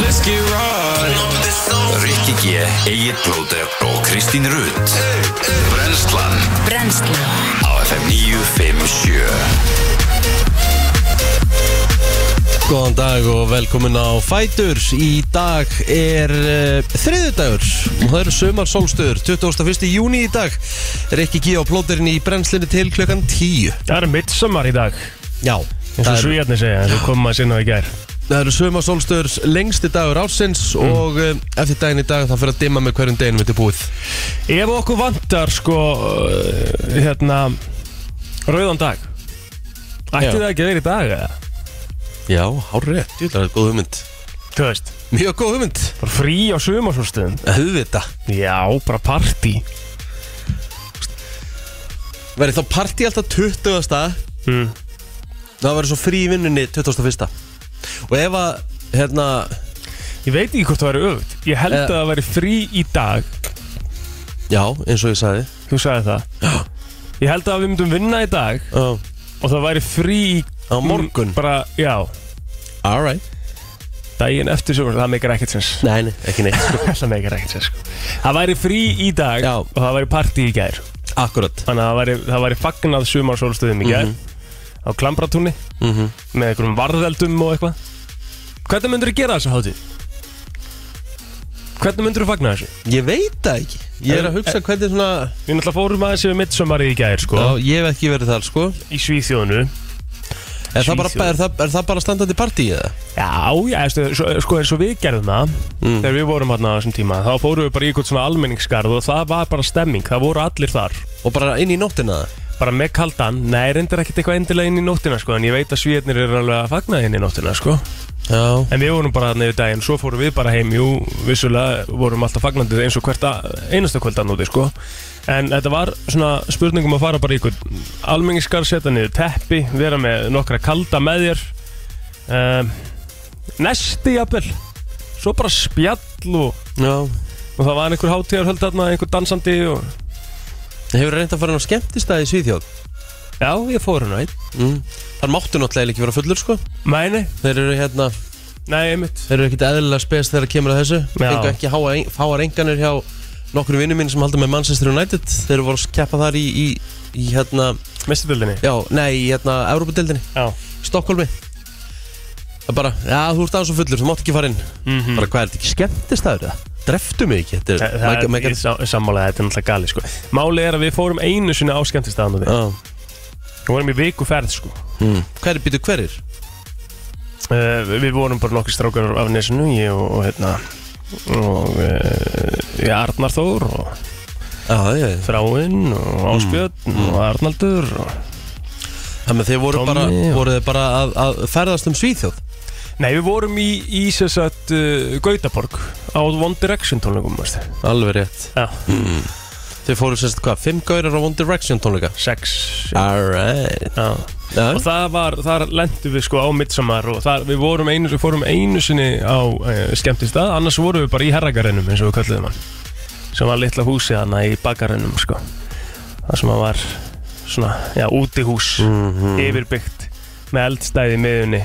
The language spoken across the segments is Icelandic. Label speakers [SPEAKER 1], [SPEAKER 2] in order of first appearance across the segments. [SPEAKER 1] Let's get right
[SPEAKER 2] Rikki G, Egil Blóter og Kristín Rutt Brenslan
[SPEAKER 3] Brennslan
[SPEAKER 2] á FM 957
[SPEAKER 4] Góðan dag og velkomin á Fætur Í dag er uh, þriðudagur og það eru sömar sólstöður 21. júni í dag er ekki gíð á plóterinn í brennslunni til klukkan 10
[SPEAKER 1] Það er midsommar í dag
[SPEAKER 4] Já,
[SPEAKER 1] eins
[SPEAKER 4] það
[SPEAKER 1] og
[SPEAKER 4] eru,
[SPEAKER 1] svíjarnir segja eins og komum að sinna í gær
[SPEAKER 4] það eru sömar sólstöður lengsti dagur ásins og uh, eftir daginn í dag það fyrir að dimma með hverjum deginum þetta er búið
[SPEAKER 1] Ef okkur vantar sko uh, hérna rauðan dag Ætti
[SPEAKER 4] Já.
[SPEAKER 1] það ekki að vera í dag eða?
[SPEAKER 4] Já, hárrið, það er góð hugmynd
[SPEAKER 1] Þú veist,
[SPEAKER 4] Mjög góð hugmynd
[SPEAKER 1] bara frí á sumarsólstöðum
[SPEAKER 4] Hauðvita
[SPEAKER 1] Já, bara party
[SPEAKER 4] Verið þá partí alltaf 20.
[SPEAKER 1] Mm.
[SPEAKER 4] Það verið svo frí í vinnunni 21. Og ef að, hérna,
[SPEAKER 1] Ég veit ekki hvort það væri öfugt Ég held
[SPEAKER 4] Eh.
[SPEAKER 1] að það væri frí í dag
[SPEAKER 4] já, eins og ég sagði
[SPEAKER 1] Þú sagði það Ég held að við myndum vinna í dag
[SPEAKER 4] Já,
[SPEAKER 1] og það væri frí í-
[SPEAKER 4] á morgun
[SPEAKER 1] Bara, já,
[SPEAKER 4] Alright
[SPEAKER 1] daginn eftir sumarsólstöðum Það meikir ekkert sens
[SPEAKER 4] Nei, nei, ekki neitt
[SPEAKER 1] Það meikir ekkert sér sko Það væri frí í dag
[SPEAKER 4] Já.
[SPEAKER 1] og það væri partí í gær
[SPEAKER 4] Akkurat
[SPEAKER 1] Þannig að það væri, það væri fagnað sumarsólstöðum í gær
[SPEAKER 4] Mhm.
[SPEAKER 1] Á klambratúni
[SPEAKER 4] mm -hmm.
[SPEAKER 1] Með einhverjum varðeldum og eitthvað Hvernig myndur þú gera þessu hátíð? Hvernig myndur þú fagna þessu?
[SPEAKER 4] Ég veit það ekki Ég er að hugsa hvernig svona
[SPEAKER 1] Við náttúrulega fórum aðeins yfir midsommari í gær sko
[SPEAKER 4] Já, ég hef ekki verið þar sko
[SPEAKER 1] Í Svíþjóðinu
[SPEAKER 4] Er það bara,
[SPEAKER 1] Svíþjóð.
[SPEAKER 4] er það, er það bara standandi partí eða?
[SPEAKER 1] Já, já, veistu, svo- sko eins og við gerðum það
[SPEAKER 4] Mm.
[SPEAKER 1] Þegar við vorum hérna á þessum tíma Þá fórum við bara í eitthvað svona almenningsgarð Og það var bara stemming, það voru allir þar
[SPEAKER 4] Og bara inn í nóttina það?
[SPEAKER 1] bara með kaldan, nei, reyndar ekkert eitthvað endilega inn í nóttina, sko, en ég veit að svíðarnir eru alveg að fagna inn í nóttina, sko
[SPEAKER 4] Já
[SPEAKER 1] en við vorum bara þannig yfir daginn, svo fórum við bara heim jú, vissulega vorum alltaf fagnandi eins og hvert að- einasta kvöldan úti, sko en þetta var svona spurningum að fara bara í ykkur almenningskar, setja niður teppi vera með nokkra kalda með þér um, nesti jafnvel, svo bara spjall og,
[SPEAKER 4] Já
[SPEAKER 1] og það var einhver hátíðarhöld þarna, einhver dansandi og
[SPEAKER 4] Hefur reynd að fara inn á skemmtistæði í Svíþjóð?
[SPEAKER 1] já, ég fór hérna einn
[SPEAKER 4] Mm. Þar máttu náttúrulega ekki vera fullur sko
[SPEAKER 1] Nei, nei,
[SPEAKER 4] Þeir eru hérna
[SPEAKER 1] nei, einmitt
[SPEAKER 4] Þeir eru ekkit eðlilega spes þegar kemur að þessu
[SPEAKER 1] Já.
[SPEAKER 4] Fengu ekki háa, háar enganir hjá nokkur vinnum minn sem haldur með Manchester United Þeir voru að keppa þar í, í, í hérna
[SPEAKER 1] Mestudildinni
[SPEAKER 4] Já, nei, í hérna Európa-dildinni
[SPEAKER 1] Já
[SPEAKER 4] Stokkólmi Það er bara, já þú ert aðeins og fullur, þú mátt ekki fara inn
[SPEAKER 1] mm -hmm.
[SPEAKER 4] Bara hvað er þetta ekki skemmtist það það? Dreftu mig ekki, þetta er
[SPEAKER 1] Það
[SPEAKER 4] mæka-
[SPEAKER 1] er
[SPEAKER 4] mæka-
[SPEAKER 1] sam- sammála, þetta er náttúrulega gali sko. Málið er að við fórum einu sinni á skemmtistæðan og við
[SPEAKER 4] Já.
[SPEAKER 1] Við vorum í viku ferð sko.
[SPEAKER 4] Mm. Hver er býtu hverir?
[SPEAKER 1] uh, Við vorum bara nokkur strákar af nesinu Ég og, og hérna Og uh, ég Arnar Þór Og
[SPEAKER 4] Já, já, já.
[SPEAKER 1] Þráinn og Ásbjörn Og Arnaldur og...
[SPEAKER 4] þannig að þeir voru
[SPEAKER 1] Tommi
[SPEAKER 4] bara,
[SPEAKER 1] og-
[SPEAKER 4] voru þeir bara að, að ferðast um Svíþjóð
[SPEAKER 1] Nei, við vorum í, í sérstætt uh, Gautaborg Á One Direction tónleikum varstu.
[SPEAKER 4] Alveg rétt
[SPEAKER 1] Já.
[SPEAKER 4] mm. Þeir fóru sérst hvað, fimm gaurar á One Direction tónleika
[SPEAKER 1] Sex Já.
[SPEAKER 4] Alright
[SPEAKER 1] Já.
[SPEAKER 4] Já,
[SPEAKER 1] Og það var, þar lendum við sko á midsommar og þar, við vorum einu, við fórum einu sinni á e, skemmtistað, annars vorum við bara í herragarennum eins og við kölluðum hann sem var litla húsið hann í bakarennum sko, það sem hann var svona, já, útihús
[SPEAKER 4] Mhm.
[SPEAKER 1] yfirbyggt með eldstæði í miðunni,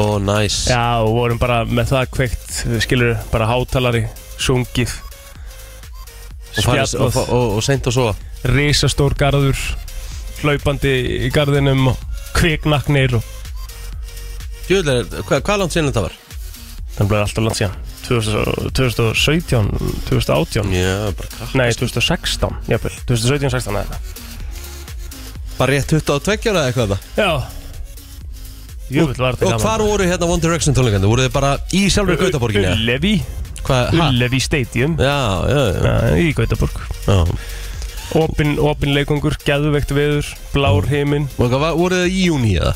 [SPEAKER 4] Ó, næs
[SPEAKER 1] já, og vorum bara með það kveikt, við skilur bara hátalari, sungið
[SPEAKER 4] Og, farið- og,
[SPEAKER 1] spjallað,
[SPEAKER 4] og, og seint og svo
[SPEAKER 1] risastór garður hlaupandi í garðinum og kviknaknir og
[SPEAKER 4] Júlega, hvað, hvað langt sinni þetta var?
[SPEAKER 1] Það er alltaf langt síðan 2000 2017, 2018
[SPEAKER 4] Já, bara kraft
[SPEAKER 1] Nei, 2016, jafnvel 2017-16 eða eitthvað.
[SPEAKER 4] Bara rétt 22 ára eða eitthvað það
[SPEAKER 1] Já Júvill var þetta
[SPEAKER 4] Og hvar voru hérna One Direction tónleikandi? Voru þið bara í sjálfur Gautaborginni? eða?
[SPEAKER 1] Ullevi,
[SPEAKER 4] Hvað, ha?
[SPEAKER 1] Ullevi Stadium
[SPEAKER 4] Já, já, já,
[SPEAKER 1] ja, Í Gautaborg
[SPEAKER 4] já.
[SPEAKER 1] Opin, opin leikungur, geðveikt veður
[SPEAKER 4] Mm.
[SPEAKER 1] Blár heiminn
[SPEAKER 4] Og hvað, var- voru þið í júni eða?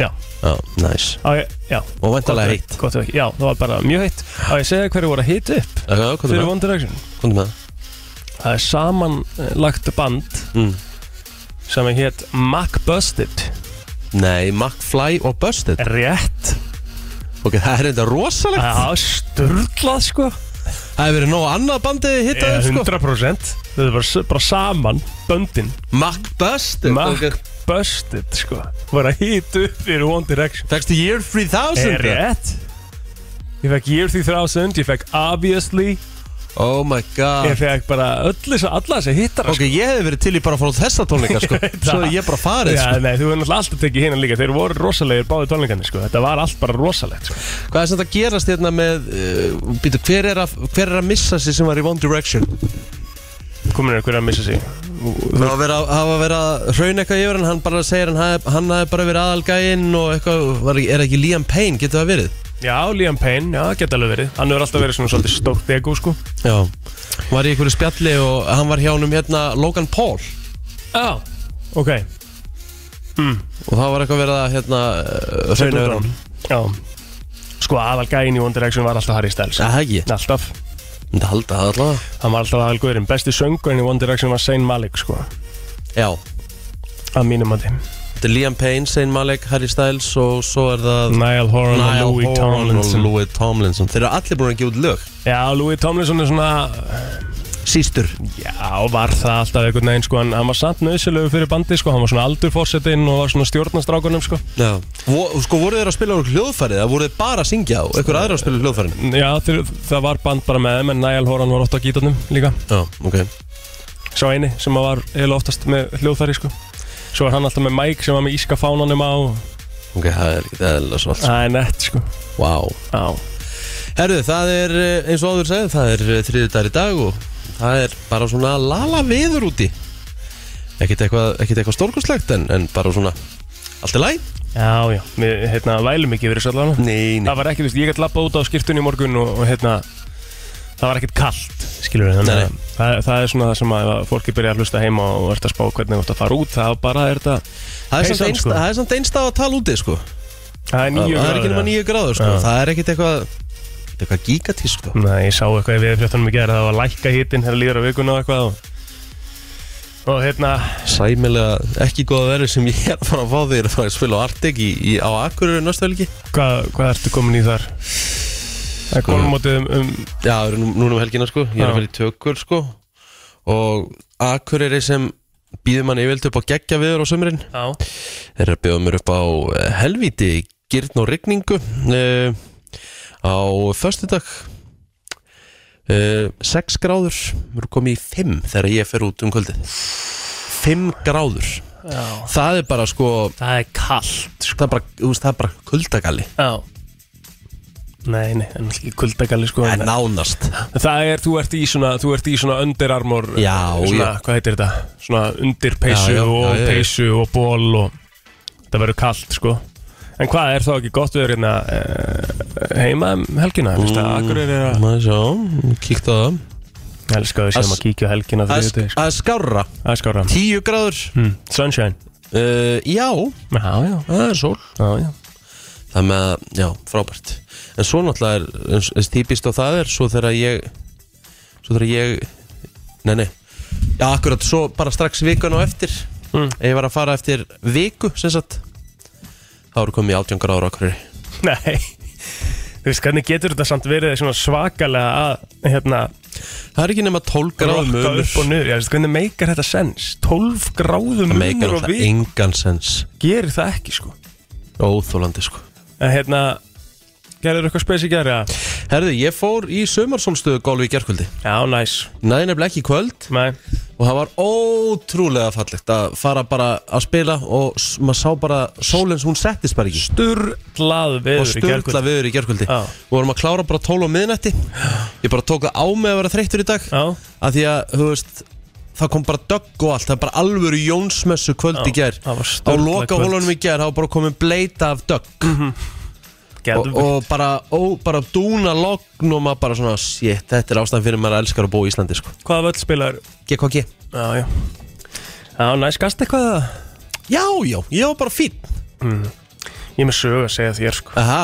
[SPEAKER 1] Já,
[SPEAKER 4] Já, næs
[SPEAKER 1] á, ég- já
[SPEAKER 4] Og vantarlega heitt
[SPEAKER 1] gott, ef ekki. Já, það var bara mjög heitt Á ég að segja hverju voru að hita upp
[SPEAKER 4] Já, já, komdu
[SPEAKER 1] Fyrir
[SPEAKER 4] með,
[SPEAKER 1] One Direction
[SPEAKER 4] komdu með
[SPEAKER 1] Það er samanlagt band
[SPEAKER 4] mm.
[SPEAKER 1] sem hétt Macbusted
[SPEAKER 4] Nei, McFly og Busted
[SPEAKER 1] Rétt
[SPEAKER 4] Ok, það er enda rosalegt
[SPEAKER 1] Það var sturglað sko
[SPEAKER 4] Það hefur verið nóg annað bandið hittað
[SPEAKER 1] Eða
[SPEAKER 4] sko
[SPEAKER 1] 100% Þau var bara saman Böndin
[SPEAKER 4] McBusted
[SPEAKER 1] Mac-
[SPEAKER 4] okay.
[SPEAKER 1] Busted sko Var að hýta upp fyrir One Direction
[SPEAKER 4] Fækstu Year 3000
[SPEAKER 1] Er rétt Ég fekk Year 3000, ég fekk Obviously
[SPEAKER 4] Oh my god
[SPEAKER 1] Ég fekk bara öll þess að alla sko. þess að hittar
[SPEAKER 4] Ok, ég hefði verið til í bara að fara á þessa tónleika sko. Svo hefði ég bara farið
[SPEAKER 1] Já,
[SPEAKER 4] sko.
[SPEAKER 1] nei, þú verður náttúrulega alltaf tekið hinnan líka Þeir voru rosalegir báði tónleikarnir, sko Þetta var allt bara rosalegt, sko
[SPEAKER 4] Hvað er sem þetta gerast hérna með uh, býtu, hver, er að, hver er að missa sig sem var í One Direction?
[SPEAKER 1] Komin er einhverja að missa sig
[SPEAKER 4] Það var verið að hafa verið að hraun eitthvað yfir en hann bara segir hann, hafi- hann hafi bara verið aðalgæinn og eitthvað, var, er það ekki Liam Payne, getur það verið?
[SPEAKER 1] Já, Liam Payne, já, geta alveg verið Hann hefur alltaf verið svona svolítið stórt ego, sko
[SPEAKER 4] Já, Hún var í einhverju spjalli og hann var hjá honum hérna Logan Paul
[SPEAKER 1] Já, ok
[SPEAKER 4] og það var eitthvað verið að hérna uh, hraun yfir hann.
[SPEAKER 1] Já Sko, aðal gæin í One Direction var alltaf Harry Styles
[SPEAKER 4] Það er ekki,
[SPEAKER 1] Alltaf
[SPEAKER 4] þetta halda það allavega.
[SPEAKER 1] Hann var alltaf aðal guðurinn Besti söngurinn í One Direction var Zayn Malik, sko
[SPEAKER 4] Já,
[SPEAKER 1] Að mínum að þeim
[SPEAKER 4] þetta er Liam Payne, Zayn Malik, Harry Styles og svo er það
[SPEAKER 1] Niall Horan og
[SPEAKER 4] Niall
[SPEAKER 1] Louis
[SPEAKER 4] Horan og
[SPEAKER 1] Tomlinson
[SPEAKER 4] Louis Tomlinson. Þeir eru allir búin að gefa út lög.
[SPEAKER 1] Já, Louis Tomlinson er svona
[SPEAKER 4] Sístur.
[SPEAKER 1] Já, var það alltaf einhvern veginn sko, en hann var samt nöðsilegu fyrir bandi sko, hann var svona aldurforsetinn og var svona stjórnastrákunum sko.
[SPEAKER 4] Já. Vo, sko voru þeir að spila úr hljóðfærið eða voru þeir bara að syngja og einhver aðra að spila úr hljóðfærið?
[SPEAKER 1] Já, þeir, það var band bara með þeim, en Niall Horan var ofta á gítarnum líka,
[SPEAKER 4] Já, ok.
[SPEAKER 1] sá eini sem var eiginlega oftast með hljóðfæri sko. Svo var hann alltaf með Mike sem var með íska fánanum á,
[SPEAKER 4] Ok, það er ekkert eðlilega svalt. sko.
[SPEAKER 1] það er nett sko.
[SPEAKER 4] Vá.
[SPEAKER 1] Já,
[SPEAKER 4] Herru, það er eh, eins og áður segið, það er þriðið dagar í dag og það er bara svona lala viður úti. Ekkert eitthvað, ekkert eitthvað stórkustlegt en, en bara svona allt er læg.
[SPEAKER 1] já, já, við hérna vælum ekki verið svolítið alveg.
[SPEAKER 4] Nei,
[SPEAKER 1] Það var ekkert, þú veist, ég gæti labbað út á skiptunni í morgun og, og hérna, það var ekkert kallt, skilur við, þannig
[SPEAKER 4] Nei,
[SPEAKER 1] að það, það er svona það sem að ef að fólki byrja að hlusta heima og ert að spá hvernig þú ert að fara út, það bara er þetta
[SPEAKER 4] Það er samt
[SPEAKER 1] peysan,
[SPEAKER 4] einst-
[SPEAKER 1] sko.
[SPEAKER 4] það er samt einstað að tala úti sko.
[SPEAKER 1] Það er
[SPEAKER 4] Það
[SPEAKER 1] nýju
[SPEAKER 4] það er ekki nema nýju gráður sko.
[SPEAKER 1] Já.
[SPEAKER 4] Það er ekkert eitthvað, ekkert eitthvað gigatísk sko.
[SPEAKER 1] Nei, ég sá eitthvað í viðfljóttanum í gerð Það var lækka hitinn, þegar líður á vikuna og eitthvað og, og hérna,
[SPEAKER 4] sæmilega ekki góða verið sem ég er að fara að fá þér að fara að spila á Artig í, í, á Akureyri næstu helgi
[SPEAKER 1] hvað, hvað ertu komin í þar? Það er konumótið um, um
[SPEAKER 4] Já, það eru nú- núna um helgina sko, ég er
[SPEAKER 1] Já.
[SPEAKER 4] að fara í tökur sko og Akureyri sem býður mann yfirlt upp á geggja viður á sömurinn
[SPEAKER 1] Já,
[SPEAKER 4] þeir eru að bjóða mér upp á eh, helvíti gyrn og rigningu uh, á föstudag uh, 6 gráður við erum komið í 5 þegar ég fer út um kvöldið 5 gráður
[SPEAKER 1] já
[SPEAKER 4] það er bara sko
[SPEAKER 1] Það er kallt
[SPEAKER 4] það er bara, þú veist, það er bara kuldagalli
[SPEAKER 1] Já Nei, nei, en ekki kuldagalli sko
[SPEAKER 4] Það er
[SPEAKER 1] en,
[SPEAKER 4] nánast
[SPEAKER 1] Það er, þú ert í svona, þú ert í svona underarmor
[SPEAKER 4] Já,
[SPEAKER 1] svona,
[SPEAKER 4] já.
[SPEAKER 1] Hvað heitir þetta? Svona undirpeysu
[SPEAKER 4] Já, já,
[SPEAKER 1] og
[SPEAKER 4] já, já, já.
[SPEAKER 1] peysu og ból og Það verður kallt sko En hvað er þá ekki gott við hérna eh, heima um helgina? Fyrst að Akureyri er að
[SPEAKER 4] Maður sjá, kíkt á það
[SPEAKER 1] Elskar við sem
[SPEAKER 4] Mm. Að-
[SPEAKER 1] að kíkja á helgina
[SPEAKER 4] Að
[SPEAKER 1] fyrir sko.
[SPEAKER 4] sk-
[SPEAKER 1] þetta
[SPEAKER 4] Að skára
[SPEAKER 1] Það er skára
[SPEAKER 4] 10 gráður
[SPEAKER 1] Hm, Sunshine
[SPEAKER 4] uh, Já,
[SPEAKER 1] Já, já,
[SPEAKER 4] það er sól
[SPEAKER 1] já, já
[SPEAKER 4] Það með að, já, frábært En svo náttúrulega er eins- eins típist á það er Svo þegar ég Svo þegar ég, nei nei Já, akkurat, svo bara strax vikun og eftir
[SPEAKER 1] Mm.
[SPEAKER 4] Ef ég var að fara eftir viku sem sagt þá eru komið í 18 gráður okkur
[SPEAKER 1] Nei Þú veist, hvernig getur þetta samt verið svona svakalega að hérna
[SPEAKER 4] Það er ekki nema 12 gráður
[SPEAKER 1] rokka
[SPEAKER 4] munur
[SPEAKER 1] upp og niður Já, þú veist, hvernig meikar þetta sens? 12 gráðum
[SPEAKER 4] Það meikar
[SPEAKER 1] munur og
[SPEAKER 4] náttúrulega
[SPEAKER 1] við
[SPEAKER 4] engan sens
[SPEAKER 1] gerir það ekki, sko
[SPEAKER 4] Óþólandi sko
[SPEAKER 1] En hérna, gerir eitthvað spes í gera?
[SPEAKER 4] Herðu, ég fór í sömarsólstöðu golfi í gerkvöldi
[SPEAKER 1] Já, næs
[SPEAKER 4] Næði nefnilega ekki í kvöld
[SPEAKER 1] Nei,
[SPEAKER 4] og það var ótrúlega fallegt að fara bara að spila og s- maður sá bara sólens hún settist bara ekki
[SPEAKER 1] sturglað
[SPEAKER 4] og
[SPEAKER 1] viður í
[SPEAKER 4] störla
[SPEAKER 1] gerkvöld
[SPEAKER 4] viður í gerkvöldi
[SPEAKER 1] Já.
[SPEAKER 4] og vorum að klára bara 12 á miðnætti ég bara tók það á mig að vera þreyttur í dag
[SPEAKER 1] Já,
[SPEAKER 4] að því að, þú veist það kom bara dögg og allt, það er bara alvöru jónsmessu kvöld
[SPEAKER 1] Já,
[SPEAKER 4] í gær
[SPEAKER 1] það var
[SPEAKER 4] á
[SPEAKER 1] sturlað
[SPEAKER 4] loka
[SPEAKER 1] kvöld.
[SPEAKER 4] hólunum í gær, það var bara komið bleita af dögg og,
[SPEAKER 1] getur
[SPEAKER 4] og bara, ó, bara dúna logn og maður bara svona, shit, þetta er ástæðan fyrir maður elskar að búa í Íslandi, sko
[SPEAKER 1] Hvaða völd spilar?
[SPEAKER 4] GKG
[SPEAKER 1] Já, já Já, næs, gasta eitthvað að
[SPEAKER 4] Já, já, ég var bara fín
[SPEAKER 1] Ég er með sögu að segja þér, sko
[SPEAKER 4] Aha,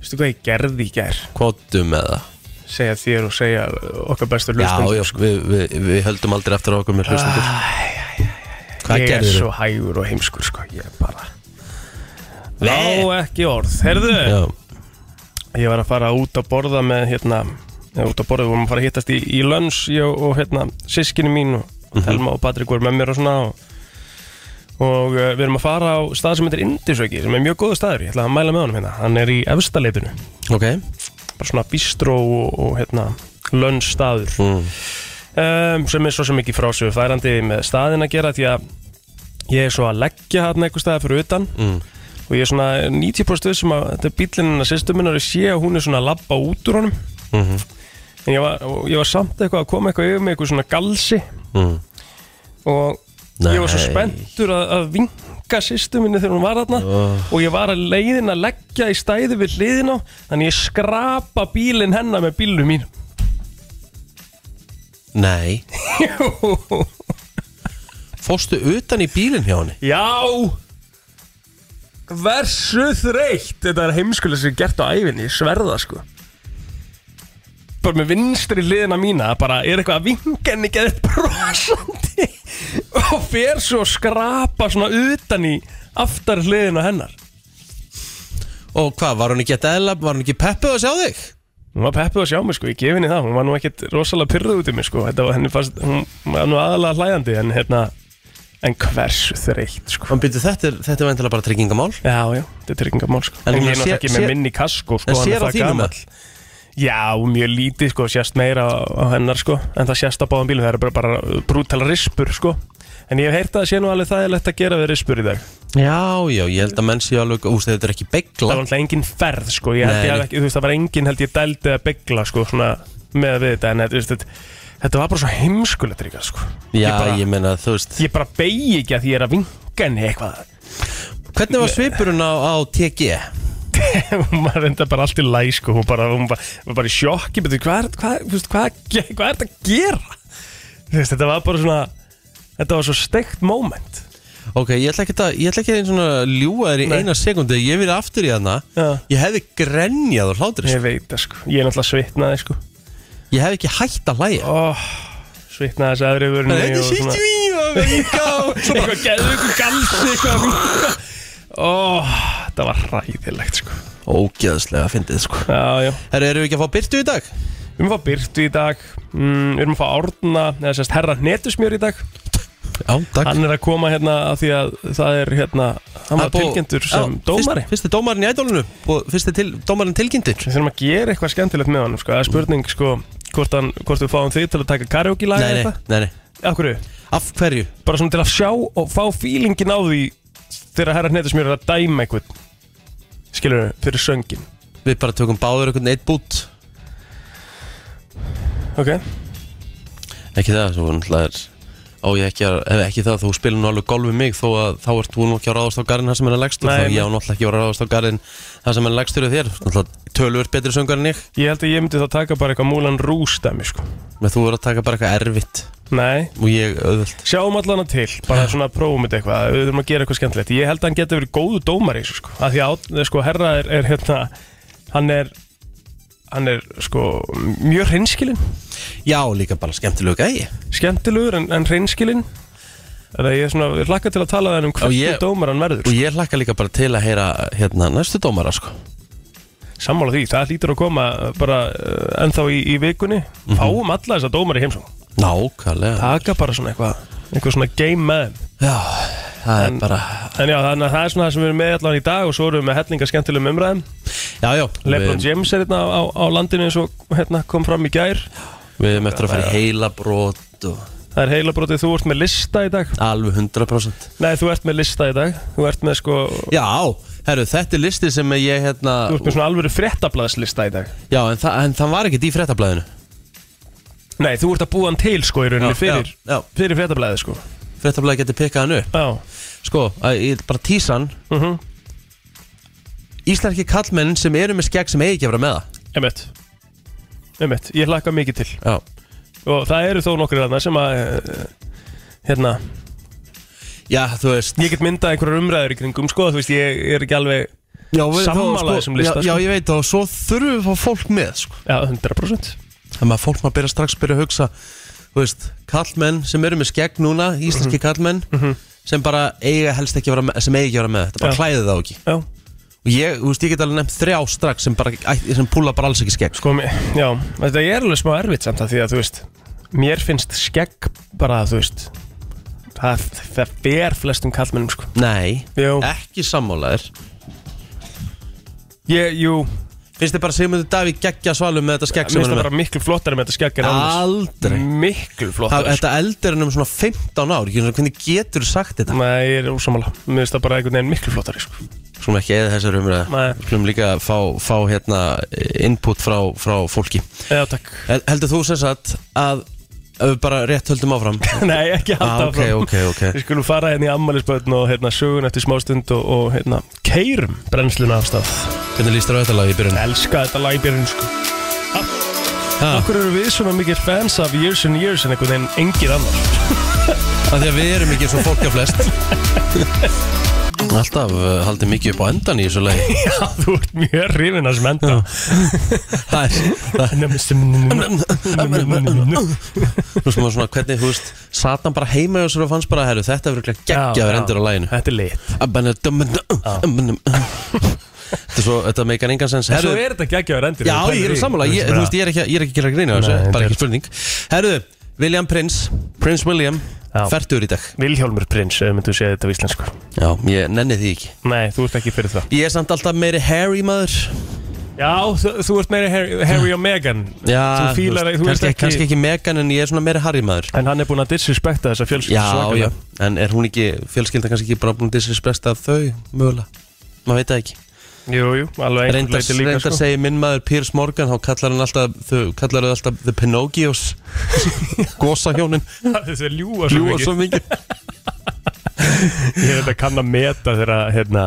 [SPEAKER 1] Veistu hvað ég gerði í gær?
[SPEAKER 4] kvotum með það
[SPEAKER 1] Segja þér og segja okkar bestur
[SPEAKER 4] Já,
[SPEAKER 1] hlustum
[SPEAKER 4] já, við, við, við höldum aldrei eftir okkur með hlustundur Hvað
[SPEAKER 1] Ég er
[SPEAKER 4] gerðir
[SPEAKER 1] svo hægur og heimskur, sko Ég er bara
[SPEAKER 4] Ve-
[SPEAKER 1] Á ekki orð Herðu,
[SPEAKER 4] Já,
[SPEAKER 1] ég var að fara út að borða með, hérna Já, út að borða, við vorum að fara að hittast í, í löns Ég og, og hérna, sískinu mín og Telma og Patrik voru með mér og svona og, og uh, við erum að fara á stað sem heitir Indisöki, sem er mjög góðu staður Ég ætla að mæla með honum hérna, hann er í efstaleitinu
[SPEAKER 4] ok
[SPEAKER 1] bara svona bistró og, og hérna, lönnstaður um, sem er svo sem ekki frá sig færandi með staðin að gera því að ég er svo að leggja hann einhver staðar fyrir utan og ég er svona 90% sem um að þetta er bílinn hennar sýstu minnar og ég sé að hún er svona að labba út úr honum en ég var, og ég var samt eitthvað að koma eitthvað yfir með eitthvað svona galsi
[SPEAKER 4] Mm.
[SPEAKER 1] og ég var svo
[SPEAKER 4] Nei.
[SPEAKER 1] spenntur að, að vinka sýstu minni þegar hún var þarna og ég var að leiðin að leggja í stæði við hliðina þannig ég skrapa bílinn hennar með bílnum mín
[SPEAKER 4] Nei Fórstu utan í bílinn hjá henni?
[SPEAKER 1] Já Versu þreytt Þetta er heimskulega sem ég hef gert á æfinni Sverða sko Bara með vinstri liðina mína Bara er eitthvað að vinga henni Geðið brosandi Og fer svo að skrapa svona utan í Aftar hliðina hennar
[SPEAKER 4] Og hvað, var hún ekki að dela, var hún ekki peppuð að sjá þig?
[SPEAKER 1] Hún var peppuð að sjá mig sko, ég gef henni það Hún var nú ekkert rosalega pyrruð út í mig sko Þetta var henni fast, hún var nú aðalega hlæjandi En hérna, en hversu þreytt sko
[SPEAKER 4] Hann byrju, þetta er, þetta er veintilega bara tryggingamál
[SPEAKER 1] Já, já, þetta er tryggingamál sko.
[SPEAKER 4] En
[SPEAKER 1] En
[SPEAKER 4] hún
[SPEAKER 1] ég er
[SPEAKER 4] sér-
[SPEAKER 1] náttúrulega ekki með
[SPEAKER 4] sér-
[SPEAKER 1] minni kasko sko,
[SPEAKER 4] En
[SPEAKER 1] hann
[SPEAKER 4] sér
[SPEAKER 1] er
[SPEAKER 4] á
[SPEAKER 1] það
[SPEAKER 4] þínum
[SPEAKER 1] gamall. Já, mjög lítið sko, sést meira á, á hennar sko En það sést á báðan bílum, það eru bara, bara brútal rispur sko En ég hef heyrt að það sé nú alveg þægilegt að gera við rispur í dag
[SPEAKER 4] Já, já, ég held að menn séu alveg Úst, þetta er ekki
[SPEAKER 1] Það
[SPEAKER 4] begla
[SPEAKER 1] var alltaf engin ferð sko ég held
[SPEAKER 4] Nei,
[SPEAKER 1] ég
[SPEAKER 4] nei.
[SPEAKER 1] hafi ekki, þú veist, það var engin held ég dældið að byggla sko svona, með við þetta En þú veist, þetta, þetta var bara svo heimskulegt ríka sko
[SPEAKER 4] Já,
[SPEAKER 1] ég, bara,
[SPEAKER 4] ég meina, þú veist
[SPEAKER 1] ég bara beigi ekki að því ég er að vinga henni eitthvað
[SPEAKER 4] Hvernig var svipurinn á, á TG?
[SPEAKER 1] hún var enda bara allt í læg sko, hún bara, hún bara, var bara í sjokki betur, hvað, er- hvað, þú veist, hvað, ge- hvað er þetta að gera Þú veist, þetta var bara svona þetta var svo steikt moment
[SPEAKER 4] Ok, ég ætla ekki að, ég ætla ekki að einu svona ljúa þér í
[SPEAKER 1] Nei.
[SPEAKER 4] eina sekundi Ég verið aftur í hana
[SPEAKER 1] Já.
[SPEAKER 4] Ég hefði grenjað og hlátur
[SPEAKER 1] ég veit það sko, ég er náttúrulega svitnaði sko
[SPEAKER 4] Ég hefði ekki hætt að hlæja
[SPEAKER 1] oh, svitnaði þess aðri
[SPEAKER 4] Bara,
[SPEAKER 1] vörunni
[SPEAKER 4] Þetta er sýtt við að vinka og- Svo bara-
[SPEAKER 1] eitthvað geðu, eitthvað galsi eitthvað vinka oh, þetta var ræðilegt sko
[SPEAKER 4] Ógeðslega fyndið sko
[SPEAKER 1] já, já,
[SPEAKER 4] Herru, erum við ekki að fá byrtu í dag?
[SPEAKER 1] við erum að fá Byrtu í dag mm, við erum að fá Árna, eða sérst herra Netusmjör í dag
[SPEAKER 4] Já, takk
[SPEAKER 1] Hann er að koma hérna af því að það er hérna,
[SPEAKER 4] Það
[SPEAKER 1] hann var
[SPEAKER 4] er búið-
[SPEAKER 1] tilgjendur sem
[SPEAKER 4] Já,
[SPEAKER 1] dómari.
[SPEAKER 4] fyrst, Fyrsti dómarin í ædólinu og fyrsti til, dómarin tilgjindur
[SPEAKER 1] Við þurfum að gera eitthvað skemmtilegt með hann, sko. Það er spurning, sko, hvort, hann, hvort við fáum þig til að taka karaoke lag
[SPEAKER 4] nei,
[SPEAKER 1] eða
[SPEAKER 4] nei,
[SPEAKER 1] eitthvað.
[SPEAKER 4] nei, nei,
[SPEAKER 1] Af hverju?
[SPEAKER 4] af hverju?
[SPEAKER 1] Bara svona til að sjá og fá fílingin á því þegar herra hnetusmjör er að dæma einhvern, skilur við, fyrir söngin.
[SPEAKER 4] Við bara tökum báður einhvern eitt bút
[SPEAKER 1] Ok?
[SPEAKER 4] Ekki það, svo náttúrulega er Ó, ég ekki, að- ef ekki það, þú spilur nú alveg golf við mig þó að þá ert þú nú ekki að ráðast á garðin það sem er að legstur,
[SPEAKER 1] Nei,
[SPEAKER 4] þá ég á
[SPEAKER 1] nei.
[SPEAKER 4] náttúrulega ekki að ráðast á garðin það sem er að legstur þér, náttúrulega tölvöld betri söngar en ég
[SPEAKER 1] Ég held að ég myndi þá taka bara eitthvað múlan rústæmi, sko.
[SPEAKER 4] menn þú verður að taka bara eitthvað erfitt
[SPEAKER 1] Nei,
[SPEAKER 4] og ég auðvöld
[SPEAKER 1] sjáum allan að til, bara svona prófum þetta eitthvað, við þurfum að gera eitthvað skemmtilegt. Ég held að hann getur verið góðu dómar í þessu sko, af því að Árni, sko, herra er, er hérna, hann er, hann er sko mjög hreinskilinn,
[SPEAKER 4] Já, líka bara skemmtilegu gæi
[SPEAKER 1] skemmtilegur en, en hreinskilinn. Þannig að ég er svona, ég hlakka til að tala þenn um hvernig
[SPEAKER 4] ég-
[SPEAKER 1] dómar hann verður. sko.
[SPEAKER 4] og ég hlakka líka bara til að heyra hérna næstu dómara sko
[SPEAKER 1] Sammála því, það hlýtur að koma uh, bara uh, ennþá í, í vikunni,
[SPEAKER 4] Mhm.
[SPEAKER 1] fáum alla þessa dómar í heimsókn.
[SPEAKER 4] Nákvæmlega
[SPEAKER 1] Taka bara svona eitthvað, eitthvað svona game með þeim.
[SPEAKER 4] Já, það er bara
[SPEAKER 1] En já, þannig að það er svona það sem við erum með allan í dag og svo erum við með hellinga skemmtilegum umræðum.
[SPEAKER 4] Já, já,
[SPEAKER 1] Lebron
[SPEAKER 4] við,
[SPEAKER 1] James er hérna á, á landinu eins og hérna, kom fram í gær
[SPEAKER 4] við erum eftir að fara í heila brot og
[SPEAKER 1] Það er heilabrótið, þú ert með lista í dag
[SPEAKER 4] alveg 100%
[SPEAKER 1] Nei, þú ert með lista í dag Þú ert með sko,
[SPEAKER 4] Já, herru, þetta er listi sem ég hérna
[SPEAKER 1] þú ert með svona alvöru fréttablaðslista í dag
[SPEAKER 4] Já, en, þa en það var ekki í fréttablaðinu
[SPEAKER 1] Nei, þú ert að búa hann til sko í rauninni
[SPEAKER 4] Já,
[SPEAKER 1] fyrir,
[SPEAKER 4] já, já.
[SPEAKER 1] fyrir fréttablaðið sko
[SPEAKER 4] Fréttablaði getur pikkað hann upp
[SPEAKER 1] Já,
[SPEAKER 4] Sko, að, ég, bara tísan
[SPEAKER 1] mhm,
[SPEAKER 4] Íslenski kallmenn sem eru með skegg sem eigi ekki að vera með það
[SPEAKER 1] einmitt Einmitt, ég hlakka mikið til
[SPEAKER 4] Já,
[SPEAKER 1] Og það eru þó nokkrir þarna sem að eh, Hérna,
[SPEAKER 4] já þú veist
[SPEAKER 1] ég get myndað einhverjar umræður í kringum sko Þú veist, ég er ekki alveg
[SPEAKER 4] já, við- þá,
[SPEAKER 1] sammála
[SPEAKER 4] sko,
[SPEAKER 1] þessum lista,
[SPEAKER 4] já,
[SPEAKER 1] sko.
[SPEAKER 4] já, ég veit það og svo þurfum við að fá fólk með sko.
[SPEAKER 1] Já, 100%
[SPEAKER 4] Þannig að fólk maður byrja strax að byrja að hugsa Þú veist, kallmenn sem eru með skegg núna Íslenski kallmenn sem bara eiga helst ekki að vera með, sem eiga ekki að vera með þetta bara
[SPEAKER 1] Já.
[SPEAKER 4] klæði það á ekki
[SPEAKER 1] Já,
[SPEAKER 4] og ég, þú veist, ég get alveg nefnt þrjá strax sem bara, æ- sem púla bara alls ekki skegg
[SPEAKER 1] Sko, mér- já, þetta er alveg smá erfitt samt að því að, þú veist, mér finnst skegg bara, þú veist, það, það fer flestum kallmennum, sko.
[SPEAKER 4] Nei,
[SPEAKER 1] Jú,
[SPEAKER 4] ekki sammálaðir
[SPEAKER 1] ég, jú,
[SPEAKER 4] Finnst þið bara Sigmundur Davík geggja svalum með þetta skegg
[SPEAKER 1] Mér
[SPEAKER 4] sem
[SPEAKER 1] finnst
[SPEAKER 4] hann er
[SPEAKER 1] það
[SPEAKER 4] með?
[SPEAKER 1] bara miklu flottari með þetta skegg en annars
[SPEAKER 4] Aldrei
[SPEAKER 1] Miklu
[SPEAKER 4] Það-
[SPEAKER 1] flottari
[SPEAKER 4] Þetta eldir hann um svona 15 ár Ég finnst að Hvernig getur sagt þetta?
[SPEAKER 1] Nei, ég er ósamála Mér finnst það bara einhvern veginn miklu flottari sko.
[SPEAKER 4] Skulum ekki eða þessar umræða
[SPEAKER 1] Nei.
[SPEAKER 4] Skulum líka fá, fá hérna input frá, frá fólki
[SPEAKER 1] Já, takk
[SPEAKER 4] En Heldur þú sem sagt að ef við bara rétt höldum áfram
[SPEAKER 1] Nei, ekki halda
[SPEAKER 4] Ah, ok,
[SPEAKER 1] áfram.
[SPEAKER 4] ok, ok.
[SPEAKER 1] Við skulum fara hérna í ammælisbötn og hérna sögun eftir smástund og, og hérna keirum brennsluna af stað
[SPEAKER 4] Hvernig líst þér á þetta lag í byrjun?
[SPEAKER 1] Elska þetta lagbjörn sko
[SPEAKER 4] Ha,
[SPEAKER 1] Akkur eru við svona mikið fans af Years and Years en einhvern veginn engir annar
[SPEAKER 4] Af því að við erum ekki svo fólka flest Alltaf uh, haldið mikið upp á endan í þessu lagi
[SPEAKER 1] Já, þú ert mjög hrifin að smenda
[SPEAKER 4] Það er, það er
[SPEAKER 1] Þetta
[SPEAKER 4] Nú sem var svona, hvernig, þú veist, satan bara heima og svo fannst bara, herru, þetta verður ekki geggjaður endur á læginu
[SPEAKER 1] er lit
[SPEAKER 4] Þetta er svo, þetta meikar engan sens
[SPEAKER 1] Svo
[SPEAKER 4] Herru,
[SPEAKER 1] er þetta geggjaður endur
[SPEAKER 4] já, ég er sammála, ég, þú veist, ég er ekki, ég er ekki að gera grína þessu,
[SPEAKER 1] Nei, þetta
[SPEAKER 4] bara
[SPEAKER 1] er-
[SPEAKER 4] ekki spurning Herru, William Prince, Prince William,
[SPEAKER 1] Já.
[SPEAKER 4] færtur í dag
[SPEAKER 1] Vilhjálmur prins, ef myndu segja þetta á íslensku
[SPEAKER 4] Já, ég nenni því ekki
[SPEAKER 1] Nei, þú ert ekki fyrir það
[SPEAKER 4] Ég er samt alltaf meiri Harry maður
[SPEAKER 1] Já, þú, þú ert meiri Harry, Harry og Meghan
[SPEAKER 4] Já,
[SPEAKER 1] Þú fílar, þú veist
[SPEAKER 4] kannski,
[SPEAKER 1] ekki,
[SPEAKER 4] kannski ekki Megan en ég er svona meiri Harry maður
[SPEAKER 1] En hann er búinn að disrespekta þessa fjölskyldu
[SPEAKER 4] Já, já, en er hún ekki, fjölskylda kannski ekki bara búin að disrespesta þau, mögulega Maður veit það ekki
[SPEAKER 1] Jú, jú, alveg einhver
[SPEAKER 4] Reyndar,
[SPEAKER 1] leiti líka
[SPEAKER 4] reyndar
[SPEAKER 1] sko.
[SPEAKER 4] segi minn maður Piers Morgan þá kallar hann alltaf, þau kallar þau alltaf The Pinocchios Gósahjónin
[SPEAKER 1] Þessi er ljúa svo
[SPEAKER 4] Ljúa
[SPEAKER 1] mikið
[SPEAKER 4] svo mikið
[SPEAKER 1] Ég er þetta kann að meta þegar hérna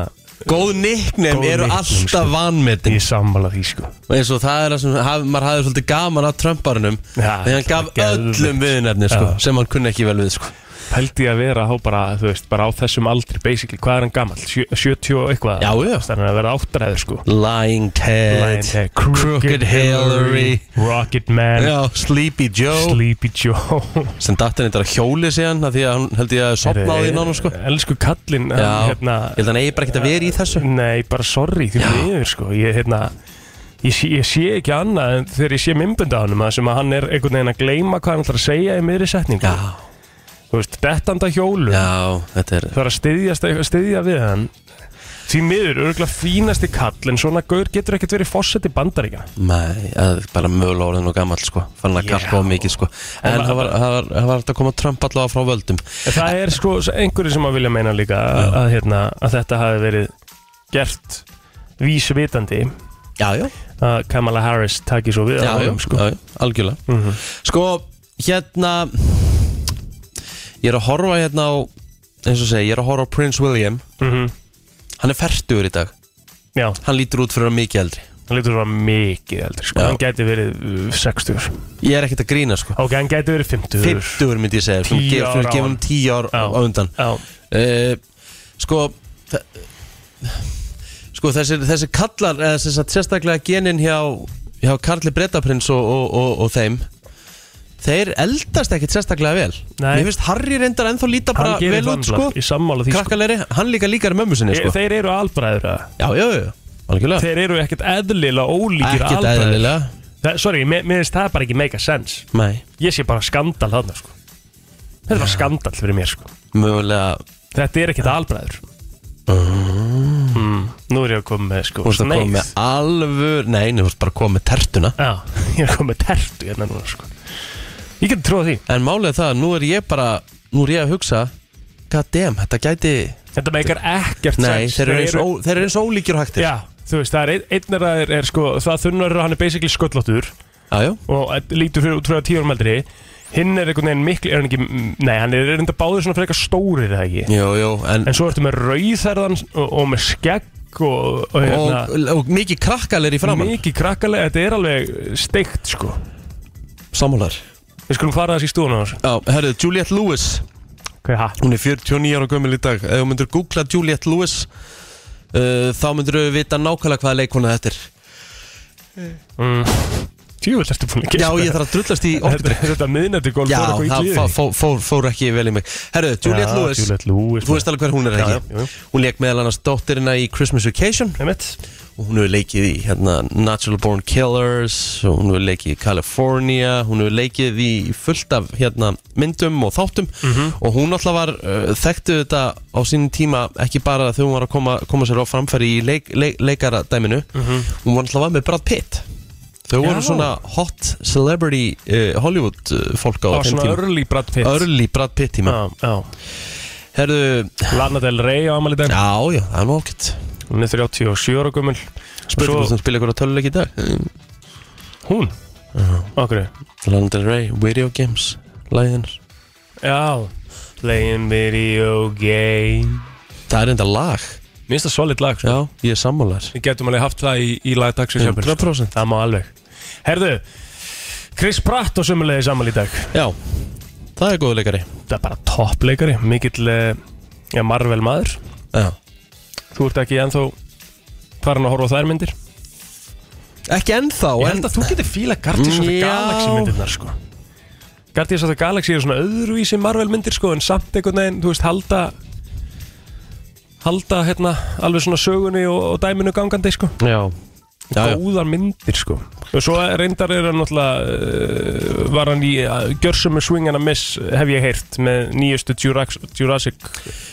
[SPEAKER 4] Góð nickname
[SPEAKER 1] Góð
[SPEAKER 4] eru
[SPEAKER 1] nickname, sko.
[SPEAKER 4] alltaf vanmetin
[SPEAKER 1] Ég sammála því sko
[SPEAKER 4] eins og það er að sem, haf, maður hafði svolítið gaman að Trumparunum
[SPEAKER 1] Já,
[SPEAKER 4] þegar hann
[SPEAKER 1] það
[SPEAKER 4] gaf
[SPEAKER 1] var geðveikt.
[SPEAKER 4] öllum viðnefni sko,
[SPEAKER 1] Já.
[SPEAKER 4] sem hann kunni ekki vel við sko.
[SPEAKER 1] Pældi ég að vera þá bara, þú veist, bara á þessum aldri basically, hvað er hann gammal? 70 og eitthvað?
[SPEAKER 4] Já, já.
[SPEAKER 1] Þannig að vera áttræður sko
[SPEAKER 4] Lying Ted,
[SPEAKER 1] Lion Head, Crooked Hillary Rocket Man
[SPEAKER 4] Já, Sleepy Joe
[SPEAKER 1] Sleepy Joe
[SPEAKER 4] sem datt henni þetta að hjóli sig hann af því að hann held ég að sopnaði í nánu sko.
[SPEAKER 1] Elsku kallinn
[SPEAKER 4] Já, hérna,
[SPEAKER 1] hann, hérna,
[SPEAKER 4] ég held hann eigi bara ekkert að vera í þessu
[SPEAKER 1] Nei, bara sorry því miður sko Ég, hérna, ég, sé, ég sé ekki annað en þegar ég sé mymbunda á hann sem að hann er einhvern veginn að gleyma hvað hann ætlar að segja í miðri setningu
[SPEAKER 4] Já,
[SPEAKER 1] Þú veist, dettanda hjólu
[SPEAKER 4] já, þetta er
[SPEAKER 1] Það er að styðjast eitthvað styðja við hann Því miður, örgulega fínasti kall en svona gaur getur ekkert verið fórseti bandaríkja
[SPEAKER 4] Nei, að bara mögulega orðin og gammal sko Fann að
[SPEAKER 1] Já.
[SPEAKER 4] kappa á mikið sko En
[SPEAKER 1] Og
[SPEAKER 4] það var, það var, það var alltaf að koma Trump allavega frá völdum
[SPEAKER 1] En Það er sko einhverju sem að vilja meina líka að, að, hérna, að þetta hafi verið gert vísvitandi
[SPEAKER 4] Já, já,
[SPEAKER 1] að Kamala Harris taki svo við
[SPEAKER 4] já, já,
[SPEAKER 1] honum, sko. Mhm.
[SPEAKER 4] já, já algjörlega Sko, hérna Ég er að horfa hérna á eins og segja, ég er að horfa á Prince William
[SPEAKER 1] Mhm.
[SPEAKER 4] Hann er færtur í dag
[SPEAKER 1] Já,
[SPEAKER 4] Hann lítur út fyrir að vera mikið eldri
[SPEAKER 1] hann lítur svo mikið eldur sko.
[SPEAKER 4] Já.
[SPEAKER 1] Hann gæti verið uh, 60
[SPEAKER 4] Ég er ekkert að grína sko
[SPEAKER 1] Ok, hann gæti verið 50
[SPEAKER 4] 50 myndi ég segja
[SPEAKER 1] Tíu ár á
[SPEAKER 4] Gefum
[SPEAKER 1] hann.
[SPEAKER 4] tíu ár
[SPEAKER 1] Já.
[SPEAKER 4] á undan
[SPEAKER 1] Já,
[SPEAKER 4] Eh, sko þa- sko þessir, þessir kallar eða sem sagt sérstaklega genin hjá, hjá Karli Bretaprins og, og, og, og þeim þeir eldast ekkit sérstaklega vel
[SPEAKER 1] Nei.
[SPEAKER 4] mér finnst Harry reyndar ennþá líta
[SPEAKER 1] hann
[SPEAKER 4] bara
[SPEAKER 1] gerir
[SPEAKER 4] vel út sko
[SPEAKER 1] vandlag Í sammála því sko.
[SPEAKER 4] krakkalegri, hann líka líkar mömmu sinni
[SPEAKER 1] sko.
[SPEAKER 4] sko.
[SPEAKER 1] Þeir eru albræður eða?
[SPEAKER 4] já, já, já, algjörlega
[SPEAKER 1] Þeir eru ekkert eðlilega ólíkir
[SPEAKER 4] ekkit
[SPEAKER 1] albræður
[SPEAKER 4] eðlilega
[SPEAKER 1] Það- Sorry, mér mér finnst það bara ekki make a sense
[SPEAKER 4] nei,
[SPEAKER 1] Ég sé bara skandal þarna sko. Þetta er bara skandal fyrir mér sko.
[SPEAKER 4] mögulega
[SPEAKER 1] Þetta er ekkert albræður mm, Nú er ég að koma með sko
[SPEAKER 4] Ah. þú veist að koma með alvör nei, þú veist bara að koma með tertuna
[SPEAKER 1] Já, ég er að koma með tertu hérna núna sko Ég geti trúið því
[SPEAKER 4] en málið er það, að nú er ég bara nú er ég að hugsa god damn, þetta gæti
[SPEAKER 1] Þetta meikar ekkert
[SPEAKER 4] Nei,
[SPEAKER 1] sens.
[SPEAKER 4] þeir eru eins, ó, þeir eru eins ólíkir og hægtir
[SPEAKER 1] Já, þú veist, það er ein, einnir að er, er sko Það þunnur hann er basically sköllóttur
[SPEAKER 4] já, já.
[SPEAKER 1] Og eh, lítur fyrir út frá tíu árum eldri Hinn er einhvern veginn miklu, er hann ekki Nei, hann er reynda báður svona frekar stóri það ekki
[SPEAKER 4] Jú, jú, en,
[SPEAKER 1] En svo ertu með rauðherðan og, og með skegg og, og
[SPEAKER 4] og,
[SPEAKER 1] hérna
[SPEAKER 4] og mikið krakkalegri í framann
[SPEAKER 1] Mikið krakkalega, þetta er alveg steikt sko
[SPEAKER 4] Sammálar
[SPEAKER 1] Við skulum fara þess í stúðan á þessu
[SPEAKER 4] Já, herru, Juliette Lewis
[SPEAKER 1] Hvað er það?
[SPEAKER 4] Hún er 49 ára gömul í dag Ef þú myndir googla Juliette Lewis uh, Þá myndir við vita nákvæmlega hvaða leikona þetta er
[SPEAKER 1] Tjúvel, ertu búin að
[SPEAKER 4] Já,
[SPEAKER 1] gista?
[SPEAKER 4] ég þarf að drullast í
[SPEAKER 1] Þetta,
[SPEAKER 4] orkudrykk
[SPEAKER 1] þetta miðnætti golf
[SPEAKER 4] Já,
[SPEAKER 1] fór eitthvað
[SPEAKER 4] það
[SPEAKER 1] illa í
[SPEAKER 4] fó-
[SPEAKER 1] þig.
[SPEAKER 4] fó- fór, fór ekki vel í mig Herru, Juliette
[SPEAKER 1] Já,
[SPEAKER 4] Lewis
[SPEAKER 1] Juliette Lewis,
[SPEAKER 4] Þú veist alveg hver hún er
[SPEAKER 1] Já,
[SPEAKER 4] ekki
[SPEAKER 1] já, jú.
[SPEAKER 4] Hún leik meðal annars dóttirina í Christmas Vacation
[SPEAKER 1] Einmitt.
[SPEAKER 4] og hún hefur leikið í hérna, Natural Born Killers og hún hefur leikið í California hún hefur leikið í fullt af hérna, myndum og þáttum
[SPEAKER 1] Mhm.
[SPEAKER 4] og hún alltaf var, uh, þekktu þetta á sínum tíma ekki bara þegar hún var að koma, koma sér á framfæri í leik, leik, leikaradæminu hún var alltaf með Brad Pitt þau voru
[SPEAKER 1] Mhm. Já.
[SPEAKER 4] svona hot celebrity uh, Hollywood uh, fólk á
[SPEAKER 1] Það var
[SPEAKER 4] þeim
[SPEAKER 1] svona
[SPEAKER 4] tíma
[SPEAKER 1] early Brad Pitt
[SPEAKER 4] Early Brad Pitt tíma
[SPEAKER 1] Já, já.
[SPEAKER 4] Herðu,
[SPEAKER 1] Lana Del Rey á Amalí dag
[SPEAKER 4] já, já, það er nú ákvæmt
[SPEAKER 1] Hún er 37 ára gömul
[SPEAKER 4] Spurning
[SPEAKER 1] Svo- Mm.
[SPEAKER 4] sem spila ykkur á töluleik í dag
[SPEAKER 1] Hún? Okkur
[SPEAKER 4] Lana Del Rey, Video Games Læðinur
[SPEAKER 1] Já Playing video game
[SPEAKER 4] Það er enda lag
[SPEAKER 1] Mér finnst það solid lag sko.
[SPEAKER 4] Já, ég er sammálar
[SPEAKER 1] Við getum alveg haft það í, í lagdagsins hjá mér, sko.
[SPEAKER 4] 100%.
[SPEAKER 1] Það má alveg Herðu Chris Pratt á sömulegi saman í dag
[SPEAKER 4] Já, það er góðu leikari
[SPEAKER 1] Það er bara toppleikari Mikill eh, ja, Marvel maður
[SPEAKER 4] Já.
[SPEAKER 1] Þú ert ekki ennþá farin að horfa á þær myndir
[SPEAKER 4] Ekki ennþá
[SPEAKER 1] Ég
[SPEAKER 4] en,
[SPEAKER 1] held að þú getur fíla Guardians of the
[SPEAKER 4] Já.
[SPEAKER 1] Galaxy myndirnar sko Guardians of the Galaxy eru svona öðruvísi Marvel myndir sko en samt einhvern veginn, þú veist, halda halda hérna alveg svona sögunni og, og dæminu gangandi sko
[SPEAKER 4] Já, já, já.
[SPEAKER 1] góðar myndir sko og svo reyndar er hann náttúrulega uh, var hann í uh, gjörsum með swing and a miss hef ég heyrt með nýjustu Jurax- Jurassic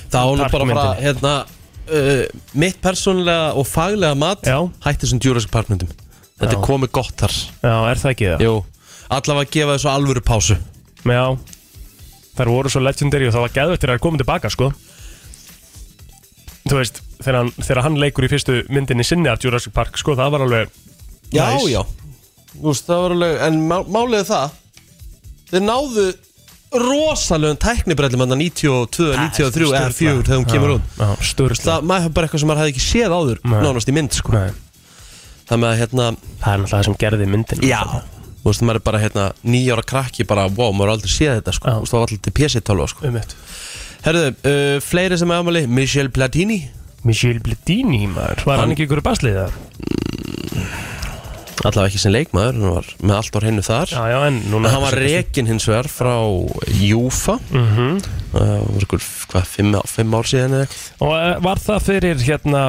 [SPEAKER 4] Það var nú bara að fara
[SPEAKER 1] Parkmyndinni.
[SPEAKER 4] hérna, uh, Mitt persónlega og faglega mat
[SPEAKER 1] Já.
[SPEAKER 4] Hætti sem Jurassic Parkmyndum Þetta
[SPEAKER 1] Já.
[SPEAKER 4] er komið gott þar
[SPEAKER 1] já, er það ekki það?
[SPEAKER 4] Jú Alla að gefa þessu alvöru pásu
[SPEAKER 1] já, þær voru svo legendary og það var geðvægt þegar þær komið tilbaka sko þú veist þegar hann, þegar hann leikur í fyrstu myndinni sinni af Jurassic Park sko, það var alveg
[SPEAKER 4] Já,
[SPEAKER 1] Nice.
[SPEAKER 4] já Þú veist, það var alveg En má, málið er það Þeir náðu rosalegum tæknibrellum Þannig 92, 93 eða 4 Þegar hún kemur út
[SPEAKER 1] störsla
[SPEAKER 4] Það maður bara eitthvað sem maður hefði ekki séð áður
[SPEAKER 1] Nei.
[SPEAKER 4] Nánast í mynd, sko
[SPEAKER 1] Nei,
[SPEAKER 4] Það með að, hérna
[SPEAKER 1] það er náttúrulega það sem gerði myndin
[SPEAKER 4] Þú veist, maður er bara, hérna Nýjára krakki bara, wow, maður er aldrei séð þetta, sko
[SPEAKER 1] Já.
[SPEAKER 4] Þú veist, það var alltaf til PC-tálfa, sko
[SPEAKER 1] um eitt
[SPEAKER 4] Herðu, uh, fleiri sem er afmæli Michel Platini
[SPEAKER 1] Michel Bledini maður, var hann
[SPEAKER 4] Hann-
[SPEAKER 1] ekki ykkur baslið það?
[SPEAKER 4] Allavega ekki sem leikmaður Hann var með allt á hennu þar
[SPEAKER 1] Já, já, en núna
[SPEAKER 4] En hann var rekin hins vegar frá Júfa
[SPEAKER 1] mm
[SPEAKER 4] Það var ykkur, hvað, fimm, á- fimm ár síðan eða eitthvað
[SPEAKER 1] Og eh, var það fyrir hérna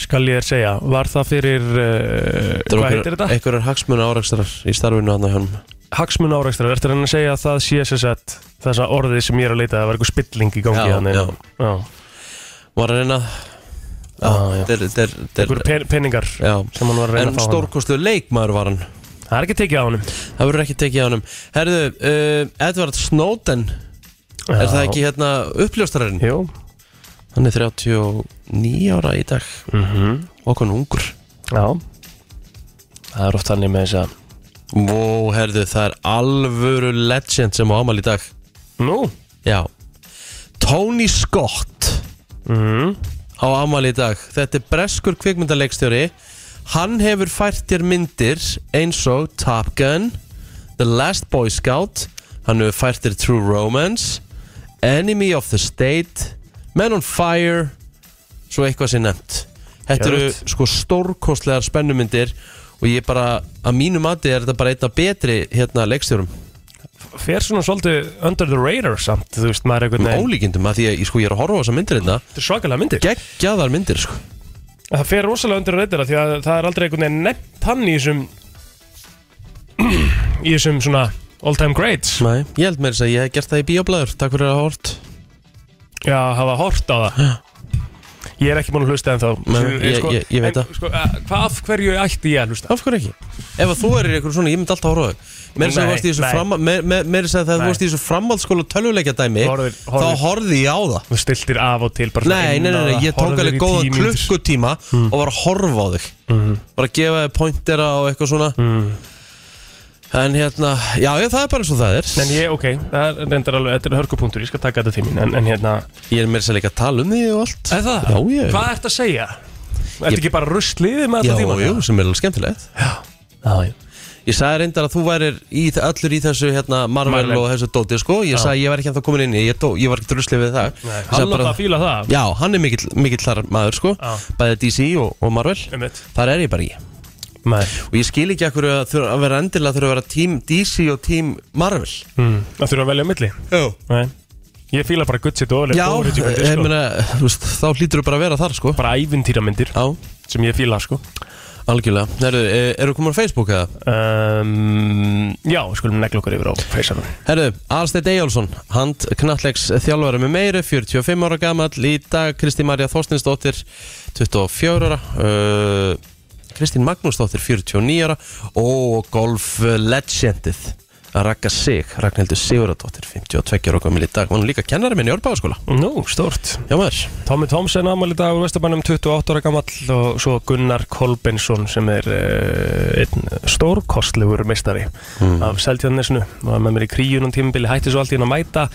[SPEAKER 1] Skal ég þér segja Var það fyrir uh, Hvað heitir þetta?
[SPEAKER 4] Ekkur er hagsmuna árakstrar í starfinu hann að hann
[SPEAKER 1] Hagsmun áreikstra Ertu hann að segja að það sé sér sett Þessa orðið sem ég er að leita að var eitthvað spilling í gangi
[SPEAKER 4] Já,
[SPEAKER 1] hann,
[SPEAKER 4] já.
[SPEAKER 1] já.
[SPEAKER 4] Var að reyna Já,
[SPEAKER 1] Ah, Já, já.
[SPEAKER 4] þeir, þeir, þeir
[SPEAKER 1] Einhver pen, peningar
[SPEAKER 4] Já,
[SPEAKER 1] sem hann var að reyna
[SPEAKER 4] en
[SPEAKER 1] að fá
[SPEAKER 4] stórkostu leikmaður var hann
[SPEAKER 1] hann Það er ekki tekið á hann
[SPEAKER 4] Það verður ekki tekið á hann Herðu, uh, Edward Snowden Er það ekki hérna uppljóstararinn?
[SPEAKER 1] Jú
[SPEAKER 4] Hann er 39 ára í dag
[SPEAKER 1] mm
[SPEAKER 4] Og hann ungur
[SPEAKER 1] Já Það er oft þannig með þess að
[SPEAKER 4] Vó, herðu, það er alvöru legend sem á ámæl í dag
[SPEAKER 1] Nú
[SPEAKER 4] Já Tony Scott
[SPEAKER 1] mm.
[SPEAKER 4] á amal í dag Þetta er breskur kvikmyndaleikstjóri Hann hefur fært þér myndir eins og Top Gun The Last Boy Scout Hann hefur fært þér True Romance Enemy of the State Men on Fire Svo eitthvað sem nefnt Þetta eru
[SPEAKER 1] Geðveikt.
[SPEAKER 4] sko stórkostlegar spennumyndir og ég bara, að mínu mati er þetta bara einn af betri hérna leikstjórum
[SPEAKER 1] Fer svona svolítið under the radar samt Þú veist maður einhvern
[SPEAKER 4] með
[SPEAKER 1] veginn
[SPEAKER 4] ólíkindum að því að ég, sko, ég er að horfa á þessa myndir hérna
[SPEAKER 1] Þetta er svakalega myndir
[SPEAKER 4] geggjaðar myndir sko
[SPEAKER 1] Það fer rosalega undir reyndina því að það er aldrei einhvern veginn nefnt hann í þessum í þessum svona all time greats
[SPEAKER 4] Nei, ég held með þess að ég hef gert það í bíoblæður Takk fyrir að hafa hort
[SPEAKER 1] Já, hafa hort á það Ég er ekki búin að hlusta en þá
[SPEAKER 4] Nei, ég- ég- ég veit það.
[SPEAKER 1] Sko, eh, hvað af hverju ætti ég að hlusta?
[SPEAKER 4] Af hverju ekki? Ef að þú erir einhver svona, ég myndi alltaf horfa á þig Mér
[SPEAKER 1] Nei,
[SPEAKER 4] er
[SPEAKER 1] nei.
[SPEAKER 4] þess að þegar
[SPEAKER 1] Nei.
[SPEAKER 4] þú varst í þessu framhaldsskóla tölvuleikja dæmi
[SPEAKER 1] Horfir-
[SPEAKER 4] Þá
[SPEAKER 1] horfir.
[SPEAKER 4] horfði ég á það
[SPEAKER 1] Þú stiltir af og til bara
[SPEAKER 4] Nei, nei, nei, nei, ég tók alveg góða klukkutíma
[SPEAKER 1] Mm.
[SPEAKER 4] og var að horfa á þig
[SPEAKER 1] Mm-hmm.
[SPEAKER 4] Var að gefa þig pointera og eitthvað svona
[SPEAKER 1] Mm.
[SPEAKER 4] En hérna, já, ég, það er bara eins og það er
[SPEAKER 1] En ég, ok, það er reyndar alveg, þetta er hörkupunktur, ég skal taka þetta til mín En, en hérna
[SPEAKER 4] Ég er meira þess að líka að tala um því og allt
[SPEAKER 1] Er það?
[SPEAKER 4] Já, ég
[SPEAKER 1] Hvað ert að segja? Ertu
[SPEAKER 4] Ég-
[SPEAKER 1] ekki bara rustliðið með
[SPEAKER 4] Já,
[SPEAKER 1] þetta tíma?
[SPEAKER 4] jú, sem er alveg skemmtilegt
[SPEAKER 1] já, já
[SPEAKER 4] Ég sagði reyndar að þú værir í, allur í þessu hérna, Marvel,
[SPEAKER 1] Marvel.
[SPEAKER 4] og þessu dóti sko. Ég sagði að ég var ekki ennþá komin inn í Ég, dó, ég var ekki druslið við það
[SPEAKER 1] Nei,
[SPEAKER 4] Ég sagði
[SPEAKER 1] hann
[SPEAKER 4] bara-
[SPEAKER 1] láta að fíla það
[SPEAKER 4] Já, hann er mikill, mikill þar maður sko.
[SPEAKER 1] Já.
[SPEAKER 4] Bæði DC og, og Marvel
[SPEAKER 1] Einmitt.
[SPEAKER 4] Þar er ég bara í
[SPEAKER 1] Nei.
[SPEAKER 4] og ég skil ekki akkur að, þurfa að vera endilega þurfa að vera tím DC og tím Marvel
[SPEAKER 1] mm. Það þurfa að velja á milli
[SPEAKER 4] Já
[SPEAKER 1] Nei. Ég fíla bara guttsitt og
[SPEAKER 4] Já,
[SPEAKER 1] ofurlegt
[SPEAKER 4] ég
[SPEAKER 1] sko.
[SPEAKER 4] meina, þú veist, þá hlýtur þú bara að vera þar sko
[SPEAKER 1] Bara ævintýramyndir
[SPEAKER 4] Já,
[SPEAKER 1] sem ég fíla sko
[SPEAKER 4] algjörlega Herðu, eh, eru komin á Facebook eða?
[SPEAKER 1] um, Já, skulum negla okkur yfir á feysanum
[SPEAKER 4] Herðu, Alsteinn Eyjálsson, hand knattleiks þjálfari með meiri, 45 ára gamall í dag, Kristín Marja Þorstinsdóttir 24 ára uh, Kristín Magnúsdóttir 49 ára og golf legendið Ragga Sig, Ragnhildur Siguradóttir 52 ára gamall í dag, hún er líka kennari minn í Orbaðaskóla,
[SPEAKER 1] Nú, stórt
[SPEAKER 4] já maður
[SPEAKER 1] Tommy Thompson ámæli dag úr Vestabænum 28 ára gamall og svo Gunnar Kolbensson sem er uh, einn stórkostlegur meistari af Seltjarnesnu var með mér í kríunum tímabili hætti svo allt í hann að mæta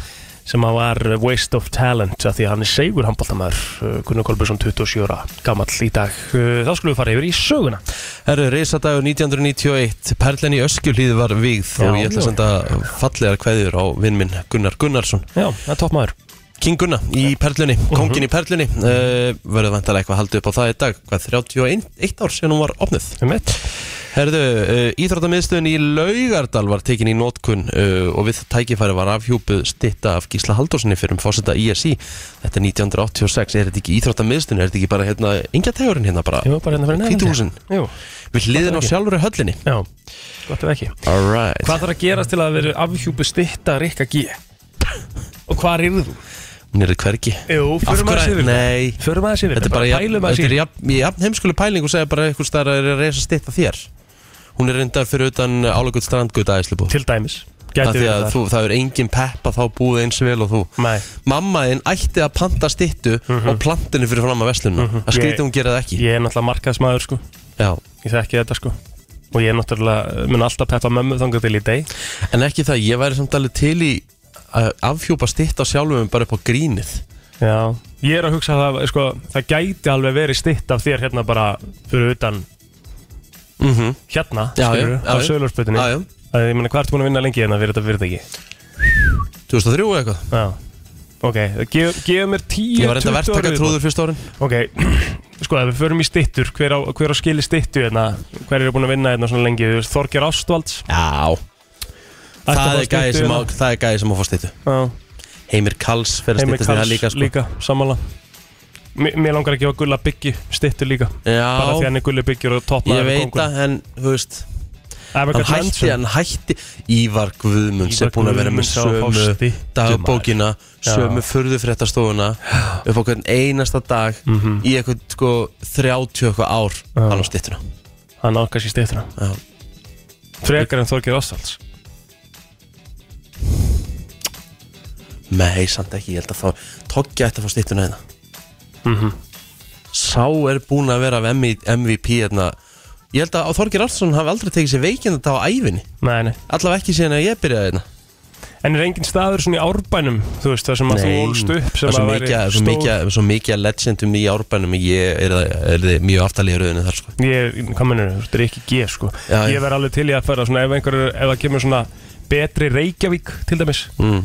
[SPEAKER 1] sem að var waste of talent að því að hann er segur handbóltamæður uh, Gunnar Kolbensson 27 ára gamall í dag uh, þá skulum við fara yfir í söguna
[SPEAKER 4] Herru, reysadagur 1991, Perlen í Öskjulíð var vígð
[SPEAKER 1] Já,
[SPEAKER 4] og ég ætla
[SPEAKER 1] já.
[SPEAKER 4] að senda fallegar kveðjur á vinn minn Gunnar Gunnarsson
[SPEAKER 1] Já, það er toppmæður
[SPEAKER 4] King Gunna í Perlunni, kongin í Perlunni uh, verður vantarlega eitthvað haldið upp á það í dag hvað 31 ár sem hún var opnuð
[SPEAKER 1] um mitt
[SPEAKER 4] Herðu, uh, Íþróttamiðstöðin í Laugardal var tekin í nótkun uh, og við það tækifæri var afhjúpuð stitta af Gísla Haldósinni fyrir um fósetta ISI þetta er 1986, er þetta ekki Íþróttamiðstöðin er þetta ekki bara hérna, engja tegurinn hérna bara
[SPEAKER 1] Ég var bara hérna fyrir neðan
[SPEAKER 4] Hvíta húsin.
[SPEAKER 1] Jú,
[SPEAKER 4] við hliðin á
[SPEAKER 1] ekki.
[SPEAKER 4] sjálfur höllinni
[SPEAKER 1] já, gott ef ekki
[SPEAKER 4] Alright.
[SPEAKER 1] Hvað þarf að gerast til að vera afhjúpu stytta Rikka G? Og hvað er þú?
[SPEAKER 4] hún er hvergi
[SPEAKER 1] Jú,
[SPEAKER 4] Af
[SPEAKER 1] fyrir maður
[SPEAKER 4] hverju-
[SPEAKER 1] sér
[SPEAKER 4] Nei,
[SPEAKER 1] Förum aðeins yfir
[SPEAKER 4] Þetta er bara jafn,
[SPEAKER 1] pælum aðeins
[SPEAKER 4] þetta er
[SPEAKER 1] yfir
[SPEAKER 4] jafn, jafn heimskuli pæling og segja bara eitthvað starf að er að reysa stitta þér Hún er reyndar fyrir utan álagut strandgut aðeinslibu
[SPEAKER 1] Til dæmis
[SPEAKER 4] Af
[SPEAKER 1] Gæti
[SPEAKER 4] því
[SPEAKER 1] við
[SPEAKER 4] að
[SPEAKER 1] það
[SPEAKER 4] þú, það er engin peppa þá búið eins vel og þú
[SPEAKER 1] Nei,
[SPEAKER 4] Mamma þinn ætti að panta stittu á plantinu fyrir fram að veslunum mm
[SPEAKER 1] Mhm.
[SPEAKER 4] Það
[SPEAKER 1] Ég-
[SPEAKER 4] skrítið hún gera það ekki
[SPEAKER 1] ég er náttúrulega markaðsmaður sko
[SPEAKER 4] Já.
[SPEAKER 1] Ég þekki þetta sko Og ég er náttúrulega, eh, mun alltaf peppa mömmu þangað til í deg
[SPEAKER 4] En ekki það, ég væri samt alveg til í að afhjúpa stitta sjálfum bara upp á grínið
[SPEAKER 1] Já Ég er að hugsa það, sko, það gæti alveg verið stytt af þér hérna bara Fyrir utan
[SPEAKER 4] mm
[SPEAKER 1] hérna,
[SPEAKER 4] Já,
[SPEAKER 1] skilur,
[SPEAKER 4] já, já,
[SPEAKER 1] á
[SPEAKER 4] já.
[SPEAKER 1] sölursputinni
[SPEAKER 4] Já, já.
[SPEAKER 1] Ég meina, hvað ertu búin að vinna lengi hérna fyrir þetta fyrirtæki?
[SPEAKER 4] 2003 eða eitthvað
[SPEAKER 1] Já Ok, gef, gef mér 10
[SPEAKER 4] Ég var reynda
[SPEAKER 1] 20 ára
[SPEAKER 4] verktaka
[SPEAKER 1] viðbót.
[SPEAKER 4] trúður fyrst árin
[SPEAKER 1] Ok, sko ef við förum í stittur Hver á, hver á skili stittu hérna Hver eru búin að vinna hérna svona lengi Þorger Ástvalds
[SPEAKER 4] Já
[SPEAKER 1] ætti að
[SPEAKER 4] Það
[SPEAKER 1] fá
[SPEAKER 4] er gæði
[SPEAKER 1] styttu
[SPEAKER 4] sem
[SPEAKER 1] hérna.
[SPEAKER 4] á- það er gæði sem á fá stittu
[SPEAKER 1] Já,
[SPEAKER 4] Heimir Kalls fyrir að
[SPEAKER 1] Heimir
[SPEAKER 4] stýttast í það
[SPEAKER 1] Karls
[SPEAKER 4] líka,
[SPEAKER 1] líka,
[SPEAKER 4] sko.
[SPEAKER 1] líka sammála M Mér langar ekki að gulla byggi stittu líka Bara því
[SPEAKER 4] Já,
[SPEAKER 1] hann er gulli byggjur og
[SPEAKER 4] ég
[SPEAKER 1] toppnaður
[SPEAKER 4] veit að en, þú veist
[SPEAKER 1] Hann
[SPEAKER 4] Hann hætti, hann hætti Ívar Guðmund sem
[SPEAKER 1] Ívar
[SPEAKER 4] er búin að vera með
[SPEAKER 1] Guðmunds á
[SPEAKER 4] sömu
[SPEAKER 1] Fásti.
[SPEAKER 4] dagbókina
[SPEAKER 1] Já.
[SPEAKER 4] sömu furðufréttastofuna upp á hvern einasta dag í eitthvað sko 30 eitthvað ár
[SPEAKER 1] Mhm. Já.
[SPEAKER 4] hann á stittuna
[SPEAKER 1] Hann ákast í stittuna
[SPEAKER 4] Já.
[SPEAKER 1] hérna. Frekar en Þorger Ástvalds
[SPEAKER 4] Nei, samt ekki, ég held að þá Toggi ætti að fá stittuna hérna
[SPEAKER 1] Mhm.
[SPEAKER 4] Sá er búin að vera af MV- MVP hérna Ég held að Þorgir Arnsson hafi aldrei tekið sér veikind á ævinni
[SPEAKER 1] Nei, nei
[SPEAKER 4] Allavega ekki síðan að ég byrjaði hérna
[SPEAKER 1] En er engin staður svona í árbænum Þú veist, það sem að þú ólst upp
[SPEAKER 4] það
[SPEAKER 1] Sem
[SPEAKER 4] er svo
[SPEAKER 1] að væri
[SPEAKER 4] mikið, svo mikið, svo mikið að legendum í árbænum ég er, er, er mjög aftalíður auðinu þar sko.
[SPEAKER 1] Ég, hvað mennur, þú veist, það er ekki G sko
[SPEAKER 4] Já, já.
[SPEAKER 1] Ég verð alveg til í að fara svona ef einhver, ef það kemur svona betri Reykjavík til dæmis
[SPEAKER 4] mm.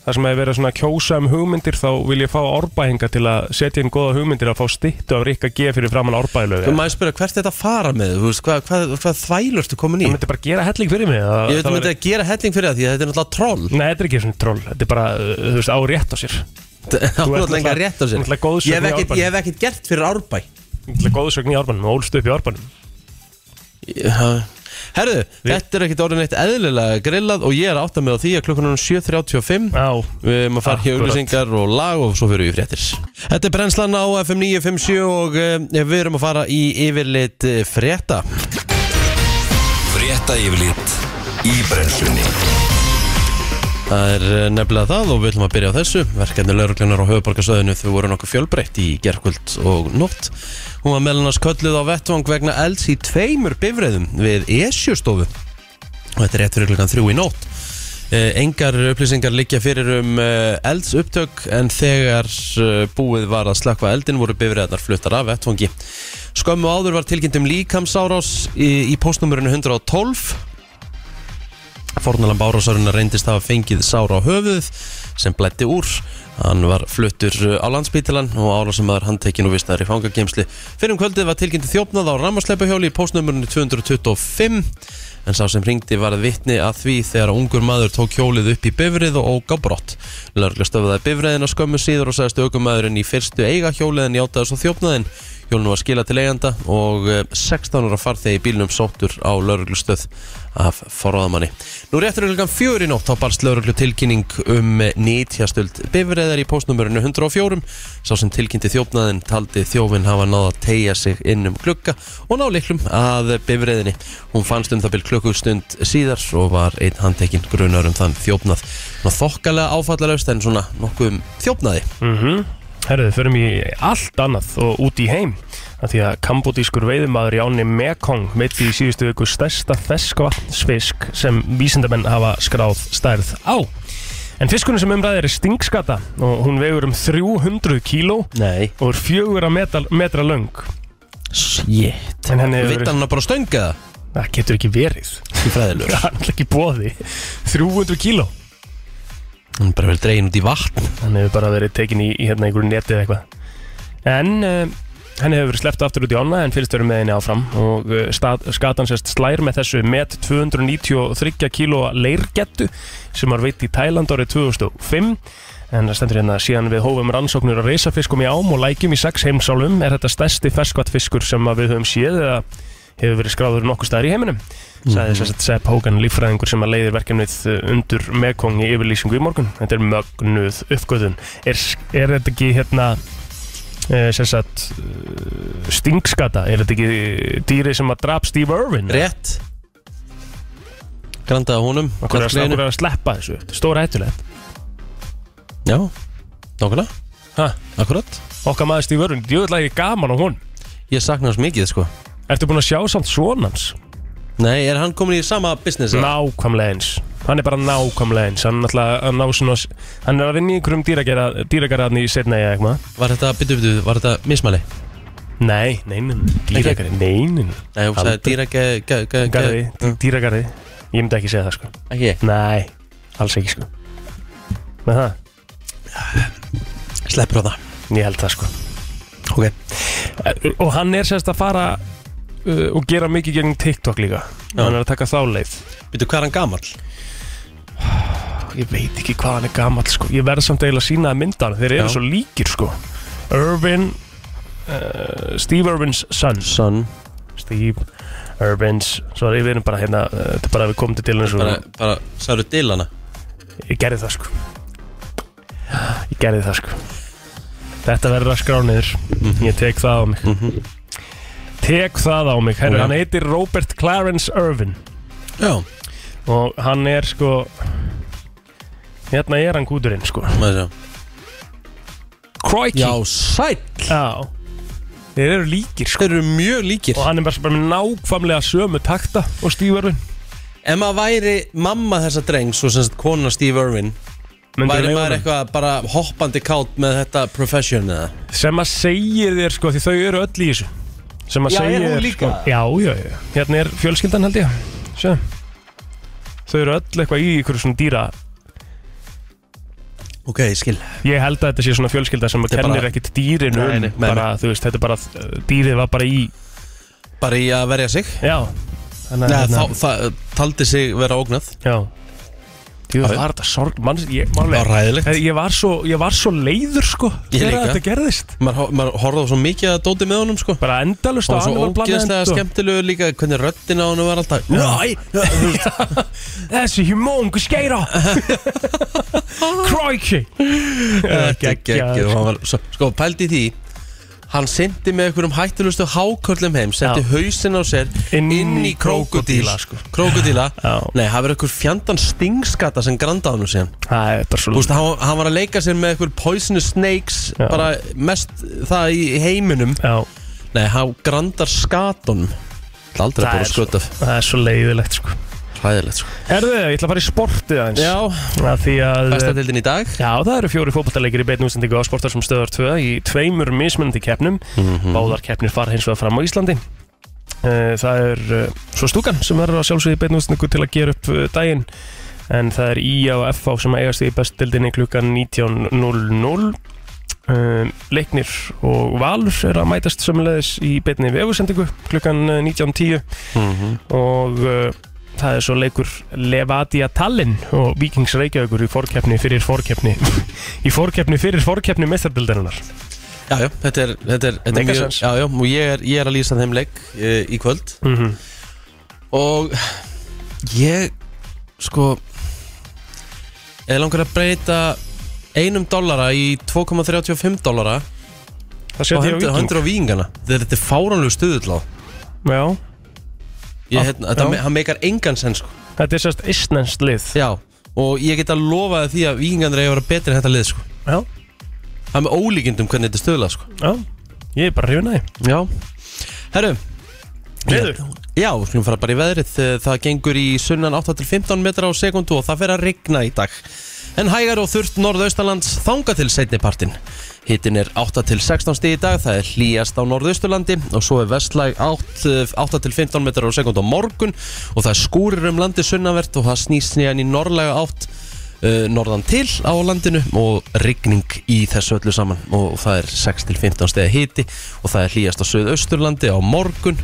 [SPEAKER 1] Það sem hefur verið svona að kjósa um hugmyndir þá vil ég fá árbæhinga til að setja inn goða hugmyndir að fá stýttu af Rikka G fyrir framann árbæðilög
[SPEAKER 4] Þú maður spyrja hvert er þetta að fara með þú veist, hvað, hvað, hvað þvælur ertu komin í
[SPEAKER 1] Það myndi bara gera helling fyrir mig það,
[SPEAKER 4] Ég veit að
[SPEAKER 1] það
[SPEAKER 4] myndi
[SPEAKER 1] væri-
[SPEAKER 4] að gera helling fyrir það því að þetta er náttúrulega troll
[SPEAKER 1] Nei, þetta er ekki svona troll, þetta er bara, uh, þú veist, á rétt á sér
[SPEAKER 4] Það er náttúrulega enga
[SPEAKER 1] náttúrulega-
[SPEAKER 4] rétt á sér
[SPEAKER 1] náttúrulega góðsögn
[SPEAKER 4] Ég hef
[SPEAKER 1] í
[SPEAKER 4] ekkert-
[SPEAKER 1] Árbænum.
[SPEAKER 4] Ég hef ekkert gert fyrir árbæ
[SPEAKER 1] Þetta er góðsögn í árbænum, ólst upp í árbænum
[SPEAKER 4] Já. Herðu, þetta er ekkert orðin eitt eðlilega grillað og ég er átt að með á því að klukkan er 7.35
[SPEAKER 1] Já,
[SPEAKER 4] Við erum að fara hjá
[SPEAKER 1] Akkurat.
[SPEAKER 4] auðlýsingar og lag og svo fyrir við í fréttir Þetta er brennslan á FM 957 og eh, við erum að fara í yfirleitt eh, frétta
[SPEAKER 2] Frétta yfirlit í brennslunni
[SPEAKER 4] Það er eh, nefnilega það og við ætlum að byrja á þessu Verkefni lauruglunar á höfuborgarsöðinu þau voru nokkuð fjölbreytt í gerkvöld og nótt Hún var meðlunars kölluð á vettvang vegna elds í tveimur bifreiðum við Esjustofu og þetta er rétt fyrir klukkan þrjú í nótt Eh, Engar upplýsingar liggja fyrir um eh, eldsupptök en þegar eh, búið var að slökkva eldin voru bifriðarnar fluttar af vettfangi. Skömmu áður var tilkynnt um líkamsárás í, í postnumurinu 112 Fornalamb árásarinnar reyndist hafa fengið sára á höfuð sem blætti úr. Hann var fluttur uh, á landspítilan og árásamæður handtekinn og vistaður í fangagemsli. Fyrir um kvöldið var tilkynnti þjófnað á rammarsleipahjóli í postnumurinu 225 en sá sem ringdi var að vitni að því þegar ungur maður tók hjólið upp í bifrið og óg á brott. Lörgla stöfðaði bifriðina skömmu síður og sagðist aukumæðurinn í fyrstu eiga hjólið en játaði svo þjófnaðinn. Hjólun var skilað til eiganda og eh, 16 ára farþegi í bílnum sóttur á lauruglustöð af forraðamanni. Nú réttur klukkan fjögur í nótt þá barst lauruglu tilkynning um nýtjastöld bifræðar í postnumörinu 104. Sá sem tilkynnti þjófnaðin taldi þjófinn hafa náð að tegja sig inn um klukka og ná liklum að bifræðinni. Hún fannst um það byrj klukkustund síðar og var einn handtekinn grunar um þann þjófnað. Ná þokkalega áfallalaust en svona nokkuð um þjófnaði.
[SPEAKER 1] Mhm. Herðu, förum í allt annað og út í heim að því að kambodískur veiðumadur Jáni Mekong meiti í síðustu viku stærsta ferskvatnsfisk sem vísindamenn hafa skráð stærð á En fiskunum sem umræði er stingskata og hún vegur um 300 kíló
[SPEAKER 4] Nei.
[SPEAKER 1] og er fjögur að metra, metra löng
[SPEAKER 4] Shit.
[SPEAKER 1] En henni hefur
[SPEAKER 4] Vitt hann að bara stönga það?
[SPEAKER 1] Það getur ekki verið
[SPEAKER 4] í fræðilur
[SPEAKER 1] Það er náttúrulega ekki bóði 300 kíló
[SPEAKER 4] Hann er bara vel dregin út í vatn
[SPEAKER 1] hann hefur bara verið tekin í, í hérna einhverju neti eða eitthvað en uh, henni hefur verið sleppt aftur út í ána en fylgstöru með henni áfram og uh, stað, skatan sérst slær með þessu met 293 kílóa leirgettu sem var veitt í Tæland árið 2005 en það stendur hérna síðan við hófum rannsóknur að reysafiskum í ám og lækjum í sex heimsálum er þetta stærsti ferskvattfiskur sem að við höfum séð eða hefur verið skráður nokkuð staðar í heiminum sagði þess að Sepp Hókan líffræðingur sem að leiðir verkefnið uh, undur Mekong í yfirlýsingu í morgun þetta er mögnuð uppgöðun er, er þetta ekki hérna uh, sem sagt uh, stingskata, er þetta ekki dýri sem að drap Steve Irwin
[SPEAKER 4] Rétt Grandaði honum
[SPEAKER 1] okkur er
[SPEAKER 4] karlgreinu.
[SPEAKER 1] okkur er að sleppa þessu, þetta er stóra hættulegt
[SPEAKER 4] Já, nákvæmlega
[SPEAKER 1] Ha?
[SPEAKER 4] Akkurat
[SPEAKER 1] okkar maður Steve Irwin, djöðlega ekki gaman á hún
[SPEAKER 4] Ég sakna hans mikið sko
[SPEAKER 1] Ertu búin að sjá samt svonans?
[SPEAKER 4] Nei, er hann komin í sama business eða?
[SPEAKER 1] Nákvæmlega eins Hann er bara nákvæmlega eins Hann, náttúrulega- hann, ná svona, hann er að vinna í einhverjum dýragera- dýragarðarni í setna eða eitthvað
[SPEAKER 4] Var þetta, byttu, byttu, var þetta mismæli?
[SPEAKER 1] Nei, nei, nei, dýragarði, nei, nei, nei.
[SPEAKER 4] Nei, hún sagði dýra ge, ge, ge, ge,
[SPEAKER 1] Garði, dý- dýragarði, ég myndi ekki segja það sko
[SPEAKER 4] Ekki,
[SPEAKER 1] Nei, alls ekki sko Með það,
[SPEAKER 4] sleppur á það
[SPEAKER 1] ég held það sko
[SPEAKER 4] Ok
[SPEAKER 1] Eh, Og hann er sérst að fara uh, og gera mikið gegn TikTok líka
[SPEAKER 4] Já.
[SPEAKER 1] Hann er að taka þá leið
[SPEAKER 4] Byttu, hvað er hann gamall?
[SPEAKER 1] Ég veit ekki hvað hann er gamall sko Ég verð samt eiginlega að sína að mynda hann, þeir eru
[SPEAKER 4] Já.
[SPEAKER 1] svo líkir sko Irvin, uh, Steve Irvin's son
[SPEAKER 4] Son
[SPEAKER 1] Steve Irvin's, svo við erum bara hérna, eh, þetta er bara að við komum til til hans og-
[SPEAKER 4] Bara, bara, sagður Dylana
[SPEAKER 1] Ég gerði það sko Ég gerði það sko Þetta verður að skrá niður
[SPEAKER 4] Mhm.
[SPEAKER 1] Ég tek það á mig Tek það á mig Herru,
[SPEAKER 4] Ok.
[SPEAKER 1] Hann heitir Robert Clarence Irvin
[SPEAKER 4] Já,
[SPEAKER 1] Og hann er sko Hérna er hann gúturinn sko
[SPEAKER 4] maður sjá
[SPEAKER 1] Crikey
[SPEAKER 4] Já, sæll
[SPEAKER 1] Já. Þeir eru líkir sko
[SPEAKER 4] Þeir eru mjög líkir
[SPEAKER 1] Og hann er bara, bara með nákvæmlega sömu takta Og stífarvin
[SPEAKER 4] Ef maður væri mamma þessa drengs og sem sagt konuna Steve Irwin Væri maður eitthvað bara hoppandi kátt með þetta profession eða?
[SPEAKER 1] Sem að segir þér sko Því þau eru öll í þessu Sem að
[SPEAKER 4] Já, er
[SPEAKER 1] segir
[SPEAKER 4] hún
[SPEAKER 1] þér,
[SPEAKER 4] líka?
[SPEAKER 1] Sko, já, já, já Hérna er fjölskyldan held ég Sjö Þau eru öll eitthvað í ykkur svona dýra
[SPEAKER 4] Ok, ég skil
[SPEAKER 1] Ég held að þetta sé svona fjölskylda sem
[SPEAKER 4] er bara-
[SPEAKER 1] kennir ekkit dýrinu
[SPEAKER 4] Nei,
[SPEAKER 1] um
[SPEAKER 4] nei, nei, nei.
[SPEAKER 1] bara, þú veist, þetta er bara dýrið var bara í
[SPEAKER 4] Bara í að verja sig
[SPEAKER 1] Já Þannig
[SPEAKER 4] Nei,
[SPEAKER 1] að hérna-
[SPEAKER 4] þá, það taldi sig vera ógnað
[SPEAKER 1] Já Jú,
[SPEAKER 4] Já,
[SPEAKER 1] það
[SPEAKER 4] já.
[SPEAKER 1] var þetta sorg mann, ég,
[SPEAKER 4] Það var
[SPEAKER 1] mánlega,
[SPEAKER 4] ræðilegt
[SPEAKER 1] ég, var svo, ég var svo leiður sko
[SPEAKER 4] Ég
[SPEAKER 1] þegar
[SPEAKER 4] líka.
[SPEAKER 1] þetta gerðist
[SPEAKER 4] Maður ho- maður horfði á svo mikið að dóti með honum sko
[SPEAKER 1] Bara endalust
[SPEAKER 4] Það var svo ógeðslega
[SPEAKER 1] sko.
[SPEAKER 4] skemmtilegu líka Hvernig röddin á honum var alltaf Næ,
[SPEAKER 1] Þessi humóngu skeira Kræki
[SPEAKER 4] ekki, ekki og hann var svo- Sko, pældi í því Hann sendi með einhverjum hættulustu hákörlum heim Sendi
[SPEAKER 1] Já.
[SPEAKER 4] hausinn á sér
[SPEAKER 1] Inn
[SPEAKER 4] Inn,
[SPEAKER 1] í
[SPEAKER 4] í krókodíla
[SPEAKER 1] krókódíla, sko.
[SPEAKER 4] Krókodíla
[SPEAKER 1] Já.
[SPEAKER 4] Nei, það verður einhver fjandan stingskata sem granda á honum síðan
[SPEAKER 1] Það er bara svo
[SPEAKER 4] Þú veist, hann, hann var að leika sér með einhver poisonous snakes
[SPEAKER 1] Já.
[SPEAKER 4] Bara mest það í heiminum
[SPEAKER 1] Já,
[SPEAKER 4] Nei, hann grandar skatunum Það er aldrei
[SPEAKER 1] það,
[SPEAKER 4] að búið
[SPEAKER 1] er sko- svo,
[SPEAKER 4] skötaf
[SPEAKER 1] það er svo leiðilegt sko.
[SPEAKER 4] Hræðilegt sko
[SPEAKER 1] Herðu, ég ætla að fara í sportið aðeins
[SPEAKER 4] Já,
[SPEAKER 1] Af Því að eh,
[SPEAKER 4] besta tildin í dag
[SPEAKER 1] Já, það eru fjóri fótballtaleikir í beinu útsendingu á um sportar Mhm.
[SPEAKER 4] Mhm. Mm-hmm.
[SPEAKER 1] sem stöðar 2 í tveimur mismunandi keppnum. Báðar keppnir fara hins vegar fram á Íslandi. Eh, Það er eh, svo stúkan sem verður að sjálfsögði beinústningu til að gera upp eh, daginn en það er IA og FH sem að eigast í bestildinni klukkan 19.00 Eh, Leiknir og Valur er að mætast sömulegis í beinni vegusendingu klukkan eh, 19.10 og uh, það er svo leikur Levadia Tallinn og Víkings Reykjavíkur í fórkeppni fyrir fórkeppni í fórkeppni fyrir fórkeppni mestardildarinnar
[SPEAKER 4] Já, já, þetta er, þetta er, þetta er
[SPEAKER 1] Make
[SPEAKER 4] mjög,
[SPEAKER 1] sense.
[SPEAKER 4] já, já, og ég er, ég er að lýsa þeim leik e, í kvöld
[SPEAKER 1] mm -hmm.
[SPEAKER 4] og ég, sko, eða langar að breyta einum dollara í 2,35 dollara og
[SPEAKER 1] það setja ég á
[SPEAKER 4] hendur,
[SPEAKER 1] Víking
[SPEAKER 4] hendur á vikingana. Þetta þetta er fáránlegu stuðull á.
[SPEAKER 1] Já,
[SPEAKER 4] Ég,
[SPEAKER 1] Ah,
[SPEAKER 4] hérna, þetta,
[SPEAKER 1] já.
[SPEAKER 4] me- hann meikar engan sens, sko.
[SPEAKER 1] þetta er sérst istnenskt lið
[SPEAKER 4] Já, og ég get að lofa þér því að vikingarnir eiga að vera betri en þetta lið, sko.
[SPEAKER 1] Já,
[SPEAKER 4] Það er með ólíkindum hvernig þetta er stuðla, sko.
[SPEAKER 1] já, ég er bara hrifin að
[SPEAKER 4] Já. Herru,
[SPEAKER 1] því Veður,
[SPEAKER 4] Já, við skulum fara bara í veðrið Eh, Það gengur í sunnan 8-15 metra á sekundu og það fer að rigna í dag En hægar og þurft norðaustalands þanga til setnipartin Hittin er 8-16 stig í dag, það er hlýjast á norðausturlandi og svo er vestlæg eh, 8-15 metrar á sekundu á morgun og það er skúrir um landi sunnavert og það snýst nýjan í norðlæga 8 uh, norðan til á landinu og rigning í þessu öllu saman og það er 6-15 stegið hiti og það er hlýjast á söðausturlandi á morgun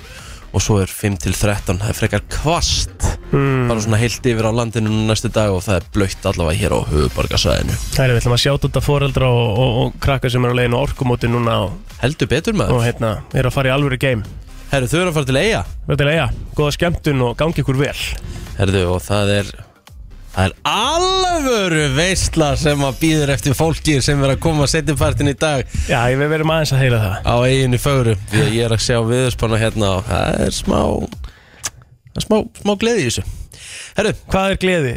[SPEAKER 4] og svo er 5-13 það er frekar kvast mm. bara svona heilt yfir á landinu næstu dag og það er blöytt allavega hér á höfubarkasæðinu
[SPEAKER 1] það er við ætlum að sjáta þetta foreldra og, og, og krakka sem eru á leiðinu orkumóti núna og,
[SPEAKER 4] heldur betur maður
[SPEAKER 1] og hérna, eru að fara í alvöru game
[SPEAKER 4] herru þau eru að fara til eiga
[SPEAKER 1] Þetta er eiga, góða skemmtun og gangi ykkur vel
[SPEAKER 4] herru og það er það er alvöru veistla sem að býður eftir fólki sem er að koma að setja partin í dag
[SPEAKER 1] Já, ég- við verum aðeins að heyra það
[SPEAKER 4] á eiginu fögru því að ég er að sjá viðurspána hérna og það er smá það er smá, smá gleði í þessu Herru,
[SPEAKER 1] Hvað er gleði?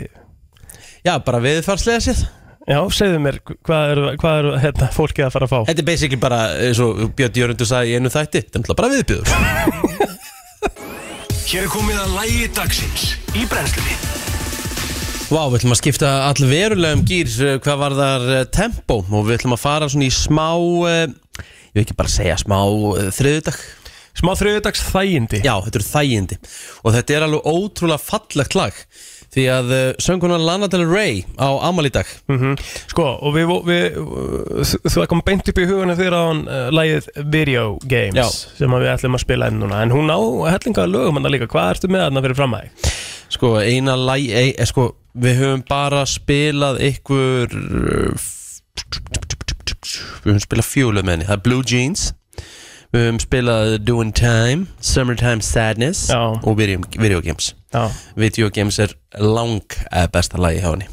[SPEAKER 4] já bara viðfarslega séð
[SPEAKER 1] Já, segðu mér, hvað er, hvað er hérna, fólkið að fara að fá?
[SPEAKER 4] Þetta er basically bara eins og Björn Jörgundur sagði í einu þætti þetta er náttúrulega bara viðbjöður
[SPEAKER 2] Hér er komið að lægi dagsins í brennslunni
[SPEAKER 4] Vá, við ætlum að skipta allverulega um gýr eh, hvað var þar tempo og við ætlum að fara svona í smá eh, ég vil ekki bara segja smá eh, þriðjudag
[SPEAKER 1] Smá þriðudags þægindi
[SPEAKER 4] Já, þetta eru þægindi og þetta er alveg ótrúlega fallegt lag því að sönguna Lana Del Rey á Amal í dag
[SPEAKER 1] Mhm. Sko, og við, við þú- það kom beint upp í huguna þegar á hann uh, lagið Video Games
[SPEAKER 4] Já.
[SPEAKER 1] sem að við ætlum að spila enn núna en hún á hellingaða lögum hann líka hvað ertu með hann að fyrir fram að þig?
[SPEAKER 4] Sko, eina læg, e, e, sko, við höfum bara spilað ykkur uh, f- Við höfum spilað fjólu með henni, það er Blue Jeans Við höfum spilað Doing Time, Summertime Sadness
[SPEAKER 1] Já.
[SPEAKER 4] og Video, video Games
[SPEAKER 1] Já.
[SPEAKER 4] Video Games er lang eh, besta lagi hjá henni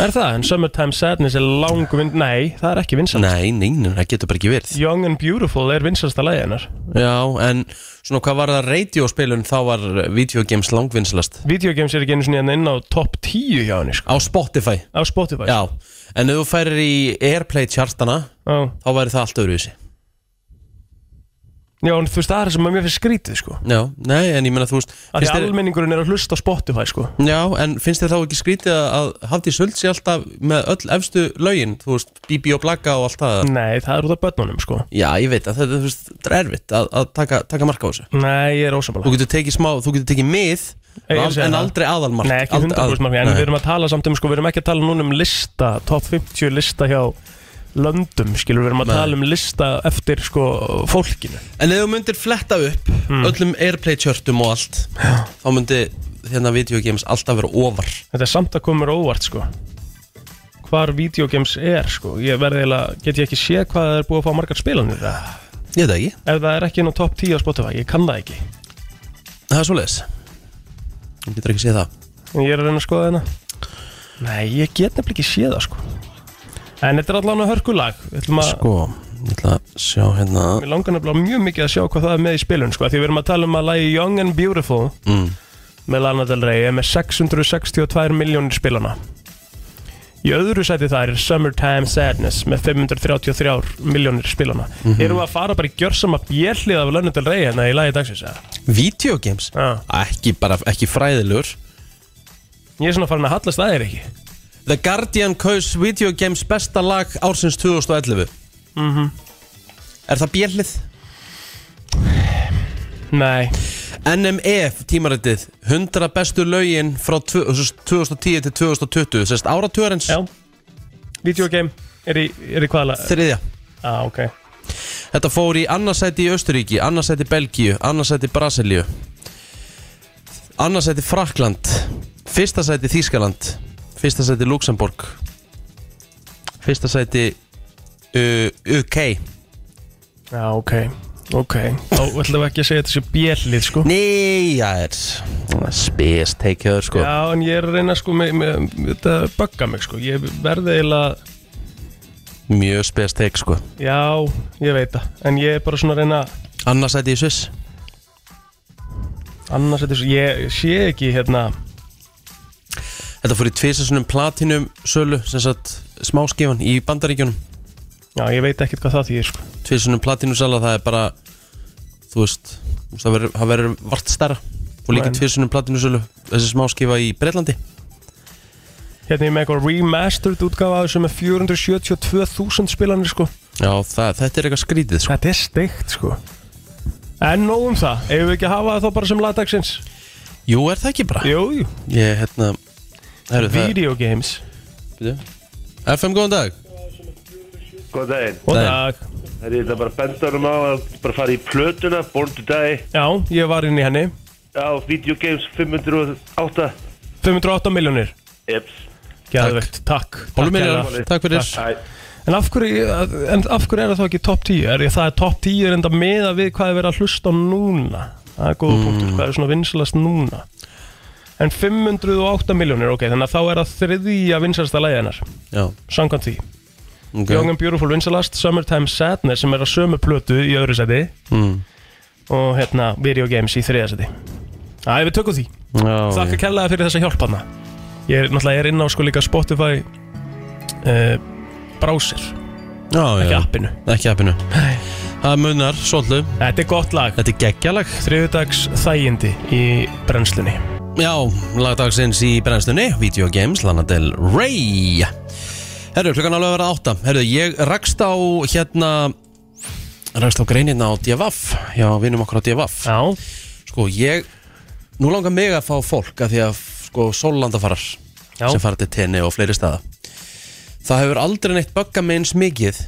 [SPEAKER 1] Er það? En Summertime Sadness er lang vind... Nei, það er ekki vinsast
[SPEAKER 4] Nei, nei, nei, það getur bara ekki verið
[SPEAKER 1] Young and Beautiful er vinsasta lagið hennar
[SPEAKER 4] Já, en svona hvað var það radiospilun þá var Video Games langvinnslast
[SPEAKER 1] Video Games er ekki einu svona inn á top 10 hjá henni sko
[SPEAKER 4] Á Spotify,
[SPEAKER 1] Á Spotify
[SPEAKER 4] já En ef þú færir í Airplay chartana
[SPEAKER 1] Já,
[SPEAKER 4] þá væri það allt öðruvísi
[SPEAKER 1] Já, en þú veist það er það sem að mér finnst skrítið sko
[SPEAKER 4] Já, nei, en ég meina þú veist
[SPEAKER 1] Af Því
[SPEAKER 4] finnst þér,
[SPEAKER 1] almenningurinn er að hlusta á Spotify sko
[SPEAKER 4] Já, en finnst þér þá ekki skrítið að- að Hafdís Huld sé alltaf með öll efstu lögin Þú veist, BB og Blakka og allt það
[SPEAKER 1] Nei, það er út af börnunum sko
[SPEAKER 4] Já, ég veit að þetta, þú veist, þetta er erfitt að, að taka, taka marka á þessu
[SPEAKER 1] Nei, ég er ósammála
[SPEAKER 4] Þú getur tekið smá, þú getur tekið mið
[SPEAKER 1] Ég
[SPEAKER 4] en,
[SPEAKER 1] er að segja
[SPEAKER 4] en
[SPEAKER 1] það.
[SPEAKER 4] aldrei aðalmark
[SPEAKER 1] Nei, ekki 100% markmið, en við erum að tala samt um, sko, við erum ekki að tala núna um lista, top 50 lista hjá löndum, skilur, við erum að
[SPEAKER 4] Nei.
[SPEAKER 1] tala um lista eftir, sko, fólkinu.
[SPEAKER 4] En ef þú myndir fletta upp
[SPEAKER 1] Mm.
[SPEAKER 4] öllum Airplay tjörtum og allt þá myndi hérna videogames alltaf vera ofar
[SPEAKER 1] Þetta er samt að koma mér á óvart, sko. Hvar videogames er, sko, ég verði eiginlega, get ég ekki séð hvað það er búið að fá margar spilanir það.
[SPEAKER 4] Ég veit það ekki,
[SPEAKER 1] Ef það er ekki inn á top 10 á Spotify, ég kann það ekki.
[SPEAKER 4] það er svoleiðis Þú getur ekki séð það
[SPEAKER 1] En ég er að reyna að skoða þetta. Nei, ég get nefnilega ekki séð það, sko. En þetta er allavega hörkulag, við ætlum að...
[SPEAKER 4] Sko, ég ætla að sjá hérna
[SPEAKER 1] Mér langar nefnilega mjög mikið að sjá hvað það er með í spilun sko. Því við erum að tala um að lagi Young and Beautiful
[SPEAKER 4] Mm.
[SPEAKER 1] með Lana Del Rey er með 662 miljónir spilana Í öðru sæti þar er Summertime Sadness með 533 miljónir spilana Erum við að fara bara í gjörsama bjellið af Lana Del Rey hérna í lagi dagsins eða?
[SPEAKER 4] Videogames?
[SPEAKER 1] Já.
[SPEAKER 4] Ekki bara, ekki fræðilegur
[SPEAKER 1] Ég er svona farin að hallast það er ekki
[SPEAKER 4] The Guardian kaus Videogames besta lag ársins 2011
[SPEAKER 1] Mhm.
[SPEAKER 4] Er það bjellið?
[SPEAKER 1] Nei,
[SPEAKER 4] NME E tímaritið 100 bestu lögin frá tvö- þú veist, 2010 til 2020 sérst áratugurins
[SPEAKER 1] Já. Video game er í, er í hvaða lag?
[SPEAKER 4] þriðja
[SPEAKER 1] ah, ok
[SPEAKER 4] Þetta fór í annarsæti í Östuríki, annarsæti Belgíu, annarsæti Brasilíu annarsæti Frakland fyrsta sæti Þískaland fyrsta sæti Luxemburg fyrsta sæti uh, UK
[SPEAKER 1] Já, ok Ok, þá ætlum við ekki að segja þetta sé bjellið sko
[SPEAKER 4] Nei, já, það er spes teikjaður sko
[SPEAKER 1] Já, en ég er að reyna sko með, með, með þetta bugga mig sko Ég verði eiginlega,
[SPEAKER 4] mjög spes teik sko
[SPEAKER 1] já, ég veit það En ég er bara svona að reyna
[SPEAKER 4] annarsæti í Sviss
[SPEAKER 1] Annars þetta er svo, ég sé ekki hérna
[SPEAKER 4] Þetta fór í tvisasunum platinum sölu sem sagt smáskifan í bandaríkjunum
[SPEAKER 1] Já, ég veit ekkert hvað það þýðir sko
[SPEAKER 4] tvisunum platinum sala það er bara þú veist þú veist, það verður- það verður vart stærra og líka
[SPEAKER 1] Nei.
[SPEAKER 4] tvisunum platinum sölu þessi smáskifa í Breitlandi
[SPEAKER 1] Hérna ég er með eitthvað remastered útgáfa af þessu með 472.000 spilanir sko
[SPEAKER 4] Já, það, þetta er eitthvað skrítið sko.
[SPEAKER 1] Þetta er steikt sko En nóg um það, eigum við ekki að hafa það þá bara sem lagdagsins
[SPEAKER 4] Jú, er það ekki bara?
[SPEAKER 1] Jú, jú,
[SPEAKER 4] Ég, hérna heru, það,
[SPEAKER 1] video games
[SPEAKER 4] Bíddu. FM, góðan dag
[SPEAKER 3] Góðan daginn.
[SPEAKER 1] Og
[SPEAKER 4] Nei.
[SPEAKER 1] dag
[SPEAKER 3] Það er það bara að benda honum á að bara fara í plötuna, Born to Die,
[SPEAKER 1] Já, ég var inn í henni
[SPEAKER 3] á Video Games 508.
[SPEAKER 1] 508 miljónir
[SPEAKER 3] Eps.
[SPEAKER 1] Gæðvegt, takk
[SPEAKER 4] Bólum
[SPEAKER 1] Takk
[SPEAKER 4] minni,
[SPEAKER 1] kærlega.
[SPEAKER 4] takk fyrir
[SPEAKER 3] Æ,
[SPEAKER 1] En af hverju, en af hverju er það þá ekki topp 10? Er ég, það er topp 10 er enda meða við hvað er verið að hlusta á núna Það er góða
[SPEAKER 4] Mm.
[SPEAKER 1] punktur, hvað er svona vinsalast núna En 508 miljónir, ok, þannig að þá er það þriðja vinsalasta lagi hennar
[SPEAKER 4] Já,
[SPEAKER 1] Samkvæmt því Young
[SPEAKER 4] ok
[SPEAKER 1] and Beautiful vinsalast, Summertime Sadness sem er að sömu plötu í öðru seti
[SPEAKER 4] mm.
[SPEAKER 1] og hérna Video Games í þriða seti Æ, við tökum því
[SPEAKER 4] Já,
[SPEAKER 1] Þakka
[SPEAKER 4] ok.
[SPEAKER 1] kellaði fyrir þessa hjálp hana Ég er náttúrulega ég er inn á sko líka Spotify uh, browser,
[SPEAKER 4] Já,
[SPEAKER 1] ekki
[SPEAKER 4] já,
[SPEAKER 1] appinu
[SPEAKER 4] ekki appinu Það munar, svolítið
[SPEAKER 1] Þetta er gott lag
[SPEAKER 4] Þetta er geggjalag
[SPEAKER 1] Þriðudags þægindi í brennslunni
[SPEAKER 4] Já, lagdagsins í brennslunni Video Games, Lana Del Rey Herru, klukkan alveg að vera átta Herru, ég rakst á hérna Rakst á greinina á DFF Já, vinum okkur á DFF
[SPEAKER 1] Já,
[SPEAKER 4] Sko, ég Nú langar mig að fá fólk að því að sko, sóllandafarar
[SPEAKER 1] Já.
[SPEAKER 4] sem fara til tenni og fleiri staða Það hefur aldrei neitt bögga með eins mikið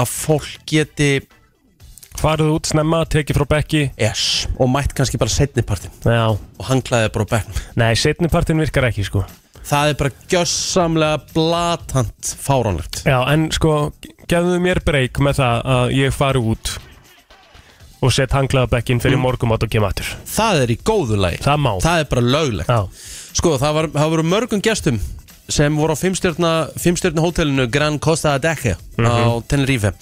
[SPEAKER 4] að fólk geti
[SPEAKER 1] farðu út snemma, tekið frá bekki
[SPEAKER 4] yes, og mætt kannski bara setnipartin
[SPEAKER 1] Já,
[SPEAKER 4] og hanglaði bara á bekknum
[SPEAKER 1] nei, setnipartin virkar ekki sko
[SPEAKER 4] Það er bara gjössamlega blatant fáránlegt
[SPEAKER 1] Já, en sko, gefðu mér breyk með það að ég fari út og set hanglaðabekkin fyrir mm. morgumat og kem aftur.
[SPEAKER 4] Það er í góðu lagi
[SPEAKER 1] Það má.
[SPEAKER 4] Það er bara löglegt
[SPEAKER 1] Já,
[SPEAKER 4] Sko, það, var, það voru mörgum gestum sem voru á fimmstjörna hótelinu Gran Costa de Deje á
[SPEAKER 1] Mhm.
[SPEAKER 4] Tenerife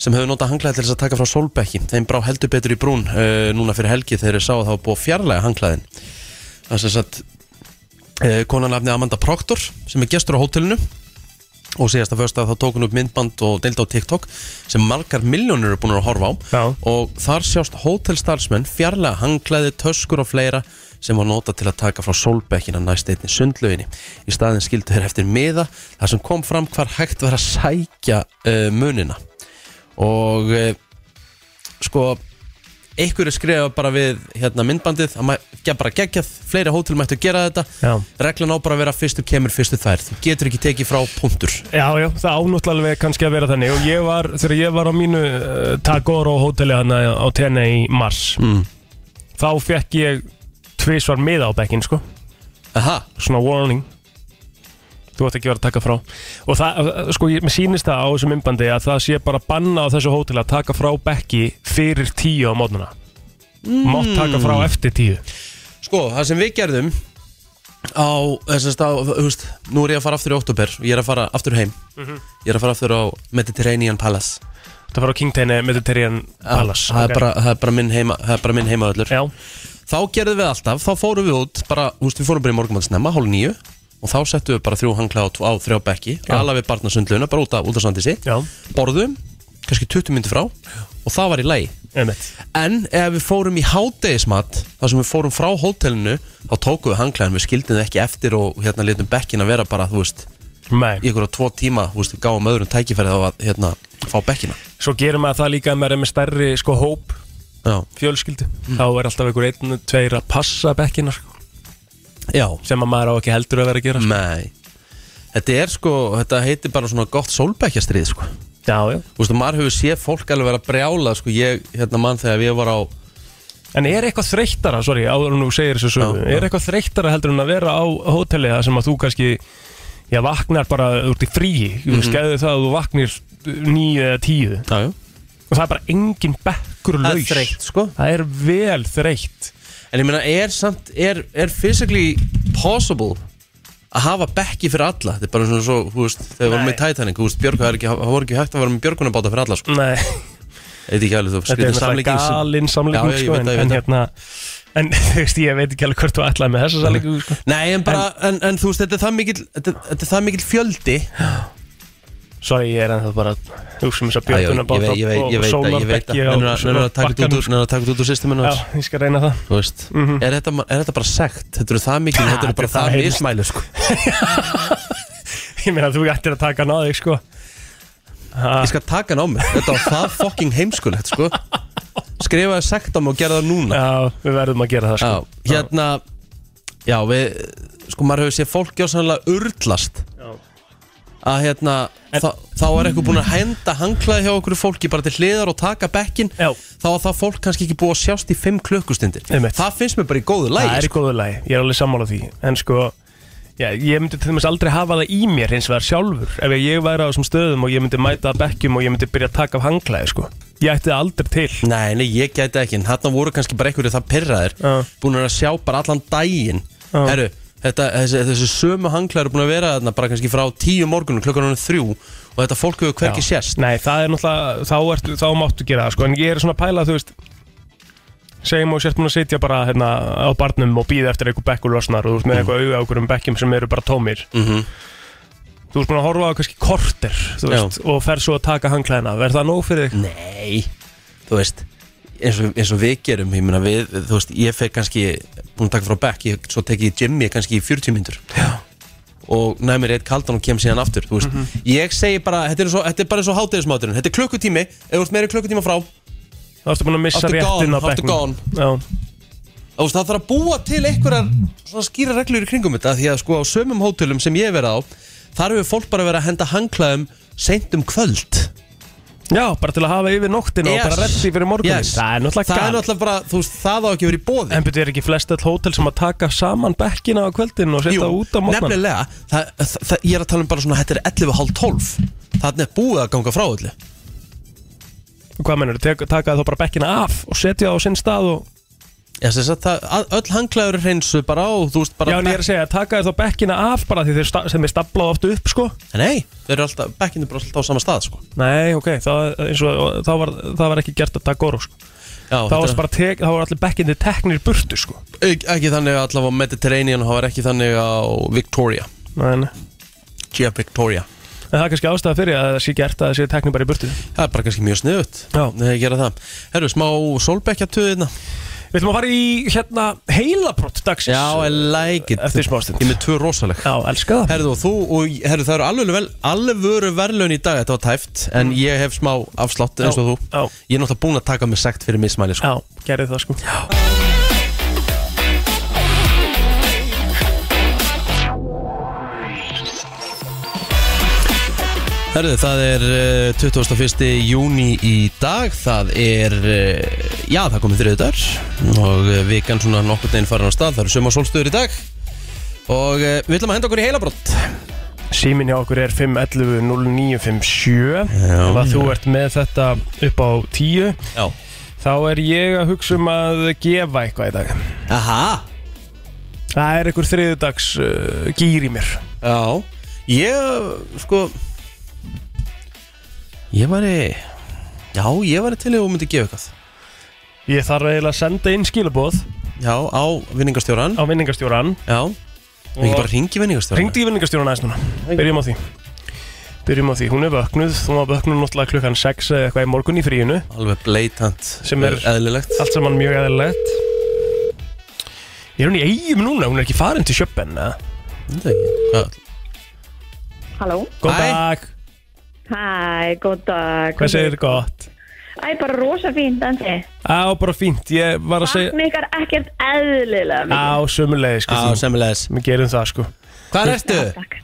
[SPEAKER 4] sem hefur notað hanglaði til þess að taka frá Solbekki þeim brá heldur betur í brún uh, núna fyrir helgi þegar þeir sá að það var búið að fjarlæga hanglaðin það er sem sagt uh, konan afnið Amanda Proctor sem er gestur á hótelinu og síðasta fyrst að þá tók hún upp myndband og deildi á TikTok sem margar miljónir eru búin að horfa á
[SPEAKER 1] Já.
[SPEAKER 4] og þar sjást hótelstarfsmenn fjarlæga hanglaði, töskur og fleira sem var nota til að taka frá solbekkina næst einni sundlöginni í staðin skildu þeir eftir miða þar sem kom fram hvar hægt var að sækja uh, munina og uh, sko einhverju skrifa bara við hérna, myndbandið að maður bara geggjað, fleiri hótel mættu gera þetta
[SPEAKER 1] Já.
[SPEAKER 4] reglan á bara að vera fyrstu kemur fyrstu þær þú getur ekki tekið frá punktur
[SPEAKER 1] já, já það ánúttlega kannski að vera þannig og ég var, þegar ég var á mínu uh, Tagoro hóteli hann á tenni í mars
[SPEAKER 4] Mm.
[SPEAKER 1] þá fekk ég tvisvar miða á bekkin, sko,
[SPEAKER 4] Aha,
[SPEAKER 1] svona warning þú ætti ekki verið að taka frá og það, uh, sko, ég, mér sýnist það á þessu myndbandi að það sé bara banna á þessu hóteli að taka frá bekki fyrir tíu á mótnuna
[SPEAKER 4] Mm.
[SPEAKER 1] mátt taka frá eftir tíu
[SPEAKER 4] sko, það sem við gerðum á, þessast á, þú veist nú er ég að fara aftur í oktober og ég er að fara aftur heim
[SPEAKER 1] Mhm.
[SPEAKER 4] ég er að fara aftur á Mediterranean Palace
[SPEAKER 1] Það var á King Tene Mediterranean Palace
[SPEAKER 4] það,
[SPEAKER 1] ok.
[SPEAKER 4] er bara, það er bara minn heima það er bara minn heima öllur
[SPEAKER 1] Já,
[SPEAKER 4] þá gerðum við alltaf, þá fórum við út bara, þú veist, við fórum bara í morgumannsnemma, hálf nýju og þá settum við bara þrjú hangla á, tvo- á þrjá bekki ala við barnasundluna, bara út að, út að sandísi
[SPEAKER 1] já,
[SPEAKER 4] borðum, kannski 20 myndi frá og það var í lagi
[SPEAKER 1] einmitt
[SPEAKER 4] en ef við fórum í hádegismat þar sem við fórum frá hótelinu þá tókum við hanglaðin, við skildum það ekki eftir og hérna letum bekkin að vera bara, þú veist
[SPEAKER 1] Nei,
[SPEAKER 4] í ykkur á tvo tíma, þú veist, við gáum öðrum tækifæri þá að, hérna, fá bekkina
[SPEAKER 1] svo gerir maður það líka að maður er með stærri sko hóp
[SPEAKER 4] Já,
[SPEAKER 1] fjölskyldu
[SPEAKER 4] Mm.
[SPEAKER 1] þá er alltaf einhver einn, tveir að passa bekkina sko,
[SPEAKER 4] já,
[SPEAKER 1] sem að maður á ekki heldur að vera að gera sko.
[SPEAKER 4] nei Þetta er sko, þetta heitir bara svona gott sólbækjastrið sko
[SPEAKER 1] já, já.
[SPEAKER 4] Þú veist, maður hefur séð fólk alveg vera brjála sko, ég, hérna mann þegar við var á
[SPEAKER 1] en er eitthvað þreyttara, sorry, áður en þú segir þessu sögu,
[SPEAKER 4] Já, já.
[SPEAKER 1] er eitthvað þreyttara heldur en að vera á hóteli það sem að þú kannski já, vaknar bara úr í fríi mm
[SPEAKER 4] Mhm.
[SPEAKER 1] -hmm. skæðu það að þú vaknir nýju eða tíu
[SPEAKER 4] Já, já
[SPEAKER 1] og það er bara engin bekkur
[SPEAKER 4] Það er
[SPEAKER 1] laus
[SPEAKER 4] þreytt, sko.
[SPEAKER 1] það er vel þreytt
[SPEAKER 4] En ég meina, er samt, er, er physically possible að hafa bekki fyrir alla? Þetta er bara svona svo, þú veist, þegar við vorum
[SPEAKER 1] Nei.
[SPEAKER 4] með Titanic, þú veist, Björg, það er ekki, það voru ekki hægt að vera með björgunabáta fyrir alla, sko.
[SPEAKER 1] Nei,
[SPEAKER 4] Þetta er ekki alveg, þú
[SPEAKER 1] þetta er
[SPEAKER 4] skriðir
[SPEAKER 1] náttúrulega
[SPEAKER 4] samlíking sem...
[SPEAKER 1] galinn samlíking
[SPEAKER 4] Já, já, ég
[SPEAKER 1] sko,
[SPEAKER 4] veit
[SPEAKER 1] en,
[SPEAKER 4] það, ég
[SPEAKER 1] en
[SPEAKER 4] veit
[SPEAKER 1] hérna en þú veist, ég veit ekki alveg hvort þú ætlaði með þessa samlíkingu sko.
[SPEAKER 4] Nei, en bara, en, en, þú veist, þetta er það mikill, þetta, þetta er það mikill fjöldi.
[SPEAKER 1] Sorry, ég er ennþá bara að hugsa um þess að
[SPEAKER 4] Já, já, ég
[SPEAKER 1] bjötuna
[SPEAKER 4] veit, ég veit, ég veit, það, ég veit það. Nennar að nennar að taka þetta út úr, nennar að taka þetta út úr systeminu,
[SPEAKER 1] sko. Já, ég skal reyna það
[SPEAKER 4] þú veist. Er þetta, er þetta bara sekt? Þetta eru það mikil, þetta eru bara
[SPEAKER 1] Þetta er
[SPEAKER 4] það
[SPEAKER 1] það
[SPEAKER 4] mismæli, sko.
[SPEAKER 1] Ég meina, þú ættir að taka hann á þig, sko
[SPEAKER 4] Ég skal taka hann á mig. Þetta var það fucking heimskulegt, sko. Skrifaði sekt á mig og gerði það núna.
[SPEAKER 1] Já, við verðum að gera það,
[SPEAKER 4] Já,
[SPEAKER 1] sko
[SPEAKER 4] hérna Já, við, sko maður hefur séð fólk gjásanlega urlast
[SPEAKER 1] Já.
[SPEAKER 4] að hérna þá, þá er eitthvað búin að henda hanglaði hjá okkur fólki bara til hliðar og taka bekkin
[SPEAKER 1] Já.
[SPEAKER 4] þá er það fólk kannski ekki búið að sjást í 5 klukkustundir
[SPEAKER 1] Einmitt.
[SPEAKER 4] það finnst mér bara í góðu
[SPEAKER 1] Það er
[SPEAKER 4] lægi
[SPEAKER 1] í góðu lagi, ég er alveg sammála því En sko, já, ég myndi til dæmis aldrei hafa það í mér eins og það er sjálfur Ef ég væri á þessum stöðum og ég myndi mæta að bekkjum og ég myndi byrja að taka af hanglaði, sko Ég ætti það aldrei til
[SPEAKER 4] Nei, nei, ég gæti ekki, en þarna voru kannski bara einhverju það pyrraðir
[SPEAKER 1] Já.
[SPEAKER 4] búin að sjá bara allan daginn
[SPEAKER 1] Já.
[SPEAKER 4] Herru, þetta, þessi, þessi sömu hanglaði eru búin að vera þarna bara kannski frá 10 morgunum klukkan hann þrjú og þetta fólk hefur hvergi
[SPEAKER 1] Já.
[SPEAKER 4] sérst
[SPEAKER 1] Nei, það er náttúrulega, þá, ertu, þá máttu gera það sko. En ég er svona að pæla, þú veist segjum og sért múin að sitja bara hérna, á barnum og býða eftir einhver bekkur losnar og þú ert með eitthvað auga á einhverjum bekkjum sem eru bara tómir
[SPEAKER 4] Mhm.
[SPEAKER 1] Þú ert búin að horfa á kannski korter þú veist, og fer svo að taka hanglaðina Verð það nóg fyrir
[SPEAKER 4] Mm.
[SPEAKER 1] þig?
[SPEAKER 4] Nei, þú veist eins og, eins og við gerum, ég meina við þú veist, ég fekk kannski, búin að taka frá back ég, svo tek ég Jimmy kannski í 40 mínútur Já. og næmi reitt kaldan og kem síðan aftur, þú veist,
[SPEAKER 1] Mhm.
[SPEAKER 4] ég segi bara þetta er, svo, þetta er bara eins og hátegismáturinn, þetta er klukkutími ef þú ert meiri klukkutíma frá þá,
[SPEAKER 1] Þá ertu búin að missa
[SPEAKER 4] After
[SPEAKER 1] réttin
[SPEAKER 4] gone,
[SPEAKER 1] á
[SPEAKER 4] after
[SPEAKER 1] bekknum
[SPEAKER 4] gone.
[SPEAKER 1] Já,
[SPEAKER 4] þú veist, það þarf að búa til einhverjar svona skýra reglur í kringum þetta, því að sko á sömum hótelum sem ég hef verið á þar hefur fólk bara verið að henda hanglaðum seint um kvöld
[SPEAKER 1] Já, bara til að hafa yfir nóttina og bara reddi fyrir morgunin
[SPEAKER 4] Yes.
[SPEAKER 1] Það er náttúrulega
[SPEAKER 4] það er
[SPEAKER 1] gæl
[SPEAKER 4] náttúrulega bara, þú veist, það á ekki verið í bóði
[SPEAKER 1] En betur er ekki flest all hótel sem að taka saman bekkina á kvöldin og setja út á morgunin
[SPEAKER 4] nefnilega, það, það, það, ég er að tala um bara svona þetta er 11.30 það er búið að ganga frá öllu
[SPEAKER 1] Hvað mennur, taka þá bara bekkina af og setja á sinn stað og
[SPEAKER 4] ég sé að það, að- öll hanglaður er hreinsu bara á, þú veist bara
[SPEAKER 1] Já, en ég er að segja, taka þér þá bekkina af bara því þeir sta- sem er staplað oft upp, sko
[SPEAKER 4] nei, þeir eru alltaf, bekkinu bara alltaf á sama stað sko.
[SPEAKER 1] Nei, ok, það, eins og, það, var, það var ekki gert að taka orð, sko
[SPEAKER 4] já,
[SPEAKER 1] Þá var,
[SPEAKER 4] þetta,
[SPEAKER 1] bara tek, þá var allir bekkinni teknir í burtu, sko
[SPEAKER 4] ekki, ekki þannig að allavega á Mediterranean það var ekki þannig á Victoria
[SPEAKER 1] Nei, nei
[SPEAKER 4] Gia Victoria
[SPEAKER 1] En það er kannski ástæða fyrir að það sé gert að það sé teknir bara í burtu
[SPEAKER 4] það er bara kannski mjög sniðut
[SPEAKER 1] Já.
[SPEAKER 4] ég gera það, herru, smá solbekkjartöðina
[SPEAKER 1] Við ætlum að fara í, hérna, heilabrott dagsins
[SPEAKER 4] já, I like it
[SPEAKER 1] Eftir smástund.
[SPEAKER 4] ég er með tvö rosaleg
[SPEAKER 1] Já, elska það
[SPEAKER 4] Herðu og þú og herðu það eru alveg vel alvöru verðlaun í dag þetta var tæft en ég hef smá afslátt eins og þú
[SPEAKER 1] Mm. Já.
[SPEAKER 4] ég er náttúrulega búin að taka mig sekt fyrir mismæli sko.
[SPEAKER 1] Já, gerði það, sko Já
[SPEAKER 4] Herðu það er uh, 21. júni í dag það er uh, já það komið þriðu dagar og uh, vikan svona nokkur deginn farin á stað það eru söma sólstöður í dag og uh, við ætlum að henda okkur í heilabrott
[SPEAKER 1] Símin hjá okkur er 511 0957
[SPEAKER 4] Já.
[SPEAKER 1] Ef að þú ert með þetta upp á 10
[SPEAKER 4] já
[SPEAKER 1] Þá er ég að hugsa um að gefa eitthvað í dag
[SPEAKER 4] aha
[SPEAKER 1] Það er einhver þriðudags uh, gýr í mér
[SPEAKER 4] já ég sko ég var í já ég var í til að þú myndi gefa eitthvað
[SPEAKER 1] Ég þarf eiginlega að senda inn skilabóð
[SPEAKER 4] Já, á vinningastjóran
[SPEAKER 1] á vinningastjóran
[SPEAKER 4] Já Við ekki bara ringi vinningastjóran
[SPEAKER 1] Ringdi í vinningastjóran aðeins núna Byrjum á því Byrjum á því, hún er vöknuð Hún var vöknuð náttúrulega klukkan 6 eða eitthvað í morgun í fríinu
[SPEAKER 4] Alveg bleitant
[SPEAKER 1] Sem er-
[SPEAKER 4] Eðlilegt
[SPEAKER 1] Allt saman mjög eðalegt Er hún í eigum núna? Hún er ekki farin til sjöppen eða?
[SPEAKER 4] Þetta er ekki Hvað-
[SPEAKER 5] Halló,
[SPEAKER 1] Góð
[SPEAKER 4] Hæ.
[SPEAKER 1] dag,
[SPEAKER 5] hæ, góð dag
[SPEAKER 1] hvað segir gott?
[SPEAKER 5] Æ, bara rosa fínt, Andri.
[SPEAKER 1] Á, bara fínt, ég var að segja
[SPEAKER 5] Sakna ykkar ekkert eðlilega
[SPEAKER 1] Á,
[SPEAKER 5] mikið.
[SPEAKER 1] sömulegi, sko
[SPEAKER 4] Á, semmilegis
[SPEAKER 1] Við gerum það, sko
[SPEAKER 4] Hvað ertu?
[SPEAKER 1] Ah.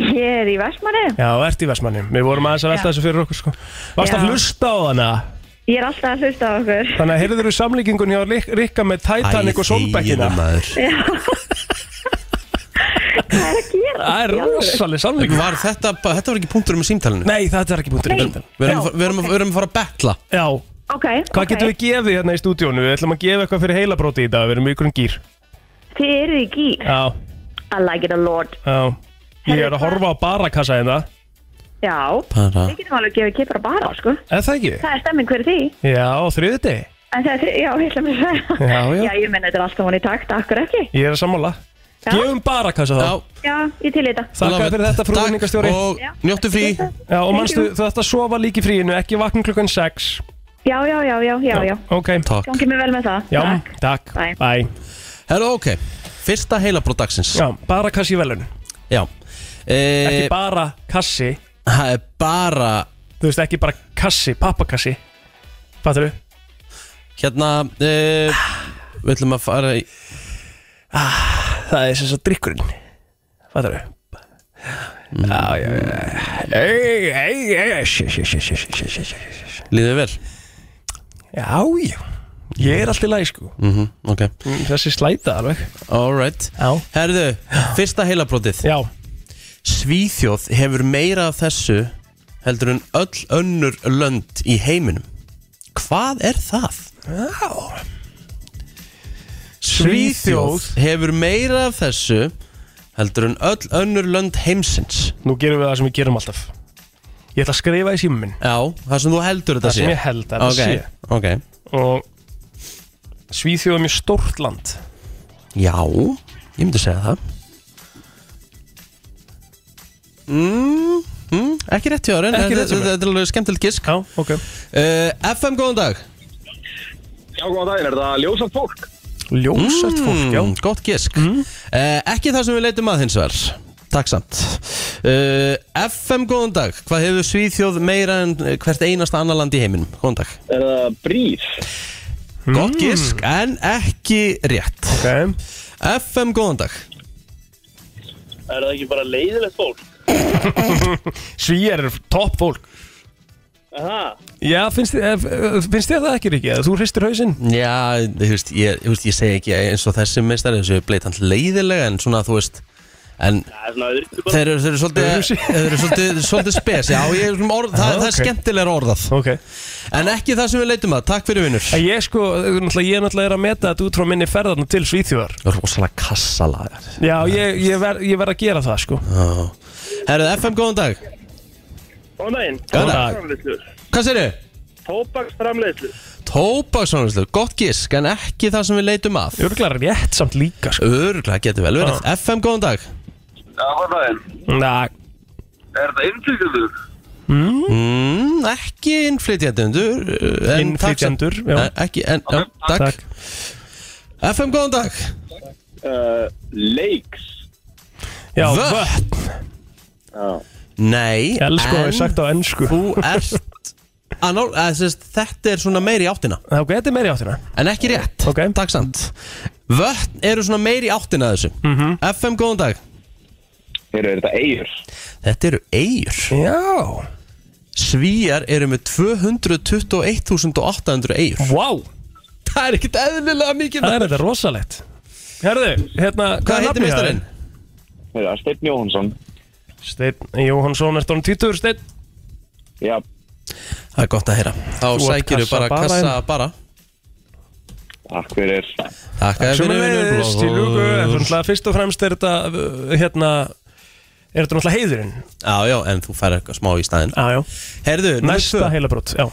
[SPEAKER 5] Ég er í Vestmanni.
[SPEAKER 1] Já, ert í Vestmanni Við vorum aðeins að velta þessu fyrir okkur, sko Varst að
[SPEAKER 5] Já.
[SPEAKER 1] hlusta á hana
[SPEAKER 5] Ég er alltaf að hlusta á okkur.
[SPEAKER 1] Þannig að heyrður þú samlíkingun hjá Rik- Rikka með Titanic og Solbeckina
[SPEAKER 4] þegið, maður.
[SPEAKER 5] Hvað er að gera?
[SPEAKER 1] Það er rosaleg samlíking
[SPEAKER 4] Var þetta, bara- þetta var ekki punktur um símtælinu
[SPEAKER 1] Nei, þetta er ekki búin
[SPEAKER 5] Nei.
[SPEAKER 1] til
[SPEAKER 4] Við erum, við, erum, við erum að fara að betla
[SPEAKER 1] Já,
[SPEAKER 5] Ok,
[SPEAKER 1] hvað
[SPEAKER 5] ok.
[SPEAKER 1] getum við gefið hérna í stúdíónu? Við ætlum að gefa eitthvað fyrir heilabróti í dag Við erum í ykkur um gýr
[SPEAKER 5] Þið eru í gýr.
[SPEAKER 1] Já,
[SPEAKER 5] I like it a lot.
[SPEAKER 1] já Ég er að horfa á barakassa hérna
[SPEAKER 5] Já.
[SPEAKER 4] Bara
[SPEAKER 5] Við getum alveg að gefa kipra bara, sko.
[SPEAKER 1] Er það ekki?
[SPEAKER 5] Það er stemming fyrir því.
[SPEAKER 1] Já, þriðuti
[SPEAKER 5] En það er, já, ég ætla mér að segja.
[SPEAKER 1] Já, já.
[SPEAKER 5] Já, ég menna þetta er alltaf hún í takt, akkur ekki.
[SPEAKER 1] Ég er að sammála
[SPEAKER 5] Já.
[SPEAKER 1] Gefum barakassa þá
[SPEAKER 4] Já,
[SPEAKER 5] Já, ég til í þetta.
[SPEAKER 1] Þakka
[SPEAKER 4] Ólafur,
[SPEAKER 1] fyrir þetta frú
[SPEAKER 4] takk
[SPEAKER 1] vinningastjóri
[SPEAKER 4] Og njóttu frí
[SPEAKER 1] Já, og mannstu,
[SPEAKER 5] you.
[SPEAKER 1] þú ætti að sofa líka í fríinu, ekki vakna klukkan 6
[SPEAKER 5] Já, já, já, já, já, já.
[SPEAKER 1] Ok,
[SPEAKER 4] Takk
[SPEAKER 5] Gangi mér vel með það.
[SPEAKER 1] já,
[SPEAKER 5] Takk.
[SPEAKER 1] takk,
[SPEAKER 5] Bye.
[SPEAKER 1] bæ
[SPEAKER 4] Herra, ok Fyrsta heilabrót dagsins
[SPEAKER 1] Já, bara kassi í velun
[SPEAKER 4] Já
[SPEAKER 1] Ekki
[SPEAKER 4] Eh,
[SPEAKER 1] bara kassi,
[SPEAKER 4] Það er bara
[SPEAKER 1] þú veist, ekki bara kassi, pappakassi Fattur þú?
[SPEAKER 4] Hérna eh, Við ætlum að fara í
[SPEAKER 1] Það er sem sagt drikkurinn Fattur þú? Já, já, já Ei, ei, ei, ei, shi, shi, shi, shi, shi, shi, shi, shi, shi, shi.
[SPEAKER 4] Líðið vel
[SPEAKER 1] Já, já Ég er alltaf læg, sko
[SPEAKER 4] mm Ok
[SPEAKER 1] Þessi slæta alveg
[SPEAKER 4] Alright
[SPEAKER 1] Já
[SPEAKER 4] Herðu Fyrsta heilabrótið
[SPEAKER 1] Já,
[SPEAKER 4] Svíþjóð hefur meira af þessu Heldur en öll önnur lönd í heiminum Hvað er það?
[SPEAKER 1] Svíþjóð
[SPEAKER 4] hefur meira af þessu heldur en öll önnur lönd heimsins
[SPEAKER 1] Nú gerum við það sem við gerum alltaf Ég ætla að skrifa í símum minn
[SPEAKER 4] Já, það sem þú heldur þetta
[SPEAKER 1] Það sem ég held að
[SPEAKER 4] okay.
[SPEAKER 1] þetta sé Og Svíþjóð er mjög stórt land
[SPEAKER 4] Ok, já, ég myndi segja það mm, mm, Ekki rétt hjá þér, en
[SPEAKER 1] Ekki rétt hjá
[SPEAKER 4] þetta
[SPEAKER 1] mér.
[SPEAKER 4] þetta er alveg skemmtilegt gisk
[SPEAKER 1] Já, ok
[SPEAKER 4] uh, FM, góðan dag
[SPEAKER 6] Já, góðan daginn, er það ljósamt fólk?
[SPEAKER 1] Ljósart fólk, já
[SPEAKER 4] Mm, Gott gisk uh, Ekki það sem við leitum að hins vegar Takk samt uh, FM, góðan dag Hvað hefur Svíþjóð meira en eh, hvert einasta annar land í heiminum? Góðan dag
[SPEAKER 6] Er það bríð?
[SPEAKER 4] Gott gisk,
[SPEAKER 1] Mm.
[SPEAKER 4] en ekki rétt
[SPEAKER 1] Ok,
[SPEAKER 4] FM, góðan dag
[SPEAKER 3] Er það ekki bara leiðilegt fólk?
[SPEAKER 1] Svíjar er topp fólk
[SPEAKER 3] Aha.
[SPEAKER 1] Já, finnst þér eh, finnst þér það ekki, Ríkja? Þú hristir hausinn
[SPEAKER 4] Já, þú veist, ég, þú veist, ég segi ekki eins og þessi meistari þessu bleitant leiðilega en svona þú veist En
[SPEAKER 3] Það er svona öðru
[SPEAKER 4] þeir eru, þeir eru svolítið,
[SPEAKER 1] Öðruvísi.
[SPEAKER 4] þeir eru svolítið, svolítið spes Já, ég, er svona orð, það,
[SPEAKER 1] Já,
[SPEAKER 4] það er
[SPEAKER 1] ok.
[SPEAKER 4] skemmtilega orðað
[SPEAKER 1] Ok
[SPEAKER 4] En ekki það sem við leitum að, takk fyrir vinnur
[SPEAKER 1] En ég sko, eh, náttúrulega, ég er náttúrulega er að meta þetta út frá minni ferðarna til Svíþjóðar
[SPEAKER 4] Rosalega kassalagar
[SPEAKER 1] Já, ég, ég verð ég verð að gera það, sko
[SPEAKER 4] Herðu, FM, góðan dag
[SPEAKER 3] Góðan daginn.
[SPEAKER 4] Góðan dag.
[SPEAKER 3] Tóbaksframleiðslu.
[SPEAKER 4] Hvað segirðu?
[SPEAKER 3] Tóbaksframleiðslu.
[SPEAKER 4] Tóbaksvonarslöf, gott gisk, en ekki það sem við leitum að
[SPEAKER 1] Örglar rétt samt líka, sko
[SPEAKER 4] Örgla getur vel verið FM, góðan dag
[SPEAKER 6] Já, góðan daginn,
[SPEAKER 1] Næ,
[SPEAKER 6] er það innflytjandur?
[SPEAKER 4] Mm, ekki innflytjendur uh, en takk samt-
[SPEAKER 1] Innflytjendur, já.
[SPEAKER 4] Eh, ekki, en, já, takk.
[SPEAKER 1] takk
[SPEAKER 4] FM, góðan dag
[SPEAKER 6] Uh, lakes.
[SPEAKER 1] Já,
[SPEAKER 4] Vötn.
[SPEAKER 1] vötn
[SPEAKER 4] Nei,
[SPEAKER 1] Elsku, það er
[SPEAKER 4] en
[SPEAKER 1] sagt á ennsku
[SPEAKER 4] þú ert að ná, að, sérst, Þetta er svona meiri í áttina
[SPEAKER 1] Það geti meiri áttina
[SPEAKER 4] En ekki rétt,
[SPEAKER 1] Ok.
[SPEAKER 4] takk samt Vötn eru svona meiri í áttina að þessu
[SPEAKER 1] Mhm.
[SPEAKER 4] FM, góðan dag
[SPEAKER 6] Eru, er það eigur?
[SPEAKER 4] Þetta eru eigur
[SPEAKER 1] Já
[SPEAKER 4] Svíjar eru með 221.800 eigur
[SPEAKER 1] Vá, wow,
[SPEAKER 4] Það er ekkert eðlilega mikið
[SPEAKER 1] það er þetta rosalegt Herðu, hérna,
[SPEAKER 4] Hvað heitir meistarinn?
[SPEAKER 6] Er það Steinn Jóhansson?
[SPEAKER 1] Steinn Jóhansson, ertu hann títur, Steinn?
[SPEAKER 6] Já,
[SPEAKER 4] Það er gott að heyra Þá
[SPEAKER 1] Þú ert
[SPEAKER 4] sækiru bara
[SPEAKER 1] kassa bara
[SPEAKER 4] kassa
[SPEAKER 1] hérna.
[SPEAKER 4] bara
[SPEAKER 6] takk fyrir.
[SPEAKER 4] Takk að
[SPEAKER 1] Sjöfum við, stílugu Þannig að fyrst og fremst er þetta, uh, hérna Er þetta náttúrulega heiðurinn?
[SPEAKER 4] Já, já, en þú fær eitthvað smá í staðinn
[SPEAKER 1] Já, já
[SPEAKER 4] Herðu,
[SPEAKER 1] Ah. Næsta heilabrót, já
[SPEAKER 4] uh,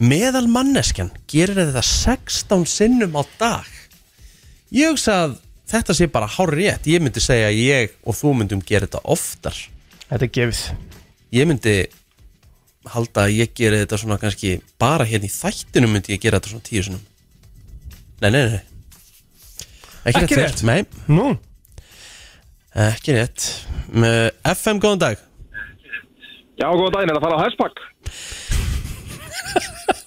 [SPEAKER 4] Meðal manneskjan gerir þetta 16 sinnum á dag Ég hugsa að þetta sé bara hár rétt Ég myndi segja að ég og þú myndum gera þetta oftar
[SPEAKER 1] Þetta er gefið
[SPEAKER 4] Ég myndi halda að ég gera þetta svona kannski bara hérna í þættinu myndi ég gera þetta svona tíu sinnum Nei, nei, nei Ekki,
[SPEAKER 1] Ekki rétt.
[SPEAKER 4] rétt, Nei,
[SPEAKER 1] Nú,
[SPEAKER 4] ekki rétt Uh, FM, góðan dag
[SPEAKER 6] Já, góðan daginn, er það farað á Hespak?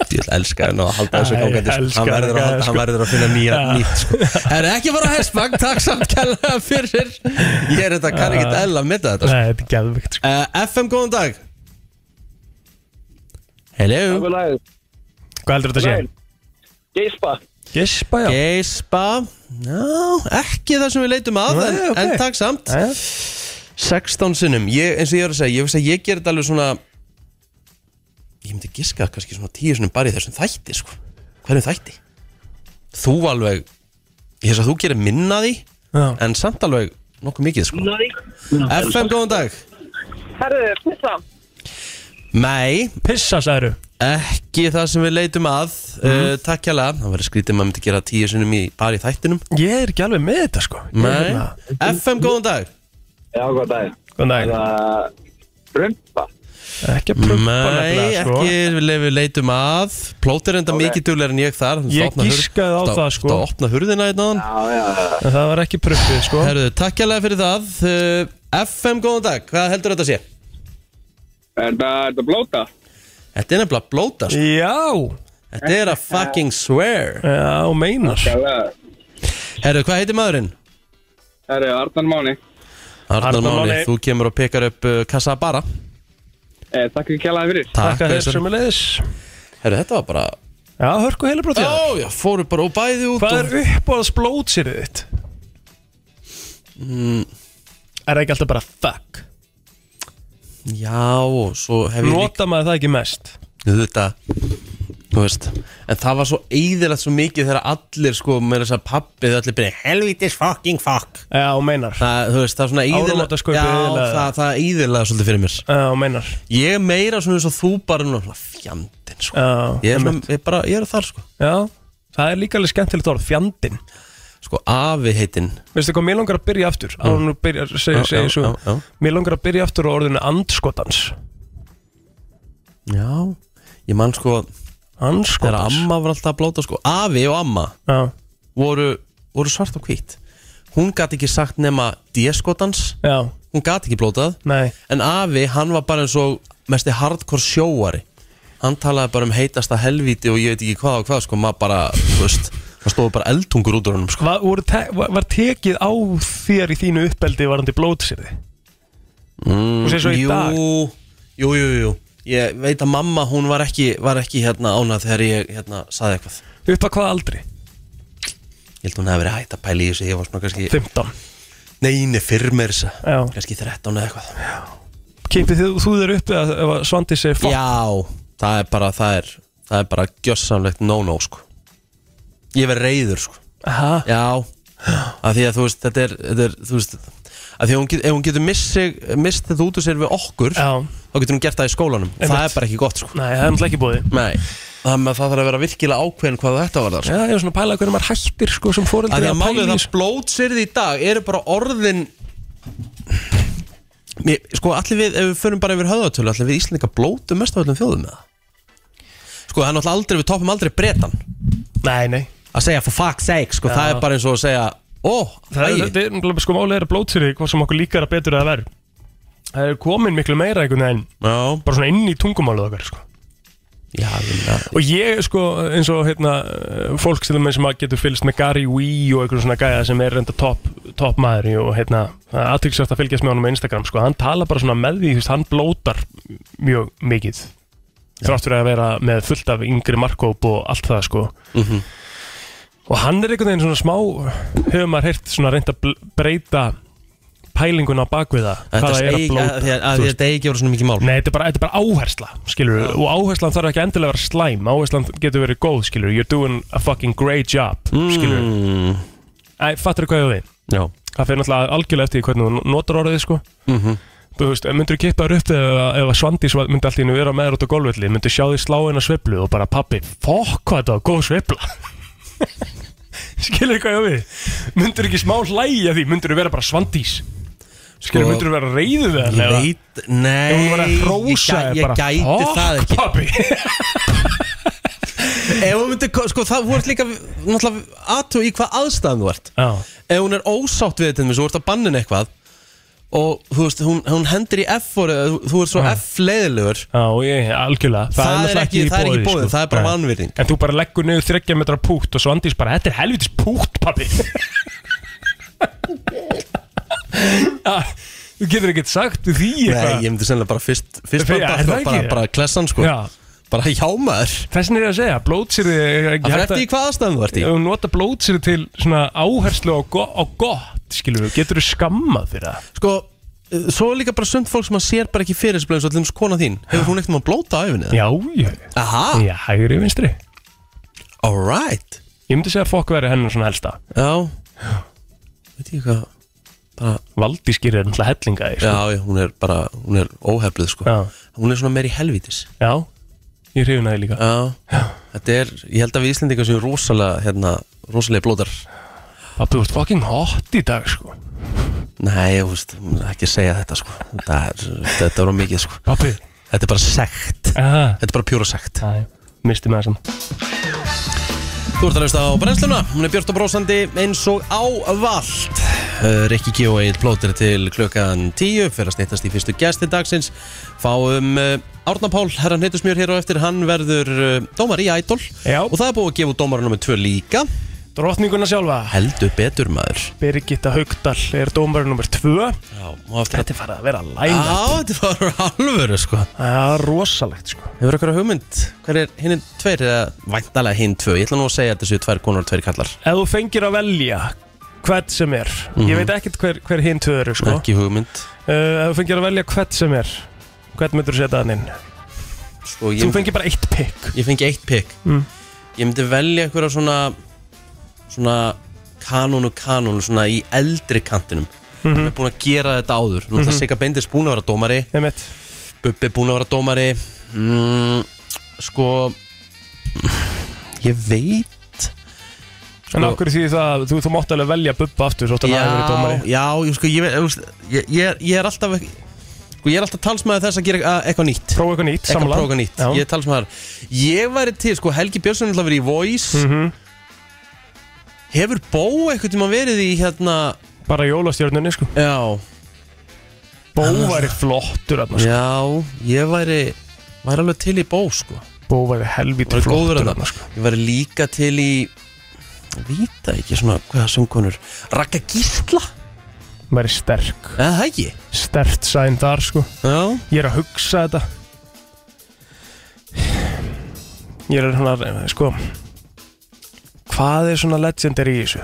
[SPEAKER 4] Ég elska hann og halda þessu
[SPEAKER 1] Æ,
[SPEAKER 4] gangandi sko.
[SPEAKER 1] elska
[SPEAKER 4] hann, verður að
[SPEAKER 1] hann,
[SPEAKER 4] halda-
[SPEAKER 1] sko.
[SPEAKER 4] hann verður að finna nýja nýtt sko. Það er ekki bara hestfang, takk samt kærlega fyrir Ég er þetta, kann ekki ell að mynda þetta sko.
[SPEAKER 1] Nei, þetta er geðvikt sko.
[SPEAKER 4] uh, FM, góðan dag Hello
[SPEAKER 1] Hvað heldur þetta að sé?
[SPEAKER 6] Geispa
[SPEAKER 1] Gispa, já
[SPEAKER 4] Geispa no, Ekki það sem við leitum að
[SPEAKER 1] Nei,
[SPEAKER 4] en,
[SPEAKER 1] ok.
[SPEAKER 4] en takk samt
[SPEAKER 1] Jæja.
[SPEAKER 4] 16 sinnum, ég, eins og ég var að segja Ég veist að ég ger þetta alveg svona Ég myndi giska kannski svona 10 sinnum bara í þessum þætti sko. Hverjum þætti? Þú alveg Ég veist að þú gerir minna af því
[SPEAKER 1] Já.
[SPEAKER 4] En samt alveg nokkuð mikið sko. FM, góðan dag
[SPEAKER 7] Herðu, pissa.
[SPEAKER 4] Nei,
[SPEAKER 1] Pissa, sagður
[SPEAKER 4] ekki það sem við leitum að
[SPEAKER 1] Mhm.
[SPEAKER 4] uh, Takk hjálpa Það verður skrítið að maður myndi gera 10 sinnum í, bara í þættinum
[SPEAKER 1] Ég er ekki alveg með þetta sko Ég er
[SPEAKER 4] Nei,
[SPEAKER 1] hérna-
[SPEAKER 4] FM, góðan dag
[SPEAKER 6] Já, hvað dag
[SPEAKER 1] Góðan dag
[SPEAKER 6] uh, Rumpa
[SPEAKER 1] Ekki að prumpa
[SPEAKER 4] Nei,
[SPEAKER 1] nefnilega, sko.
[SPEAKER 4] ekki við leif- við leitum að Plóter enda mikið duglegar en ég þar þannig að
[SPEAKER 1] Ég
[SPEAKER 4] opna hurð-
[SPEAKER 1] giskaði á
[SPEAKER 4] þetta-
[SPEAKER 1] það, sko.
[SPEAKER 4] Þetta opna hurðina einn á hann
[SPEAKER 1] En það var ekki prumpið sko
[SPEAKER 4] Herðu, takk hérlega fyrir það Uh, FM, góðan dag, hvað heldur þetta sé?
[SPEAKER 6] Er þetta blóta?
[SPEAKER 4] Þetta er nefnilega blóta sko.
[SPEAKER 1] Já
[SPEAKER 4] Þetta er að fucking swear
[SPEAKER 1] Já, meinar
[SPEAKER 6] Það
[SPEAKER 4] Herðu, hvað heitir maðurinn?
[SPEAKER 6] er Arnar Máni
[SPEAKER 4] Arnar
[SPEAKER 1] Arnar
[SPEAKER 4] Máni,
[SPEAKER 1] Máni.
[SPEAKER 4] þú kemur og pekar upp uh, kassa bara
[SPEAKER 6] eh, Takk fyrir kjallaði fyrir
[SPEAKER 1] Takk að
[SPEAKER 4] fyrir
[SPEAKER 1] þeir
[SPEAKER 4] þessu.
[SPEAKER 1] sem er leiðis
[SPEAKER 4] Herðu, þetta var bara
[SPEAKER 1] Já, hörku heilabrótið oh.
[SPEAKER 4] Ó, já, fóru bara og bæði út
[SPEAKER 1] Hvað
[SPEAKER 4] og...
[SPEAKER 1] er uppáðs blótsýrið þitt? Mm.
[SPEAKER 4] Mm.
[SPEAKER 1] Er það ekki alltaf bara fuck?
[SPEAKER 4] Já, og svo hef ég líka
[SPEAKER 1] Nota maður það ekki mest?
[SPEAKER 4] þetta þú veist, en það var svo eðilegt svo mikið þegar allir sko með þess að pappið allir byrja helvitis fucking fuck
[SPEAKER 1] Já, meinar
[SPEAKER 4] það, þú veist, það er svona
[SPEAKER 1] Áramótaskaupið
[SPEAKER 4] já,
[SPEAKER 1] eyðilagði
[SPEAKER 4] það, það eðilega svolítið fyrir mér
[SPEAKER 1] Já, meinar
[SPEAKER 4] ég er meira svona eins og þú bara núna svona fjandinn sko
[SPEAKER 1] Já,
[SPEAKER 4] ég er, svona, ég, bara, ég er þar sko
[SPEAKER 1] Já, það er líka alveg skemmtilegt orð, fjandinn
[SPEAKER 4] sko afi heitinn
[SPEAKER 1] Veistu hvað, mér langar að byrja aftur mm. Ánum byrjar, segi,
[SPEAKER 4] Já,
[SPEAKER 1] segi
[SPEAKER 4] já,
[SPEAKER 1] svo
[SPEAKER 4] já, já.
[SPEAKER 1] Mér langar að byrja aftur á orðinu andskotans
[SPEAKER 4] já, ég man sko þegar
[SPEAKER 1] Andskotans
[SPEAKER 4] amma var alltaf að blóta sko afi og amma
[SPEAKER 1] Já,
[SPEAKER 4] voru, voru svart og hvít hún gat ekki sagt nema dieskotans
[SPEAKER 1] já,
[SPEAKER 4] hún gat ekki blótað
[SPEAKER 1] nei
[SPEAKER 4] En afi, hann var bara eins og mesti hardcore sjóari Hann talaði bara um heitasta helvíti og ég veit ekki hvað og hvað sko, maður bara, þú veist það stóðu bara eldtungur út úr honum sko.
[SPEAKER 1] Hva, voru te var var tekið á þér í þínu uppbeldi varandi blótsýrði? Mm, Þú segir svo í
[SPEAKER 4] jú,
[SPEAKER 1] dag
[SPEAKER 4] jú, jú, jú Ég veit að mamma, hún var ekki, var ekki hérna ánað þegar ég hérna saði eitthvað
[SPEAKER 1] Upp að hvað aldri?
[SPEAKER 4] Ég held hún hefði verið hægt að pæla í þessu, ég var svona kannski
[SPEAKER 1] 15
[SPEAKER 4] Neini, fyrr með þessa
[SPEAKER 1] Já.
[SPEAKER 4] Kannski 13 eða eitthvað
[SPEAKER 1] Kipið þú, þú þér upp eða ef að Svandi segir fokk
[SPEAKER 4] Já, það er bara, það er, það er bara gjössamlegt no-no sko Ég verið reyður sko
[SPEAKER 1] Aha,
[SPEAKER 4] Já, af því að þú veist þetta er, þetta er þú veist af því að hún get, ef hún getur mist, sig, mist þetta út úr sér við okkur
[SPEAKER 1] Já.
[SPEAKER 4] þá getur hún gert það í skólanum það
[SPEAKER 1] Einmitt.
[SPEAKER 4] er bara ekki gott sko
[SPEAKER 1] Nei, það er náttúrulega ekki bóði
[SPEAKER 4] Nei, þannig að það þarf að vera virkilega ákveðin hvað þetta var þar sko.
[SPEAKER 1] Já, ég er svona að pæla hvernig maður hættir sko sem
[SPEAKER 4] af
[SPEAKER 1] fóreldri
[SPEAKER 4] því að málið
[SPEAKER 1] pæla í sko.
[SPEAKER 4] það
[SPEAKER 1] þessu.
[SPEAKER 4] blótsirði í dag eru bara orðin Mér, sko allir við, ef við förum bara yfir höðatölu allir við Íslandika blótum mest af öllum þjóðum með það sko það er náttúrulega aldrei, við toppum aldrei bretan
[SPEAKER 1] Nei, nei
[SPEAKER 4] að segja for fuck's sake sko það er bara eins og að segja ó,
[SPEAKER 1] Það er,
[SPEAKER 4] æi.
[SPEAKER 1] þetta er náttúrulega sko málið er að blótsýrði hvað sem okkur líkar að betur eða verð Það er komin miklu meira einhvern veginn
[SPEAKER 4] Já.
[SPEAKER 1] bara svona inn í tungumálið okkar sko
[SPEAKER 4] Já, ég meina-
[SPEAKER 1] Og ég sko eins og hérna eh, fólk til þeim sem að getur fylgst með Gary Wee og einhverjum svona gæða sem er reynda topp top maður í og hérna aðtryggsvært að fylgjast með honum á Instagram sko hann tala bara svona með því þú veist hann blótar mjög mikið þrátt fyrir að vera með fullt af yngri markkóp og allt það sko
[SPEAKER 4] Mhm.
[SPEAKER 1] og hann er einhvern veginn svona smá hefur maður heyrt svona reynda breyta pælingun á bakviða
[SPEAKER 4] Þetta
[SPEAKER 1] hvað það er að
[SPEAKER 4] eigi-
[SPEAKER 1] blóta
[SPEAKER 4] að því að- að því
[SPEAKER 1] þú
[SPEAKER 4] að
[SPEAKER 1] veist.
[SPEAKER 4] Þetta eigi ekki voru svona mikið mál
[SPEAKER 1] Nei, þetta er bara, þetta er bara áhersla, skilur við Og áherslan þarf ekki endilega að vera slæm Áherslan getur verið góð, skilur við You're doing a fucking great job, skilur við
[SPEAKER 4] mm,
[SPEAKER 1] Æ, fattur hvað ég á við?
[SPEAKER 4] Já
[SPEAKER 1] Það fyrir náttúrulega algjörlega eftir því hvernig þú notar orðið, sko
[SPEAKER 4] Mhm.
[SPEAKER 1] Þú veist, myndur þú kippa þér upp ef, ef að Svandís var- myndi alltaf vera með þér út á golfvelli Myndur sjá því sláin að sveiflu og bara Pappi, fokk hvað þetta var góð sveifla Skilur hvað ég á við? Myndur ekki smá hlæja því, myndur vera bara Svandís Skilur,
[SPEAKER 4] Sko,
[SPEAKER 1] sko, myndur vera reyðu við hann
[SPEAKER 4] Ég
[SPEAKER 1] eða-
[SPEAKER 4] veit, nei
[SPEAKER 1] Ef hún var að hrósa
[SPEAKER 4] Ég,
[SPEAKER 1] þér
[SPEAKER 4] gæ- ég
[SPEAKER 1] bara,
[SPEAKER 4] gæti
[SPEAKER 1] "Fuck,
[SPEAKER 4] það ekki
[SPEAKER 1] pabbi."
[SPEAKER 4] Ef hún myndi, ko- sko það, þú ert líka Náttúrulega aðtú í hvað aðstæðum þú ert
[SPEAKER 1] Já,
[SPEAKER 4] Ef hún er ósátt við þetta, eins og þú ert að banninu eitthvað og þú veist, hún, hún hendir í F-orðið, þú, þú ert svo F-leiðilegur
[SPEAKER 1] Já, ég, algjörlega
[SPEAKER 4] Það er
[SPEAKER 1] náttúrulega
[SPEAKER 4] ekki-
[SPEAKER 1] í
[SPEAKER 4] það er ekki
[SPEAKER 1] boði,
[SPEAKER 4] í
[SPEAKER 1] sko.
[SPEAKER 4] boði, það er bara
[SPEAKER 1] Nei.
[SPEAKER 4] vanvirðing.
[SPEAKER 1] En þú bara leggur niður 30 metra pútt og Svandís bara, þetta er helvitis pútt, pappi Já, Þú getur ekkert sagt við því
[SPEAKER 4] Nei, ég myndi sennilega bara fyrst, fyrst
[SPEAKER 1] Fyrir-
[SPEAKER 4] bara,
[SPEAKER 1] er það
[SPEAKER 4] bara, bara,
[SPEAKER 1] ekki?
[SPEAKER 4] bara klessan sko
[SPEAKER 1] Já.
[SPEAKER 4] Bara hjámaður
[SPEAKER 1] Þessin er ég að segja, blótsýri er
[SPEAKER 4] Það
[SPEAKER 1] ekki
[SPEAKER 4] fyrir eftir í hvaða staðum þú ert í
[SPEAKER 1] Ef þú nota blótsýri til svona áherslu á, go á gott, skilur við, getur þú skammað fyrir það
[SPEAKER 4] Sko, uh, svo er líka bara sund fólk sem maður sér bara ekki fyrir sem bleið eins og allir kona þín Hefur hún ekkert maður blóta á öfinni það?
[SPEAKER 1] Já, já,
[SPEAKER 4] Aha,
[SPEAKER 1] já, hægri vinstri
[SPEAKER 4] alright
[SPEAKER 1] Ég myndi segja að fokk veri hennar svona helsta
[SPEAKER 4] Já, veit ég hvað
[SPEAKER 1] Valdískýri er náttúrulega hellinga í, sko.
[SPEAKER 4] Já, já, hún er bara, hún er óheflið sko
[SPEAKER 1] Já.
[SPEAKER 4] Hún er svona meir í helvítis
[SPEAKER 1] já, ég hrifin að því líka
[SPEAKER 4] Já, þetta er, ég held að við Íslendingar séum rosalega, hérna, rosalega blótar
[SPEAKER 1] Pappi, þú ert fucking hot í dag, sko
[SPEAKER 4] Nei, þú veist, ekki segja þetta sko Þetta er, þetta er á mikið sko
[SPEAKER 1] Pappi
[SPEAKER 4] Þetta er bara sekt
[SPEAKER 1] Aha.
[SPEAKER 4] Þetta er bara pjúra sekt
[SPEAKER 1] Æ, misti með þessan
[SPEAKER 4] Þú ert að hlusta á brennsluna Hún er Björn og Brósandi eins og ávalt Rikki G og Egil Plóter til klukkan 10 fyrir að snittast í fyrstu gesti dagsins Fáum uh, Árna Pál, herran heitusmjör hér á eftir Hann verður uh, dómar í Idol
[SPEAKER 1] Já.
[SPEAKER 4] Og það er búið að gefa út dómaranum með tvö líka
[SPEAKER 1] Drottninguna sjálfa
[SPEAKER 4] Heldur betur maður
[SPEAKER 1] Birgitta Haugdal er dómarinn nummer 2
[SPEAKER 4] Já, og eftir
[SPEAKER 1] Þetta er farið að vera
[SPEAKER 4] Já,
[SPEAKER 1] læna
[SPEAKER 4] þetta var alvöru sko
[SPEAKER 1] Það er rosalegt sko
[SPEAKER 4] Hefur eitthvað hugmynd? Hver er hinn tveir eða væntalega hinn tvö? Ég ætla nú að segja að þetta séu tvær konur og tveir kallar
[SPEAKER 1] Ef þú fengir að velja hvert sem er Ég veit ekkert hver, hver hinn tvö eru sko uh,
[SPEAKER 4] Mhm. Ekki hugmynd
[SPEAKER 1] Ef þú fengir að velja hvert sem er Hvert myndur þú setja hann inn?
[SPEAKER 4] sko, ég,
[SPEAKER 1] Þú fengir bara eitt pick
[SPEAKER 4] ég fengi eitt pikk
[SPEAKER 1] Mm.
[SPEAKER 4] Ég myndi velja eitthvað svona Svona kanónu kanónu Svona í eldri kantinum mm
[SPEAKER 1] Mhm.
[SPEAKER 4] -hmm. Búin að gera þetta áður Nú ætla Sigga Bendis búin að vera dómari
[SPEAKER 1] Einmitt.
[SPEAKER 4] Bubbi búin að vera dómari mm, Sko Ég veit
[SPEAKER 1] En af hverju því það að Þú, þú mátt alveg velja Bubba aftur Svo þetta hann hafi verið dómari
[SPEAKER 4] Sko- já, ég, sko, ég, veit- þú veist, ég, ég, er- ég er alltaf ekki- sko, ég er alltaf talsmaður þess að gera að- eitthvað nýtt
[SPEAKER 1] Prófa eitthvað nýtt
[SPEAKER 4] eitthvað
[SPEAKER 1] samla.
[SPEAKER 4] prófa eitthvað nýtt,
[SPEAKER 1] Já.
[SPEAKER 4] ég er talsmaður ég væri til, sko, Helgi Björnsson er alltaf verið í Voice
[SPEAKER 1] Mhm.
[SPEAKER 4] hefur Bó eitthvað tíma verið í hérna
[SPEAKER 1] Bara jólastjörnunni sko
[SPEAKER 4] já,
[SPEAKER 1] Bóværi flottur þarna,
[SPEAKER 4] Ah.
[SPEAKER 1] sko.
[SPEAKER 4] já, ég væri væri alveg til í Bó, sko
[SPEAKER 1] Bóværi helvítið
[SPEAKER 4] væri góður
[SPEAKER 1] flottur
[SPEAKER 4] að
[SPEAKER 1] þarna, sko.
[SPEAKER 4] ég væri líka til í ég vita ekki svona, hvaða söngkonur Raka Gísla,
[SPEAKER 1] Væri sterk
[SPEAKER 4] eða það ekki
[SPEAKER 1] stert sæn þar sko
[SPEAKER 4] já,
[SPEAKER 1] ég er að hugsa þetta ég er svona eh, sko hvað er svona legendary í þessu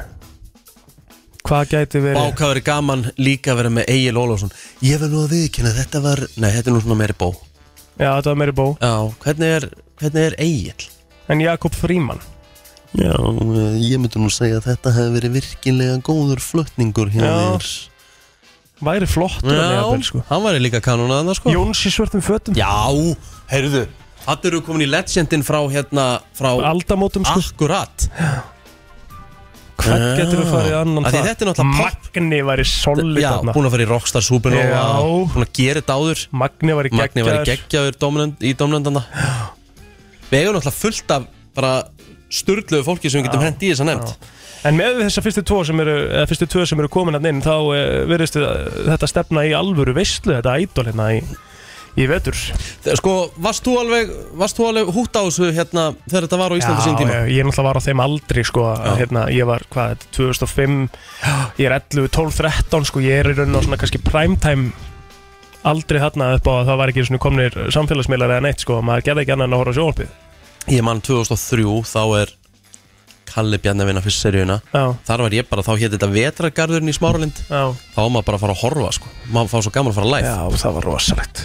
[SPEAKER 1] hvað gæti verið
[SPEAKER 4] Báka verið gaman líka að vera með Egil Ólafsson Ég verð nú að viðkynna þetta var Nei, þetta er nú svona meiri bó
[SPEAKER 1] já þetta var meiri bó
[SPEAKER 4] Já, hvernig er, hvernig er Egil?
[SPEAKER 1] en Jakob Fríman
[SPEAKER 4] Já, eh, ég myndi nú segja að þetta hefði verið virkilega góður flutningur hjá
[SPEAKER 1] Já,
[SPEAKER 4] þér
[SPEAKER 1] væri flottur að
[SPEAKER 4] Já,
[SPEAKER 1] nefnir sko
[SPEAKER 4] hann var líka kanuna þannig sko
[SPEAKER 1] Jóns í svörtum fötum
[SPEAKER 4] Já, heyrðu Þetta eru komin í legendin frá hérna frá
[SPEAKER 1] aldamótum
[SPEAKER 4] Ah.
[SPEAKER 1] sko
[SPEAKER 4] Akkurat
[SPEAKER 1] hvað
[SPEAKER 4] Já.
[SPEAKER 1] getur við farið annan
[SPEAKER 4] Af því þetta er náttúrulega pop-
[SPEAKER 1] Magni væri solid
[SPEAKER 4] Já,
[SPEAKER 1] þarna.
[SPEAKER 4] búin að fara í Rockstar Supernova
[SPEAKER 1] Já.
[SPEAKER 4] Búin að gera þetta áður
[SPEAKER 1] Magni væri
[SPEAKER 4] Magni var í
[SPEAKER 1] geggjaður
[SPEAKER 4] geggjaður domnend, í domnendana Við eigum náttúrulega fullt af bara sturgluðu fólki sem við getum hent í þessa nefnd
[SPEAKER 1] En með þessa fyrstu tvo sem eru, eða fyrstu tvo sem eru komin hann inn þá e, verðist þetta stefna í alvöru veistlu, þetta idol hérna í, í vetur
[SPEAKER 4] Þegar, Sko, varst þú alveg, varst þú alveg hútt á þessu hérna þegar þetta var á Íslandi sín tíma?
[SPEAKER 1] ég, ég náttúrulega var á þeim aldri sko, að, hérna, ég var, hvað, þetta er 2005 ég er 11, 12, 13 sko, ég er í raun og svona kannski primetime aldrei þarna upp á að það var ekki svona komnir samfélagsmiðlar eða neitt sko, maður gerði ekki annað en að horfa á sjónvarpið
[SPEAKER 4] Ég man 2003, þá er Kalli Bjarni að vinna fyrst seríuna
[SPEAKER 1] Já,
[SPEAKER 4] Þar var ég bara, þá hétt þetta Vetragarðurinn í Smáralind
[SPEAKER 1] já,
[SPEAKER 4] Þá var maður bara að fara að horfa, sko Maður fá svo gaman að fara að live
[SPEAKER 1] já, það var rosalegt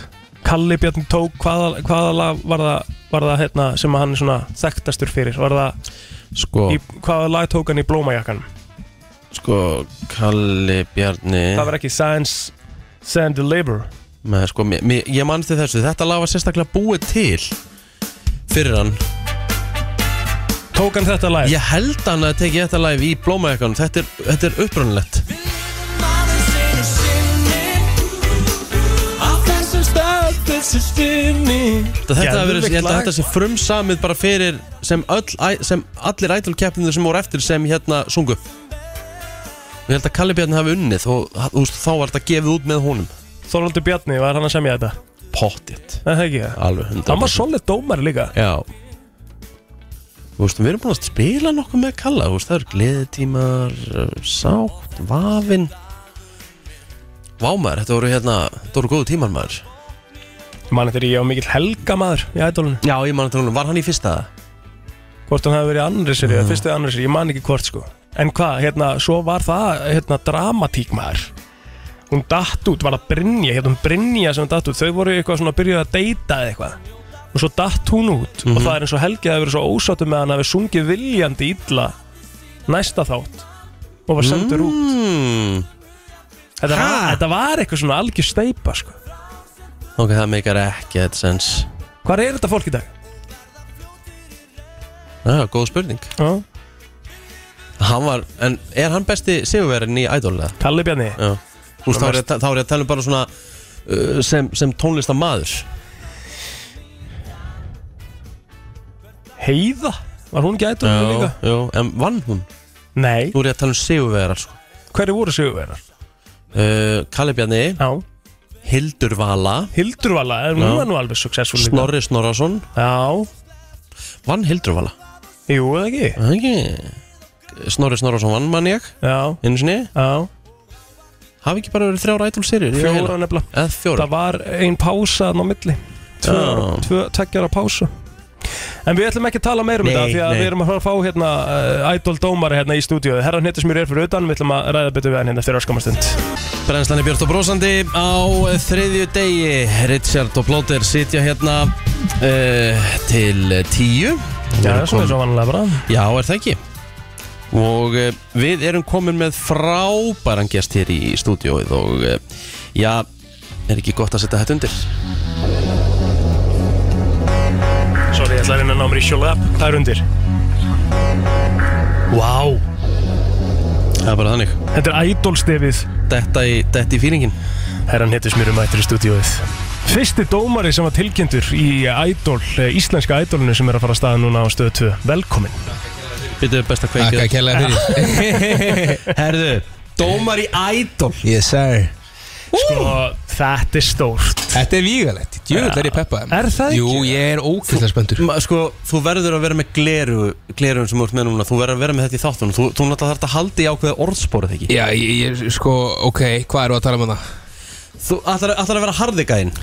[SPEAKER 1] Kalli Bjarni tók, hvaða, hvaða lag var það, var það hérna, sem hann er svona þekktastur fyrir, var það
[SPEAKER 4] Sko,
[SPEAKER 1] í, hvaða lag tók hann í blómajakkanum
[SPEAKER 4] sko, Kalli Bjarni
[SPEAKER 1] það var ekki Science Sand Labor
[SPEAKER 4] Með, sko, mér, mér, ég manst til þessu, þetta lag var sérstaklega búið til fyrir hann
[SPEAKER 1] tók hann þetta lag
[SPEAKER 4] Ég held hann að tekið þetta live í blómajakkanum Þetta er, þetta er upprönnlegt Þetta þetta hafi verið,
[SPEAKER 1] Geðveikt
[SPEAKER 4] ég held að
[SPEAKER 1] lag.
[SPEAKER 4] þetta sé frumsamið bara fyrir sem, öll, sem allir idol keppnir sem voru eftir sem hérna sungu Ég held að Kalli Bjarni hafi unnið og þú veist, þá var þetta gefið út með honum
[SPEAKER 1] Þorvaldur Bjarni var hann að semja þetta
[SPEAKER 4] Pottjett,
[SPEAKER 1] Nei, það ekki það
[SPEAKER 4] alveg 100%.
[SPEAKER 1] Hann var solid dómar líka
[SPEAKER 4] Já Þú veist, við erum búin að spila nokkuð með Kalla Þú veist, það eru gleðitímar, uh, sátt, vafin Vámaður, þetta voru hérna, þetta voru góðu tímar maður
[SPEAKER 1] Mann eftir ég á mikill helga maður í ædólunum
[SPEAKER 4] Já, ég man að tala um, var hann í fyrsta það?
[SPEAKER 1] Hvort hann hafi verið í annri sér
[SPEAKER 4] Mm.
[SPEAKER 1] eða Fyrstu eða annri sér, ég man ekki hvort sko En hvað, hérna, svo var það hérna, dramatík maður Hún datt út, var það Brynja Hérna hún Brynja sem datt út Þau voru eitthvað svona að byrja að deyta eða eitthvað Og svo datt hún út
[SPEAKER 4] Mhm.
[SPEAKER 1] Og það er eins og Helgi hafi verið svo ósáttu með hann Hafi sungið viljandi illa Næsta þátt Og var sendur út
[SPEAKER 4] Mm,
[SPEAKER 1] Þetta var,
[SPEAKER 4] Ha?
[SPEAKER 1] þetta var eitthvað svona algjör steipa sko.
[SPEAKER 4] ok, það meikar ekki þetta sens
[SPEAKER 1] Hvar er þetta fólk í dag?
[SPEAKER 4] Já, góð spurning
[SPEAKER 1] Já.
[SPEAKER 4] Hann var, en er hann besti sigurverðin í ædólulega?
[SPEAKER 1] Kalli Bjarni
[SPEAKER 4] Já Þú veist, þá er ég að- þá er ég að tala um bara svona uh, sem, sem tónlistamaður
[SPEAKER 1] Heiða, var hún gætur líka?
[SPEAKER 4] já, en vann hún?
[SPEAKER 1] Nei,
[SPEAKER 4] Nú er ég að tala um sigurverðar sko.
[SPEAKER 1] hverju voru sigurverðar?
[SPEAKER 4] uh, Kalli Bjarni,
[SPEAKER 1] Já,
[SPEAKER 4] Hildur Vala
[SPEAKER 1] Hildurvala, en
[SPEAKER 4] Já.
[SPEAKER 1] hún var nú alveg successful líka
[SPEAKER 4] Snorri Snorrason
[SPEAKER 1] Já,
[SPEAKER 4] Vann Hildur Vala
[SPEAKER 1] jú eða ekki
[SPEAKER 4] Er það ekki? Snorri Snorrason vann mann ég
[SPEAKER 1] Já,
[SPEAKER 4] Einu sinni
[SPEAKER 1] já,
[SPEAKER 4] Hafi ekki bara verið þrjár ædólserjur
[SPEAKER 1] fjóra nefnilega
[SPEAKER 4] Eða fjóra
[SPEAKER 1] Það var ein pása þannig á milli Tvö,
[SPEAKER 4] Já.
[SPEAKER 1] tvö tveggjara pása En við ætlum ekki að tala meira um
[SPEAKER 4] Nei,
[SPEAKER 1] þetta Því að
[SPEAKER 4] nei.
[SPEAKER 1] við erum að fara að fá hérna uh, Idol dómari hérna í stúdíu Herran hittis mér er fyrir utan, við ætlum að ræða betur við hann hérna fyrir öskamastund
[SPEAKER 4] Brennslan er Björn og Brósandi á þriðju degi Richard og Plóter sitja hérna uh, til tíu
[SPEAKER 1] Já, það er svona eins og vanlega bara
[SPEAKER 4] Já, er það ekki Og uh, við erum komin með frábæran gest hér í stúdióið og uh, já, er ekki gott að setja þetta undir
[SPEAKER 1] Sorry, ég ætla að reyna að ná mér í sjóla Það er undir Vá,
[SPEAKER 4] Það er bara þannig
[SPEAKER 1] þetta er idolstefið
[SPEAKER 4] Detta í, detta í fýringin
[SPEAKER 1] Herran hittis mér um ættir í stúdíóið Fyrsti dómari sem var tilkynntur í idol, eh, íslenska idolinu sem er að fara að staða núna á stöðu 2 Velkomin
[SPEAKER 4] Býttu best að
[SPEAKER 8] Takk
[SPEAKER 4] kveikja
[SPEAKER 8] að kella fyrir
[SPEAKER 4] Herðu, dómar í ædol
[SPEAKER 8] Yes sir
[SPEAKER 1] Sko, þetta er stórt
[SPEAKER 8] Þetta er vígalegt, djöfull er ég peppað
[SPEAKER 1] Er það ekki?
[SPEAKER 8] Jú, ég er ókvæmlega spöndur
[SPEAKER 4] Ma, sko, þú verður að vera með gleru glerun sem þú ert með núna, þú verður að vera með þetta í þáttunum þú, þú náttúrulega þarf að halda í ákveða orðsporið ekki
[SPEAKER 8] Já, ég, ég, sko, ok, hvað eru að tala um hana?
[SPEAKER 4] Þú ætlar, ætlar að vera harðigæðin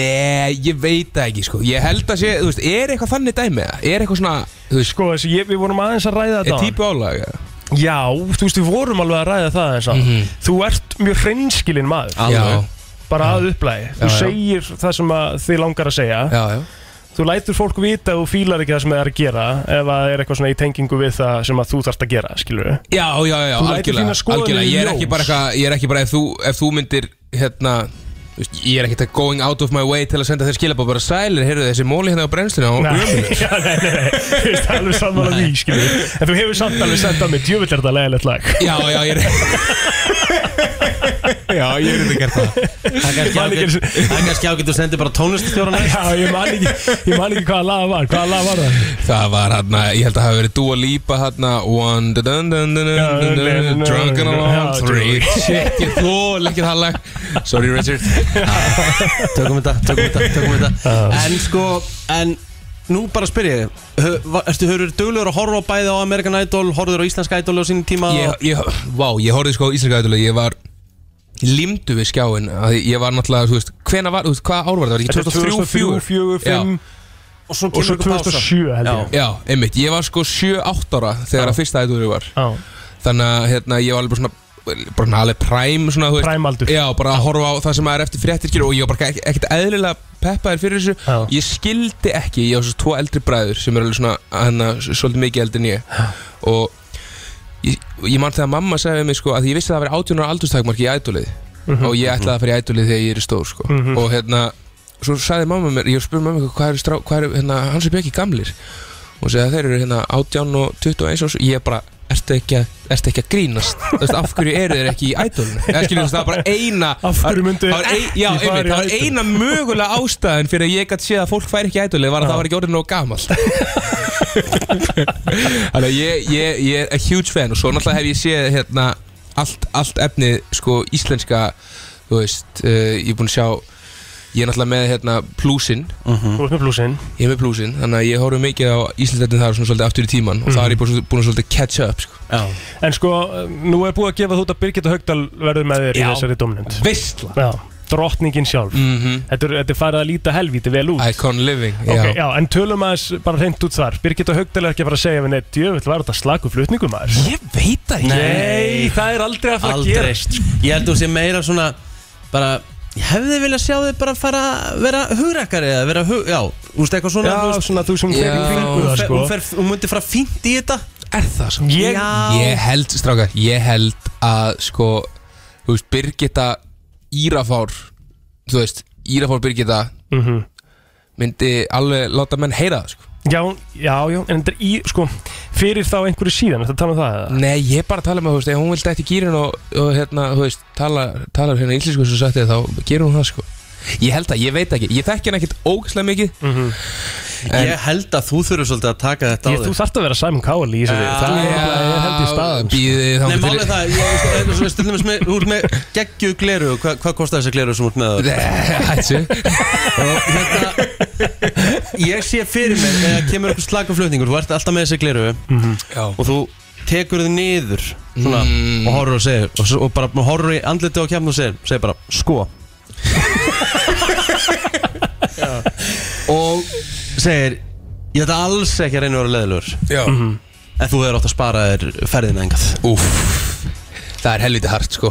[SPEAKER 8] Nei, ég veit það ekki, sko Ég held að sé, þú veist, er eitthvað þannig dæmi eða? Er eitthvað svona, þú veist,
[SPEAKER 1] Sko, þessi, ég, við vorum aðeins að ræða
[SPEAKER 8] er
[SPEAKER 1] þetta
[SPEAKER 8] típu álag eða?
[SPEAKER 1] áðan. Já, þú veist, við vorum alveg að ræða það eins og
[SPEAKER 8] Mhm.
[SPEAKER 1] Þú ert mjög hreinskilin maður
[SPEAKER 8] Já,
[SPEAKER 1] Bara að upplægi Þú
[SPEAKER 8] Já, já.
[SPEAKER 1] segir það sem að þið langar að segja
[SPEAKER 8] já, já
[SPEAKER 1] Þú lætur fólk vita að þú fílar ekki það sem það er að gera ef að það er eitthvað svona í tengingu við það sem að þú þarft að gera, skilur við?
[SPEAKER 8] Já, já, já,
[SPEAKER 1] Þú lætur
[SPEAKER 8] algjörlega,
[SPEAKER 1] þínar skoðanir
[SPEAKER 8] algjörlega. Ég er ekki
[SPEAKER 1] ljós.
[SPEAKER 8] bara eitthvað, ég er ekki bara ef þú, ef þú myndir, hérna þú veist, Ég er ekki þetta going out of my way til að senda þér skilabá bara sælir, heyrðu þessi móli hérna á brennsluna og
[SPEAKER 1] Nei, já, nei, nei, nei, þú veist alveg sammála því, skilur við. En þú hefur samt alveg sendað mér djöfull er þetta leðilegt lag.
[SPEAKER 8] Já, já, ég er Já, ég er þetta gert það
[SPEAKER 4] það er
[SPEAKER 1] Man ekki-
[SPEAKER 4] kannski ágætt að senda bara tónliststjóran
[SPEAKER 1] Já, ég man ekki, ég man ekki hvaða lag var, hvaða lag var það?
[SPEAKER 8] Það var hann að, ég held að hafa verið Dua Lipa hann að One, dun, dun, dun, dun, dun, dun, dun, drunk and alone, three Shit, ég þól ekki það lag Sorry Richard
[SPEAKER 4] tökum þetta, tökum þetta, tökum þetta en sko, en nú bara spyr ég, hö- va- ertu hörur duglegur að horfa á bæði á American Idol horfður á Íslenska Idol á sínum tíma
[SPEAKER 8] Ég, ég, vá, ég horfði sko á Íslenska ætlulega, ég var limdu við skjáin að ég var náttúrulega, þú veist, hvena var, þú veist, hvað ár var það, var
[SPEAKER 1] Þetta er
[SPEAKER 8] ekki 2003,
[SPEAKER 1] 2004,
[SPEAKER 8] 2004,
[SPEAKER 1] 2005
[SPEAKER 4] og svo
[SPEAKER 1] og svo
[SPEAKER 4] kemur ykkur pása
[SPEAKER 1] 2007 held ég.
[SPEAKER 8] Já, já, einmitt, ég var sko 7-8 ára þegar að fyrsta ætlulega var
[SPEAKER 1] Já,
[SPEAKER 8] Þannig að hérna, ég var alveg bara svona bara svona alveg præm svona, þú veist.
[SPEAKER 1] Præmaldur.
[SPEAKER 8] Já, bara að horfa á það sem maður er eftir fréttir skilur, og ég var bara ekki, ekkert eðlilega peppaður fyrir þessu
[SPEAKER 1] Já.
[SPEAKER 8] Ég skildi ekki, ég á svo tvo eldri bræður sem eru alveg svona, hann svolítið mikið eldri en ég Og ég, ég man þegar mamma sagði við mig sko að ég vissi að það væri 18 ára aldurstakmarki í ædolið
[SPEAKER 1] Mhm.
[SPEAKER 8] Og ég ætlaði að fara í ædolið þegar ég er stór sko Og hérna, svo sagði mamma mér, ég spurði mamma hvað eru, strá, hvað eru hérna, hans er bjöki gamlir og segja að þeir eru hérna 18 og 21 og svo, ég bara ertu ekki, að, ertu ekki að grínast Þú veist, af hverju eru þeir ekki í ædolinu eða skilur þess að það var bara eina
[SPEAKER 1] Af hverju myndu
[SPEAKER 8] það var, ein, já,
[SPEAKER 1] ekki fara
[SPEAKER 8] einmitt,
[SPEAKER 1] í
[SPEAKER 8] það var
[SPEAKER 1] Idol?
[SPEAKER 8] eina mögulega ástæðin fyrir að ég gæti séð að fólk fær ekki í ædolinu var að það var ekki orðin nóg gamalt þannig að ég, ég, ég er a huge fan og svo náttúrulega hef ég séð hérna allt, allt efni sko íslenska þú veist, uh, ég er búinn að sjá ég er náttúrulega með hérna plúsin
[SPEAKER 1] Þú ert með blúsinn
[SPEAKER 8] ég er með plúsin, þannig að ég horfum mikið á íslendettin þar svona svolítið aftur í tíman og það er ég búinn búin að svolítið catch up sko.
[SPEAKER 1] En sko, nú er búið að gefa þú út að Birgitta Haugdal verður með þér í
[SPEAKER 8] Já.
[SPEAKER 1] þessari domnend
[SPEAKER 8] Veistla
[SPEAKER 1] Já, drottningin sjálf
[SPEAKER 8] mm
[SPEAKER 1] þetta, er, þetta er farið að líta helvíti vel út
[SPEAKER 8] Icon living, já,
[SPEAKER 1] Ok, já, en tölum aðeins bara hreint út þar Birgitta Haugdal er ekki að fara að segja við neitt Djöfull var þetta slaku flutningur maður
[SPEAKER 8] Ég veit það ekki
[SPEAKER 1] Nei, það er aldrei að fara að sko.
[SPEAKER 4] Aldrei
[SPEAKER 1] gera
[SPEAKER 4] Ég held þú sé meira svona bara Ég hefði viljað sjá þið bara fara að vera hugrakkari eða vera hug... Já, þú veist eitthvað svona
[SPEAKER 1] Já,
[SPEAKER 4] þú veist,
[SPEAKER 1] svona þú sem fer í
[SPEAKER 8] Já,
[SPEAKER 1] kringu
[SPEAKER 4] hún,
[SPEAKER 1] það
[SPEAKER 4] fer,
[SPEAKER 1] sko
[SPEAKER 4] hún, fer, hún myndi fara fínt í þetta
[SPEAKER 8] Er það svo?
[SPEAKER 1] Ég-
[SPEAKER 4] Já
[SPEAKER 8] Ég held, strákar, ég held að sko, þú veist, Birgitta Írafár þú veist, Írafár Birgitta
[SPEAKER 1] Mhm.
[SPEAKER 8] myndi alveg láta menn heyra það sko.
[SPEAKER 1] Já, já, já, en þetta er í, sko Fyrir þá einhverju síðan, þetta tala um það eða?
[SPEAKER 8] Nei, ég er bara að tala með, þú veist, ef hún vil dætt í gýrin og, og hérna, þú veist, tala, tala hérna íslensku sem sagt þið, þá gerir hún það sko. Ég held það, ég veit ekki, ég þekki hann ekkert ógæslega mikið
[SPEAKER 1] Mhm.
[SPEAKER 8] En-
[SPEAKER 4] Ég held að þú þurfur svolítið að taka þetta
[SPEAKER 1] Ég,
[SPEAKER 4] á
[SPEAKER 1] þú
[SPEAKER 4] þig
[SPEAKER 1] þarft að vera Simon Cowell í þessari Það er nefnilega- ég held ég staðan sko.
[SPEAKER 8] Býðið
[SPEAKER 4] Nei,
[SPEAKER 8] þá
[SPEAKER 4] málið það, ég veist, eins og veist, til dæmis með, þú ert með geggju gleru, hvað hva kostar þessi gleru sem út með það?
[SPEAKER 8] Hættu
[SPEAKER 4] Og hérna, ég sé fyrir mér, eða kemur eitthvað slakaflutningur, þú ert alltaf með þessi gleru
[SPEAKER 8] Já
[SPEAKER 4] og þú tekur þið niður svona, og horfur og segir og, svo- og bara horfur í andliti á kemna og segir, segir bara sko og segir ég ætla alls ekki að reyna að vera leðilur
[SPEAKER 8] Já
[SPEAKER 1] Mhm.
[SPEAKER 4] en þú hefur átt að spara þér ferðina engað
[SPEAKER 8] Úff Það er helviti hart sko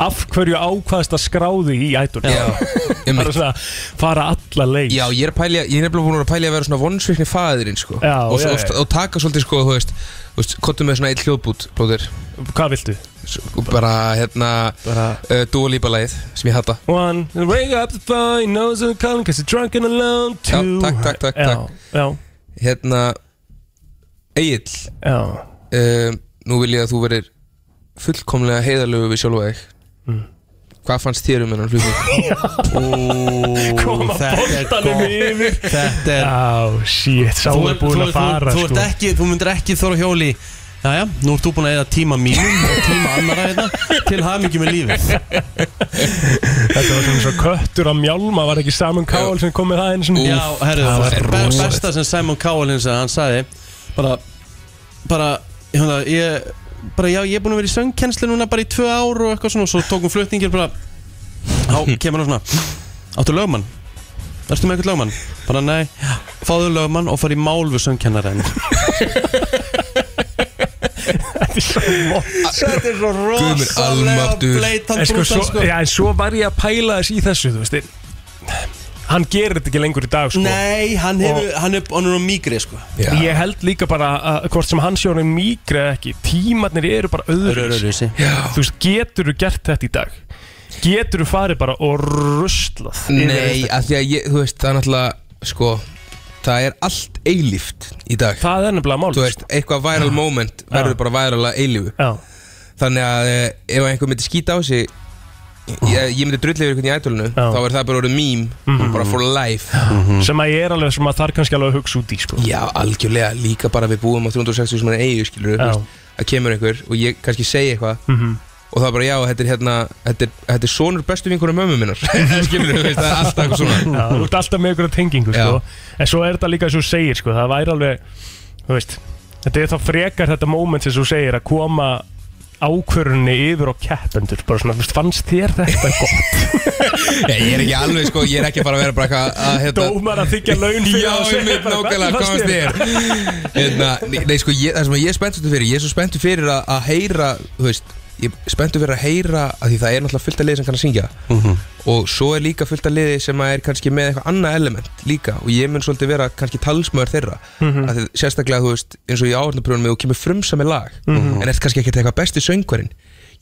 [SPEAKER 1] Af hverju ákvaðast að skráði í ædol
[SPEAKER 8] Já,
[SPEAKER 1] Það
[SPEAKER 8] einmitt.
[SPEAKER 1] er svona að fara alla leið
[SPEAKER 8] Já, ég er pælja, ég er nefnilega búin að vera að pælja að vera svona vonsvikni faðirinn, sko
[SPEAKER 1] Já,
[SPEAKER 8] og,
[SPEAKER 1] já,
[SPEAKER 8] og,
[SPEAKER 1] já.
[SPEAKER 8] og taka svolítið, sko, þú veist Þú veist, kottum með svona eitt hljóðbút, blóðir
[SPEAKER 1] Hvað viltu?
[SPEAKER 8] Og bara, hérna, bara... Uh, dúalíbalagið, sem ég hata
[SPEAKER 1] One, ring up the phone, he knows I'm calling Cause you're drunk and alone
[SPEAKER 8] Já,
[SPEAKER 1] Two
[SPEAKER 8] takk, takk, takk,
[SPEAKER 1] Já,
[SPEAKER 8] takk.
[SPEAKER 1] já,
[SPEAKER 8] Hérna, Egil
[SPEAKER 1] já
[SPEAKER 8] uh, Nú vil ég að þú verir fullkomlega heiðalögu við sjálfa þig
[SPEAKER 1] Mm.
[SPEAKER 8] Hvað fannst þér um hennan hljóðbút?
[SPEAKER 1] Koma
[SPEAKER 4] þetta er
[SPEAKER 1] boltanum
[SPEAKER 4] gott.
[SPEAKER 1] yfir
[SPEAKER 4] þetta er
[SPEAKER 1] Já, shit, sá er búin að
[SPEAKER 4] þú,
[SPEAKER 1] fara
[SPEAKER 4] þú,
[SPEAKER 1] sko.
[SPEAKER 4] ert ekki, þú myndir ekki þóra hjóli Jæja, nú ert þú búin að eða tíma mínum og tíma annara hérna til hamingi með lífið
[SPEAKER 1] Þetta var svona svo köttur að mjálma Var ekki Simon Cowell sem kom með það eins og
[SPEAKER 4] Já, herru,
[SPEAKER 8] það
[SPEAKER 4] það
[SPEAKER 8] var
[SPEAKER 4] er
[SPEAKER 8] rosalegt.
[SPEAKER 4] besta sem Simon Cowell hins að hann sagði bara, bara, hérna, ég bara, já, ég er búin að vera í söngkennslu núna bara í tvö ár og eitthvað svona og svo tókum flutningir bara, þá kemur hann svona áttu lögmann Ertu með eitthvað lögmann? Bara nei, fáðu lögmann og fari í mál við söngkennaren Þetta er svo
[SPEAKER 8] minn almáttugur.
[SPEAKER 4] bleitan
[SPEAKER 1] En sko,
[SPEAKER 4] brútan,
[SPEAKER 1] svo, já, en svo var ég að pæla þess í þessu, þú veist Hann gerir þetta ekki lengur í dag, sko
[SPEAKER 4] Nei, hann hefur, hann er, hann er á migri sko
[SPEAKER 8] Já,
[SPEAKER 1] Ég held líka bara að hvort sem hann sé hann mýgri eða ekki Tímarnir eru bara öðru
[SPEAKER 4] Rörurisi
[SPEAKER 1] Þú veist, getur þú gert þetta í dag? Getur þú farið bara og ruslað yfir
[SPEAKER 8] nei,
[SPEAKER 1] þetta?
[SPEAKER 8] af því að ég, þú veist, það er náttúrulega, sko Það er allt eilíft í dag
[SPEAKER 1] Það er nefnilega mál
[SPEAKER 8] þú veist, eitthvað viral moment verður bara viral að eilífu
[SPEAKER 1] Já,
[SPEAKER 8] þannig að eh, ef einhver myndi skýta á sig ég, ég myndi drullið yfir einhvern í ædolinu
[SPEAKER 1] Já. Mhm.
[SPEAKER 8] þá er það bara orðið mím bara for life
[SPEAKER 1] sem að ég er alveg sem að það er kannski alveg að hugsa út í sko.
[SPEAKER 8] já, algjörlega, líka bara við búum á 360 sem er eigu, skilur
[SPEAKER 1] Já. Mhm.
[SPEAKER 8] að kemur einhver og ég kannski segi eitthvað og það er bara já, þetta er hérna þetta er, þetta er sonur bestu vinkonu mömmu minnar skilur, þú veist, það er alltaf eitthvað svona
[SPEAKER 1] Já, Þú ert alltaf með ykkur tengingu sko. En svo er þetta líka eins og þú segir sko. Það væri alveg þú veist, Þetta er þá frekar þetta moment sem þú segir að koma ákvörunni yfir á keppendur bara svona, þú veist, fannst þér þetta gott
[SPEAKER 8] ég, ég er ekki alveg, sko, ég er ekki bara að vera bara eitthvað að, hérna,
[SPEAKER 1] dómar að þykja laun fyrir
[SPEAKER 8] Já,
[SPEAKER 1] að segja
[SPEAKER 8] ég mynd
[SPEAKER 1] bara,
[SPEAKER 8] nákvæmlega,
[SPEAKER 1] hvernig
[SPEAKER 8] hvað fannst þér? Hérna, nei, nei, sko, ég, það sem ég er spenntur fyrir Ég er svo spenntur fyrir að, að heyra Þú veist, ég er spenntur fyrir að heyra að Því það er náttúrulega fullt af liði sem kann að syngja
[SPEAKER 1] Mhm.
[SPEAKER 8] Og svo er líka fullt af liði sem að er kannski með eitthvað annað element líka Og ég mun svolítið vera kannski talsmaður þeirra mm
[SPEAKER 1] Mhm.
[SPEAKER 8] því, Sérstaklega, þú veist, eins og í áhörnapröfunum Þú kemur frumsami lag
[SPEAKER 1] Mhm.
[SPEAKER 8] En ert kannski ekkert eitthvað besti söngvarinn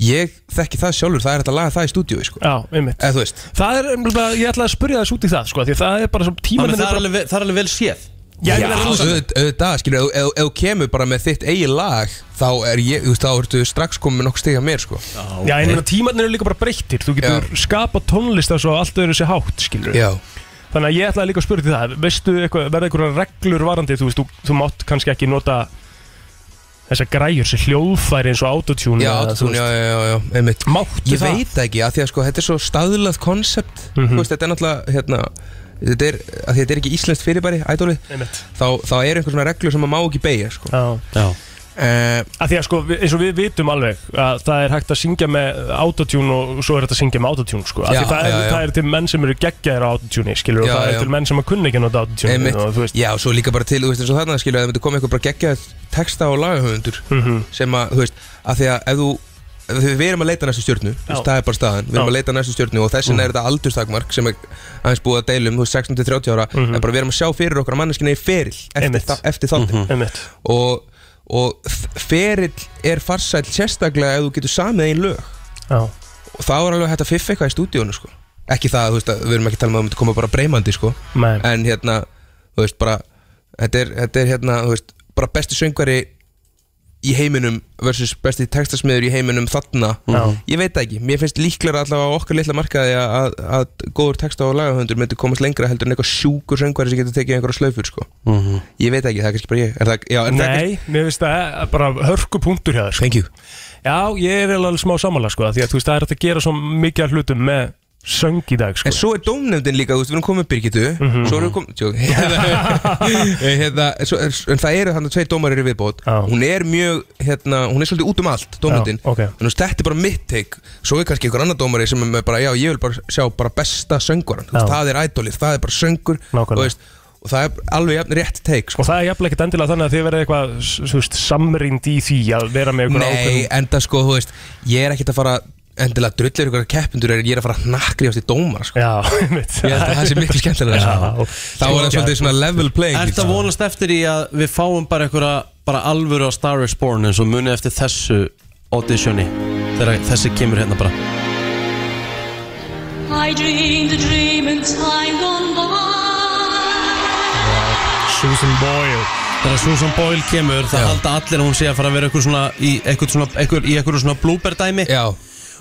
[SPEAKER 8] Ég þekki það sjálfur, það er hægt að laga það í stúdíu sko.
[SPEAKER 1] Já, einmitt
[SPEAKER 8] Eða þú veist
[SPEAKER 1] Það er, nefnilega- ég ætla að spurja þess út í það sko, því að það er bara svo
[SPEAKER 4] Þannig
[SPEAKER 1] tímanin
[SPEAKER 4] það
[SPEAKER 1] er
[SPEAKER 4] er
[SPEAKER 1] bara,
[SPEAKER 4] alveg, vel- það er alveg vel séð
[SPEAKER 1] Já, ég
[SPEAKER 8] Já,
[SPEAKER 1] meina, rosalega.
[SPEAKER 8] auðvitað, auðvitað, skilur, ef- ef ef þú kemur bara með þitt eigi lag þá er ég, þú veist, þá ertu strax komið nokkuð stiga mér, sko
[SPEAKER 1] Já, en tímanin eru líka bara breyttir Þú getur skapað tónlist að svo allt öðru sér hátt skilur
[SPEAKER 8] Já,
[SPEAKER 1] Þannig að ég ætlaði líka að spyrja til það Veistu eitthvað, verða einhverja reglur varandi Þú veist, þú, þú mátt kannski ekki nota uh, þessar græjur sem hljóðfæri eins og autotune
[SPEAKER 8] Já,
[SPEAKER 1] eða, þú
[SPEAKER 8] autotune,
[SPEAKER 1] veist,
[SPEAKER 8] já, já, já, já, einmitt
[SPEAKER 1] Máttu
[SPEAKER 8] Ég
[SPEAKER 1] það? Mhm.
[SPEAKER 8] veit það ekki, af því að sko, þetta er svo staðlað konsept Þú veist, þetta er náttúrulega, hérna Þetta er, að þetta er ekki íslenskt fyrirbæri, ædólið
[SPEAKER 1] Einmitt.
[SPEAKER 8] þá, þá er einhver svona reglur sem maður má ekki beigja, sko
[SPEAKER 1] Já.
[SPEAKER 4] Já,
[SPEAKER 8] uh,
[SPEAKER 1] Af því að sko, við- eins og við vitum alveg að það er hægt að syngja með autotune og svo er hægt að syngja með autotune sko. Af
[SPEAKER 8] Já,
[SPEAKER 1] því það, er,
[SPEAKER 8] já, já.
[SPEAKER 1] það er til menn sem eru geggjaðir á autotune skilur,
[SPEAKER 8] Já,
[SPEAKER 1] og það
[SPEAKER 8] já.
[SPEAKER 1] er til menn sem að kunna ekki að nota autotune
[SPEAKER 8] Einmitt,
[SPEAKER 1] og þú veist,
[SPEAKER 8] já, svo líka bara til, þú veist, eins og þarna skilur að það myndi koma einhver bara geggja texta og lagahöfundur
[SPEAKER 1] Mhm.
[SPEAKER 8] sem að, þú veist, að því að ef þú ef við við erum að leita að næstu stjórnu, þú veist,
[SPEAKER 1] Já.
[SPEAKER 8] það er bara staðan við
[SPEAKER 1] Já.
[SPEAKER 8] erum
[SPEAKER 1] Mhm.
[SPEAKER 8] að leita að næstu stjórnu og þessin mm. er þetta aldurstakmark sem er aðeins búið að deilum, þú veist, 16-30 ára en bara við erum að sjá fyrir okkur að manneskinni er feril eftir,
[SPEAKER 1] Mhm. Einmitt. Mhm.
[SPEAKER 8] þa- eftir þáttin
[SPEAKER 1] einmitt
[SPEAKER 8] og, og f- ferill er farsæll sérstaklega ef þú getur samið einn lög
[SPEAKER 1] Já,
[SPEAKER 8] og það var alveg hægt að fiffa eitthvað í stúdíónu sko. ekki það, þú veist, að, við erum ekki að tala um að það myndi koma bara breymandi sko.
[SPEAKER 1] Nei.
[SPEAKER 8] en hérna, þú veist, bara þetta er, þetta er hérna, þú veist, bara besti söngvari í heiminum versus besti textasmiður í heiminum þarna
[SPEAKER 1] Já.
[SPEAKER 8] ég veit það ekki, mér finnst líklega allavega á okkar litla markaði að, að, að góður texta og lagahöndur myndi komast lengra heldur en eitthvað sjúkur söngvari sem getur tekið einhverja slaufur sko. ég veit það ekki, það er kannski bara ég er það, já, er það kannski,
[SPEAKER 1] Mhm. Nei, mér finnst það bara hörku punktur hjá þér sko.
[SPEAKER 8] thank you
[SPEAKER 1] Já, ég er eiginlega alveg smá samanlega sko, af því að þú veist, það er hægt að gera svo mikið af hlutum með söng í dag sko.
[SPEAKER 8] En svo er dómnefndin líka, þú veist, við erum komið Birgitu
[SPEAKER 1] Mhm.
[SPEAKER 8] Svo erum við komið, tjók hérna, svo, er- En það eru þannig tvei dómarir í viðbót
[SPEAKER 1] Já.
[SPEAKER 8] Hún er mjög, hérna, hún er svolítið út um allt, dómnefndin
[SPEAKER 1] Já, ok.
[SPEAKER 8] En þú veist, þetta er bara mitt teik Svo er kannski einhver annar dómari sem er með bara, já, ég vil bara sjá bara besta söngvaran Þú veist,
[SPEAKER 1] Já.
[SPEAKER 8] Það er ædolið, það er bara söngur
[SPEAKER 1] Nákvæmlega.
[SPEAKER 8] og, veist, og það er alveg jafn rétt teik sko.
[SPEAKER 1] Og það er jafnlega ekkert endilega þannig að þið verða eitthvað s- þú veist, samrýnd í því að vera með einhverja
[SPEAKER 8] Nei,
[SPEAKER 1] ákveðum
[SPEAKER 8] enda sko, þú veist, ég er ekkert að fara endilega drullir ykkur keppindur er ég er að fara að hnakriðast í dómar sko.
[SPEAKER 1] Já, einmitt
[SPEAKER 8] Ég held að það sé miklu skemmtilega
[SPEAKER 1] Já.
[SPEAKER 8] Þá var það svolítið svona level playing
[SPEAKER 4] Er
[SPEAKER 8] field,
[SPEAKER 4] þetta
[SPEAKER 8] sko.
[SPEAKER 4] vonast eftir í að við fáum bara einhverja bara alvöru á Star Wars Born eins og munið eftir þessu auditioni þegar þessi kemur hérna bara
[SPEAKER 9] I dreamed a dream in time gone by.
[SPEAKER 1] Susan Boyle
[SPEAKER 4] þegar Susan Boyle kemur það
[SPEAKER 8] Já.
[SPEAKER 4] halda allir að hún sé að fara að vera eitthvað svona í eitthvað svona, eitthvað, í eitthvað svona blúberdæmi
[SPEAKER 8] Já,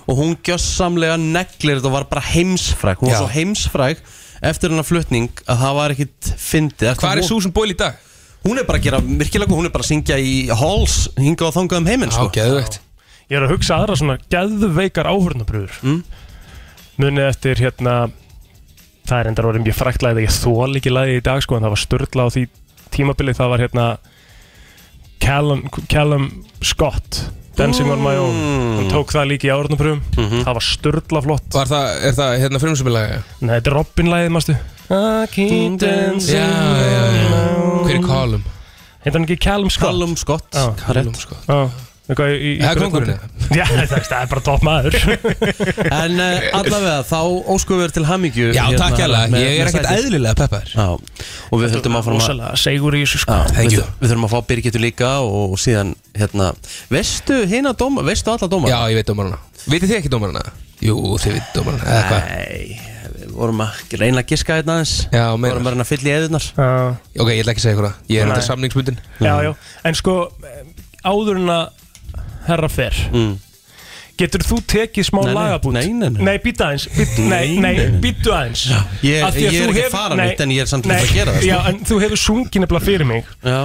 [SPEAKER 4] og hún gjössamlega neglir þetta og var bara heimsfræk hún var
[SPEAKER 8] Já.
[SPEAKER 4] svo heimsfræk eftir hennar flutning að það var ekkit fyndið Ertu
[SPEAKER 8] hvað er
[SPEAKER 4] von-
[SPEAKER 8] Susan Boyle í dag?
[SPEAKER 4] hún er bara að gera virkilega hún er bara að syngja í halls hinga og þangað um heiminn sko.
[SPEAKER 8] geðvegt
[SPEAKER 1] Ég er að hugsa aðra svona geðveikar áhörnabröður mm. Munið eftir hérna Það er endar orðið mjög frækt lagið Ég þól ekki lagið í dag sko En það var störla á því tímabilið Það var hérna Callum, Callum Scott Dancing on my own
[SPEAKER 4] Mm.
[SPEAKER 1] Hann tók það líka í áhörnabröðum
[SPEAKER 4] Mhm.
[SPEAKER 1] Það var störla flott
[SPEAKER 8] Var það, er það hérna frumsumilega?
[SPEAKER 1] Nei, þetta er Robin lagið, mástu I keep dancing
[SPEAKER 8] Hver er Callum?
[SPEAKER 1] Heitir hann ekki Callum Scott?
[SPEAKER 4] Callum Scott
[SPEAKER 1] Já.
[SPEAKER 4] Callum
[SPEAKER 8] sko
[SPEAKER 1] Já, eitthvað í- í- í-
[SPEAKER 8] Það er kongurinn
[SPEAKER 1] Já, það er- það er bara topp maður
[SPEAKER 4] En uh, allavega, þá óskum við þér til hamingju
[SPEAKER 8] Já, takk hérlega,
[SPEAKER 4] hérna með-
[SPEAKER 8] ég
[SPEAKER 4] með
[SPEAKER 8] er ekkert
[SPEAKER 4] sætið.
[SPEAKER 8] eðlilega peppaður
[SPEAKER 4] Já, og við höldum áfram að
[SPEAKER 1] Rósalega segur í þessu sko
[SPEAKER 4] Já,
[SPEAKER 8] Thank
[SPEAKER 4] við,
[SPEAKER 8] you.
[SPEAKER 4] við þurfum að fá Birgitu líka og síðan, hérna, veistu hina dóma, veistu alla dóma?
[SPEAKER 8] Já, ég veit dómarana Vitið þið ekki dómarana? Jú, þið veit dómarana Eða hvað?
[SPEAKER 4] Nei, við vorum að reyna að giska hérna aðeins
[SPEAKER 8] Já,
[SPEAKER 4] Við
[SPEAKER 8] meinar.
[SPEAKER 4] vorum að reyna að fylla í eðunar
[SPEAKER 1] Já,
[SPEAKER 8] Ok, ég ætla ekki að segja ykkur það Ég er
[SPEAKER 1] Nei.
[SPEAKER 8] þetta samningsbundin
[SPEAKER 1] já, já, en sko eh, áður en að herra fer getur þú tekið smá
[SPEAKER 4] Mm. Nei, nei,
[SPEAKER 1] lagabút
[SPEAKER 4] nei, nei, nei.
[SPEAKER 1] nei, býta aðeins být, nei, nei, býtu aðeins
[SPEAKER 4] Ég-
[SPEAKER 1] Af því
[SPEAKER 4] ég er
[SPEAKER 1] þú
[SPEAKER 4] ekki að
[SPEAKER 1] hefur-
[SPEAKER 4] fara
[SPEAKER 1] nei,
[SPEAKER 4] neitt, en ég er samt
[SPEAKER 1] nei,
[SPEAKER 4] að gera það, sko.
[SPEAKER 1] já, en þú hefur sungið nefnilega fyrir mig
[SPEAKER 4] Já,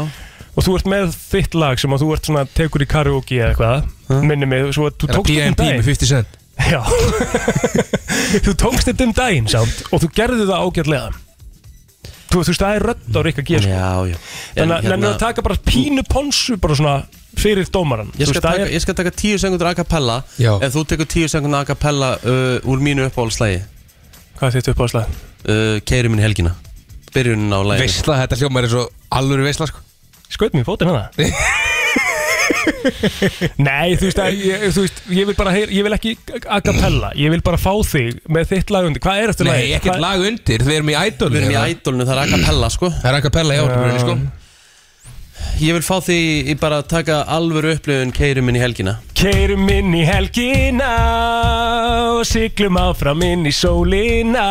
[SPEAKER 1] og þú ert með þitt lag sem að þú ert svona tekur í karaoke eða eitthvað minni mig, svo að þú
[SPEAKER 8] Er það
[SPEAKER 1] tókst þetta um
[SPEAKER 8] PNP með
[SPEAKER 1] daginn
[SPEAKER 8] 50 cent?
[SPEAKER 1] já þú tókst þetta um daginn samt og þú gerði það ágjörlega þú þú veist, það er rödd á Rikka G sko.
[SPEAKER 4] já, já En
[SPEAKER 1] Þannig að hérna, að taka bara pínu ponsu bara svona fyrir dómaran
[SPEAKER 4] Ég skal,
[SPEAKER 1] Þú veist, það
[SPEAKER 4] taka,
[SPEAKER 1] er-
[SPEAKER 4] ég skal taka tíu sengundur a cappella
[SPEAKER 8] Já.
[SPEAKER 4] Ef þú tekur tíu sengundur a cappella uh, úr mínu uppáhaldslægi
[SPEAKER 1] Hvað er þitt uppáðslag?
[SPEAKER 4] uh, Keiri minn í helgina Byrjunin á læginu
[SPEAKER 8] Veistla, þetta hljómar er svo alvöru veistla sko
[SPEAKER 1] Skaut mér í fótinn hana Nei, þú veist, að, ég, þú veist ég vil bara heyr, ég vil ekki a cappella ég vil bara fá þig með þitt lag undir Hvað er eftir
[SPEAKER 8] Nei, ekkert lag undir, við erum í ædol
[SPEAKER 4] Við erum í ædolnu, það er a cappella sko
[SPEAKER 8] Það er að kapella í áhverjum sko
[SPEAKER 4] Ég vil fá því í bara að taka alvöru upplifun Keiri minn í helgina
[SPEAKER 1] Keirum inn í helgina og siglum áfram inn í sólina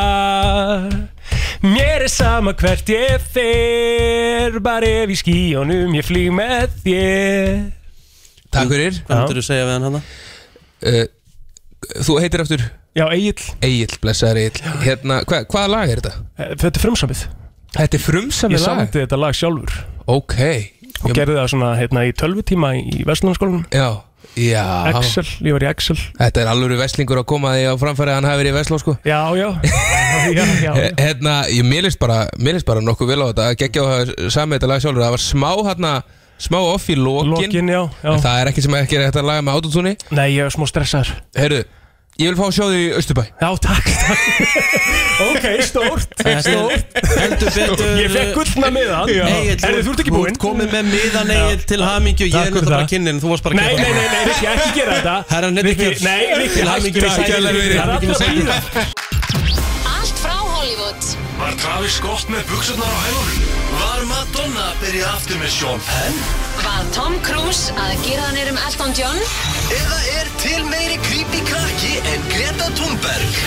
[SPEAKER 1] Mér er sama hvert ég fer bara ef í skíunum ég flýg með þér
[SPEAKER 8] Takk fyrir
[SPEAKER 4] Hvað myndir þú segja við hann hana?
[SPEAKER 8] Uh, Þú heitir aftur
[SPEAKER 1] Já, Egil,
[SPEAKER 8] Egil, blessaður Egil Hérna, hva, hvaða lag er þetta?
[SPEAKER 1] Eh, þetta er frumsamið
[SPEAKER 8] Þetta er frumsamið
[SPEAKER 1] Ég
[SPEAKER 8] lag
[SPEAKER 1] samti þetta lag sjálfur
[SPEAKER 8] Ok,
[SPEAKER 1] og gerði það svona hérna, í tölvutíma í Vestlunarskólanum
[SPEAKER 8] Já, já
[SPEAKER 1] Excel, ég var í Excel
[SPEAKER 8] Þetta er alveg veslingur að koma því á framfæri að hann hafi verið í Vesló sko
[SPEAKER 1] Já, já, já, já, já.
[SPEAKER 8] Eh, Hérna, ég milist bara, milist bara nokkuð vel á þetta Gekkja á samið þetta lag sjálfur Það var smá hérna, smá off í lokin,
[SPEAKER 1] Lokin, já,
[SPEAKER 8] En
[SPEAKER 1] já
[SPEAKER 8] það er ekki sem ekki er hægt að laga með autotúni
[SPEAKER 1] Nei, ég var smá stressaður
[SPEAKER 8] Heyrðu, ég vil fá að sjá þig í Östurbæ
[SPEAKER 1] Já, takk, takk Ok, stórt, stórt
[SPEAKER 4] Heldur betur
[SPEAKER 1] Ég fekk gullna miðan
[SPEAKER 4] Egill,
[SPEAKER 1] Herðu, þú ert ekki búinn
[SPEAKER 4] komið með miðan Egil til hamingju Ég
[SPEAKER 1] Takk
[SPEAKER 4] er
[SPEAKER 1] fyrir
[SPEAKER 4] náttúrulega
[SPEAKER 1] það.
[SPEAKER 4] bara kynnin, þú varst bara
[SPEAKER 1] Nei, nei, nei, nei, Rikki, ekki gera þetta
[SPEAKER 4] Herra, nefnir
[SPEAKER 1] Rikki,
[SPEAKER 4] ekki-
[SPEAKER 1] Nei, Rikki,
[SPEAKER 4] Til hamingju með
[SPEAKER 1] hættu
[SPEAKER 4] sætið.
[SPEAKER 1] þessu. Það er allir að býða
[SPEAKER 9] Allt frá Hollywood
[SPEAKER 2] Var Travis Scott með buksurnar á hælunum? Var Madonna að byrja aftur með Sean Penn?
[SPEAKER 9] Var Tom Cruise að gera hann um Elton John?
[SPEAKER 2] Eða er til meiri creepy krakki en Greta Thunberg?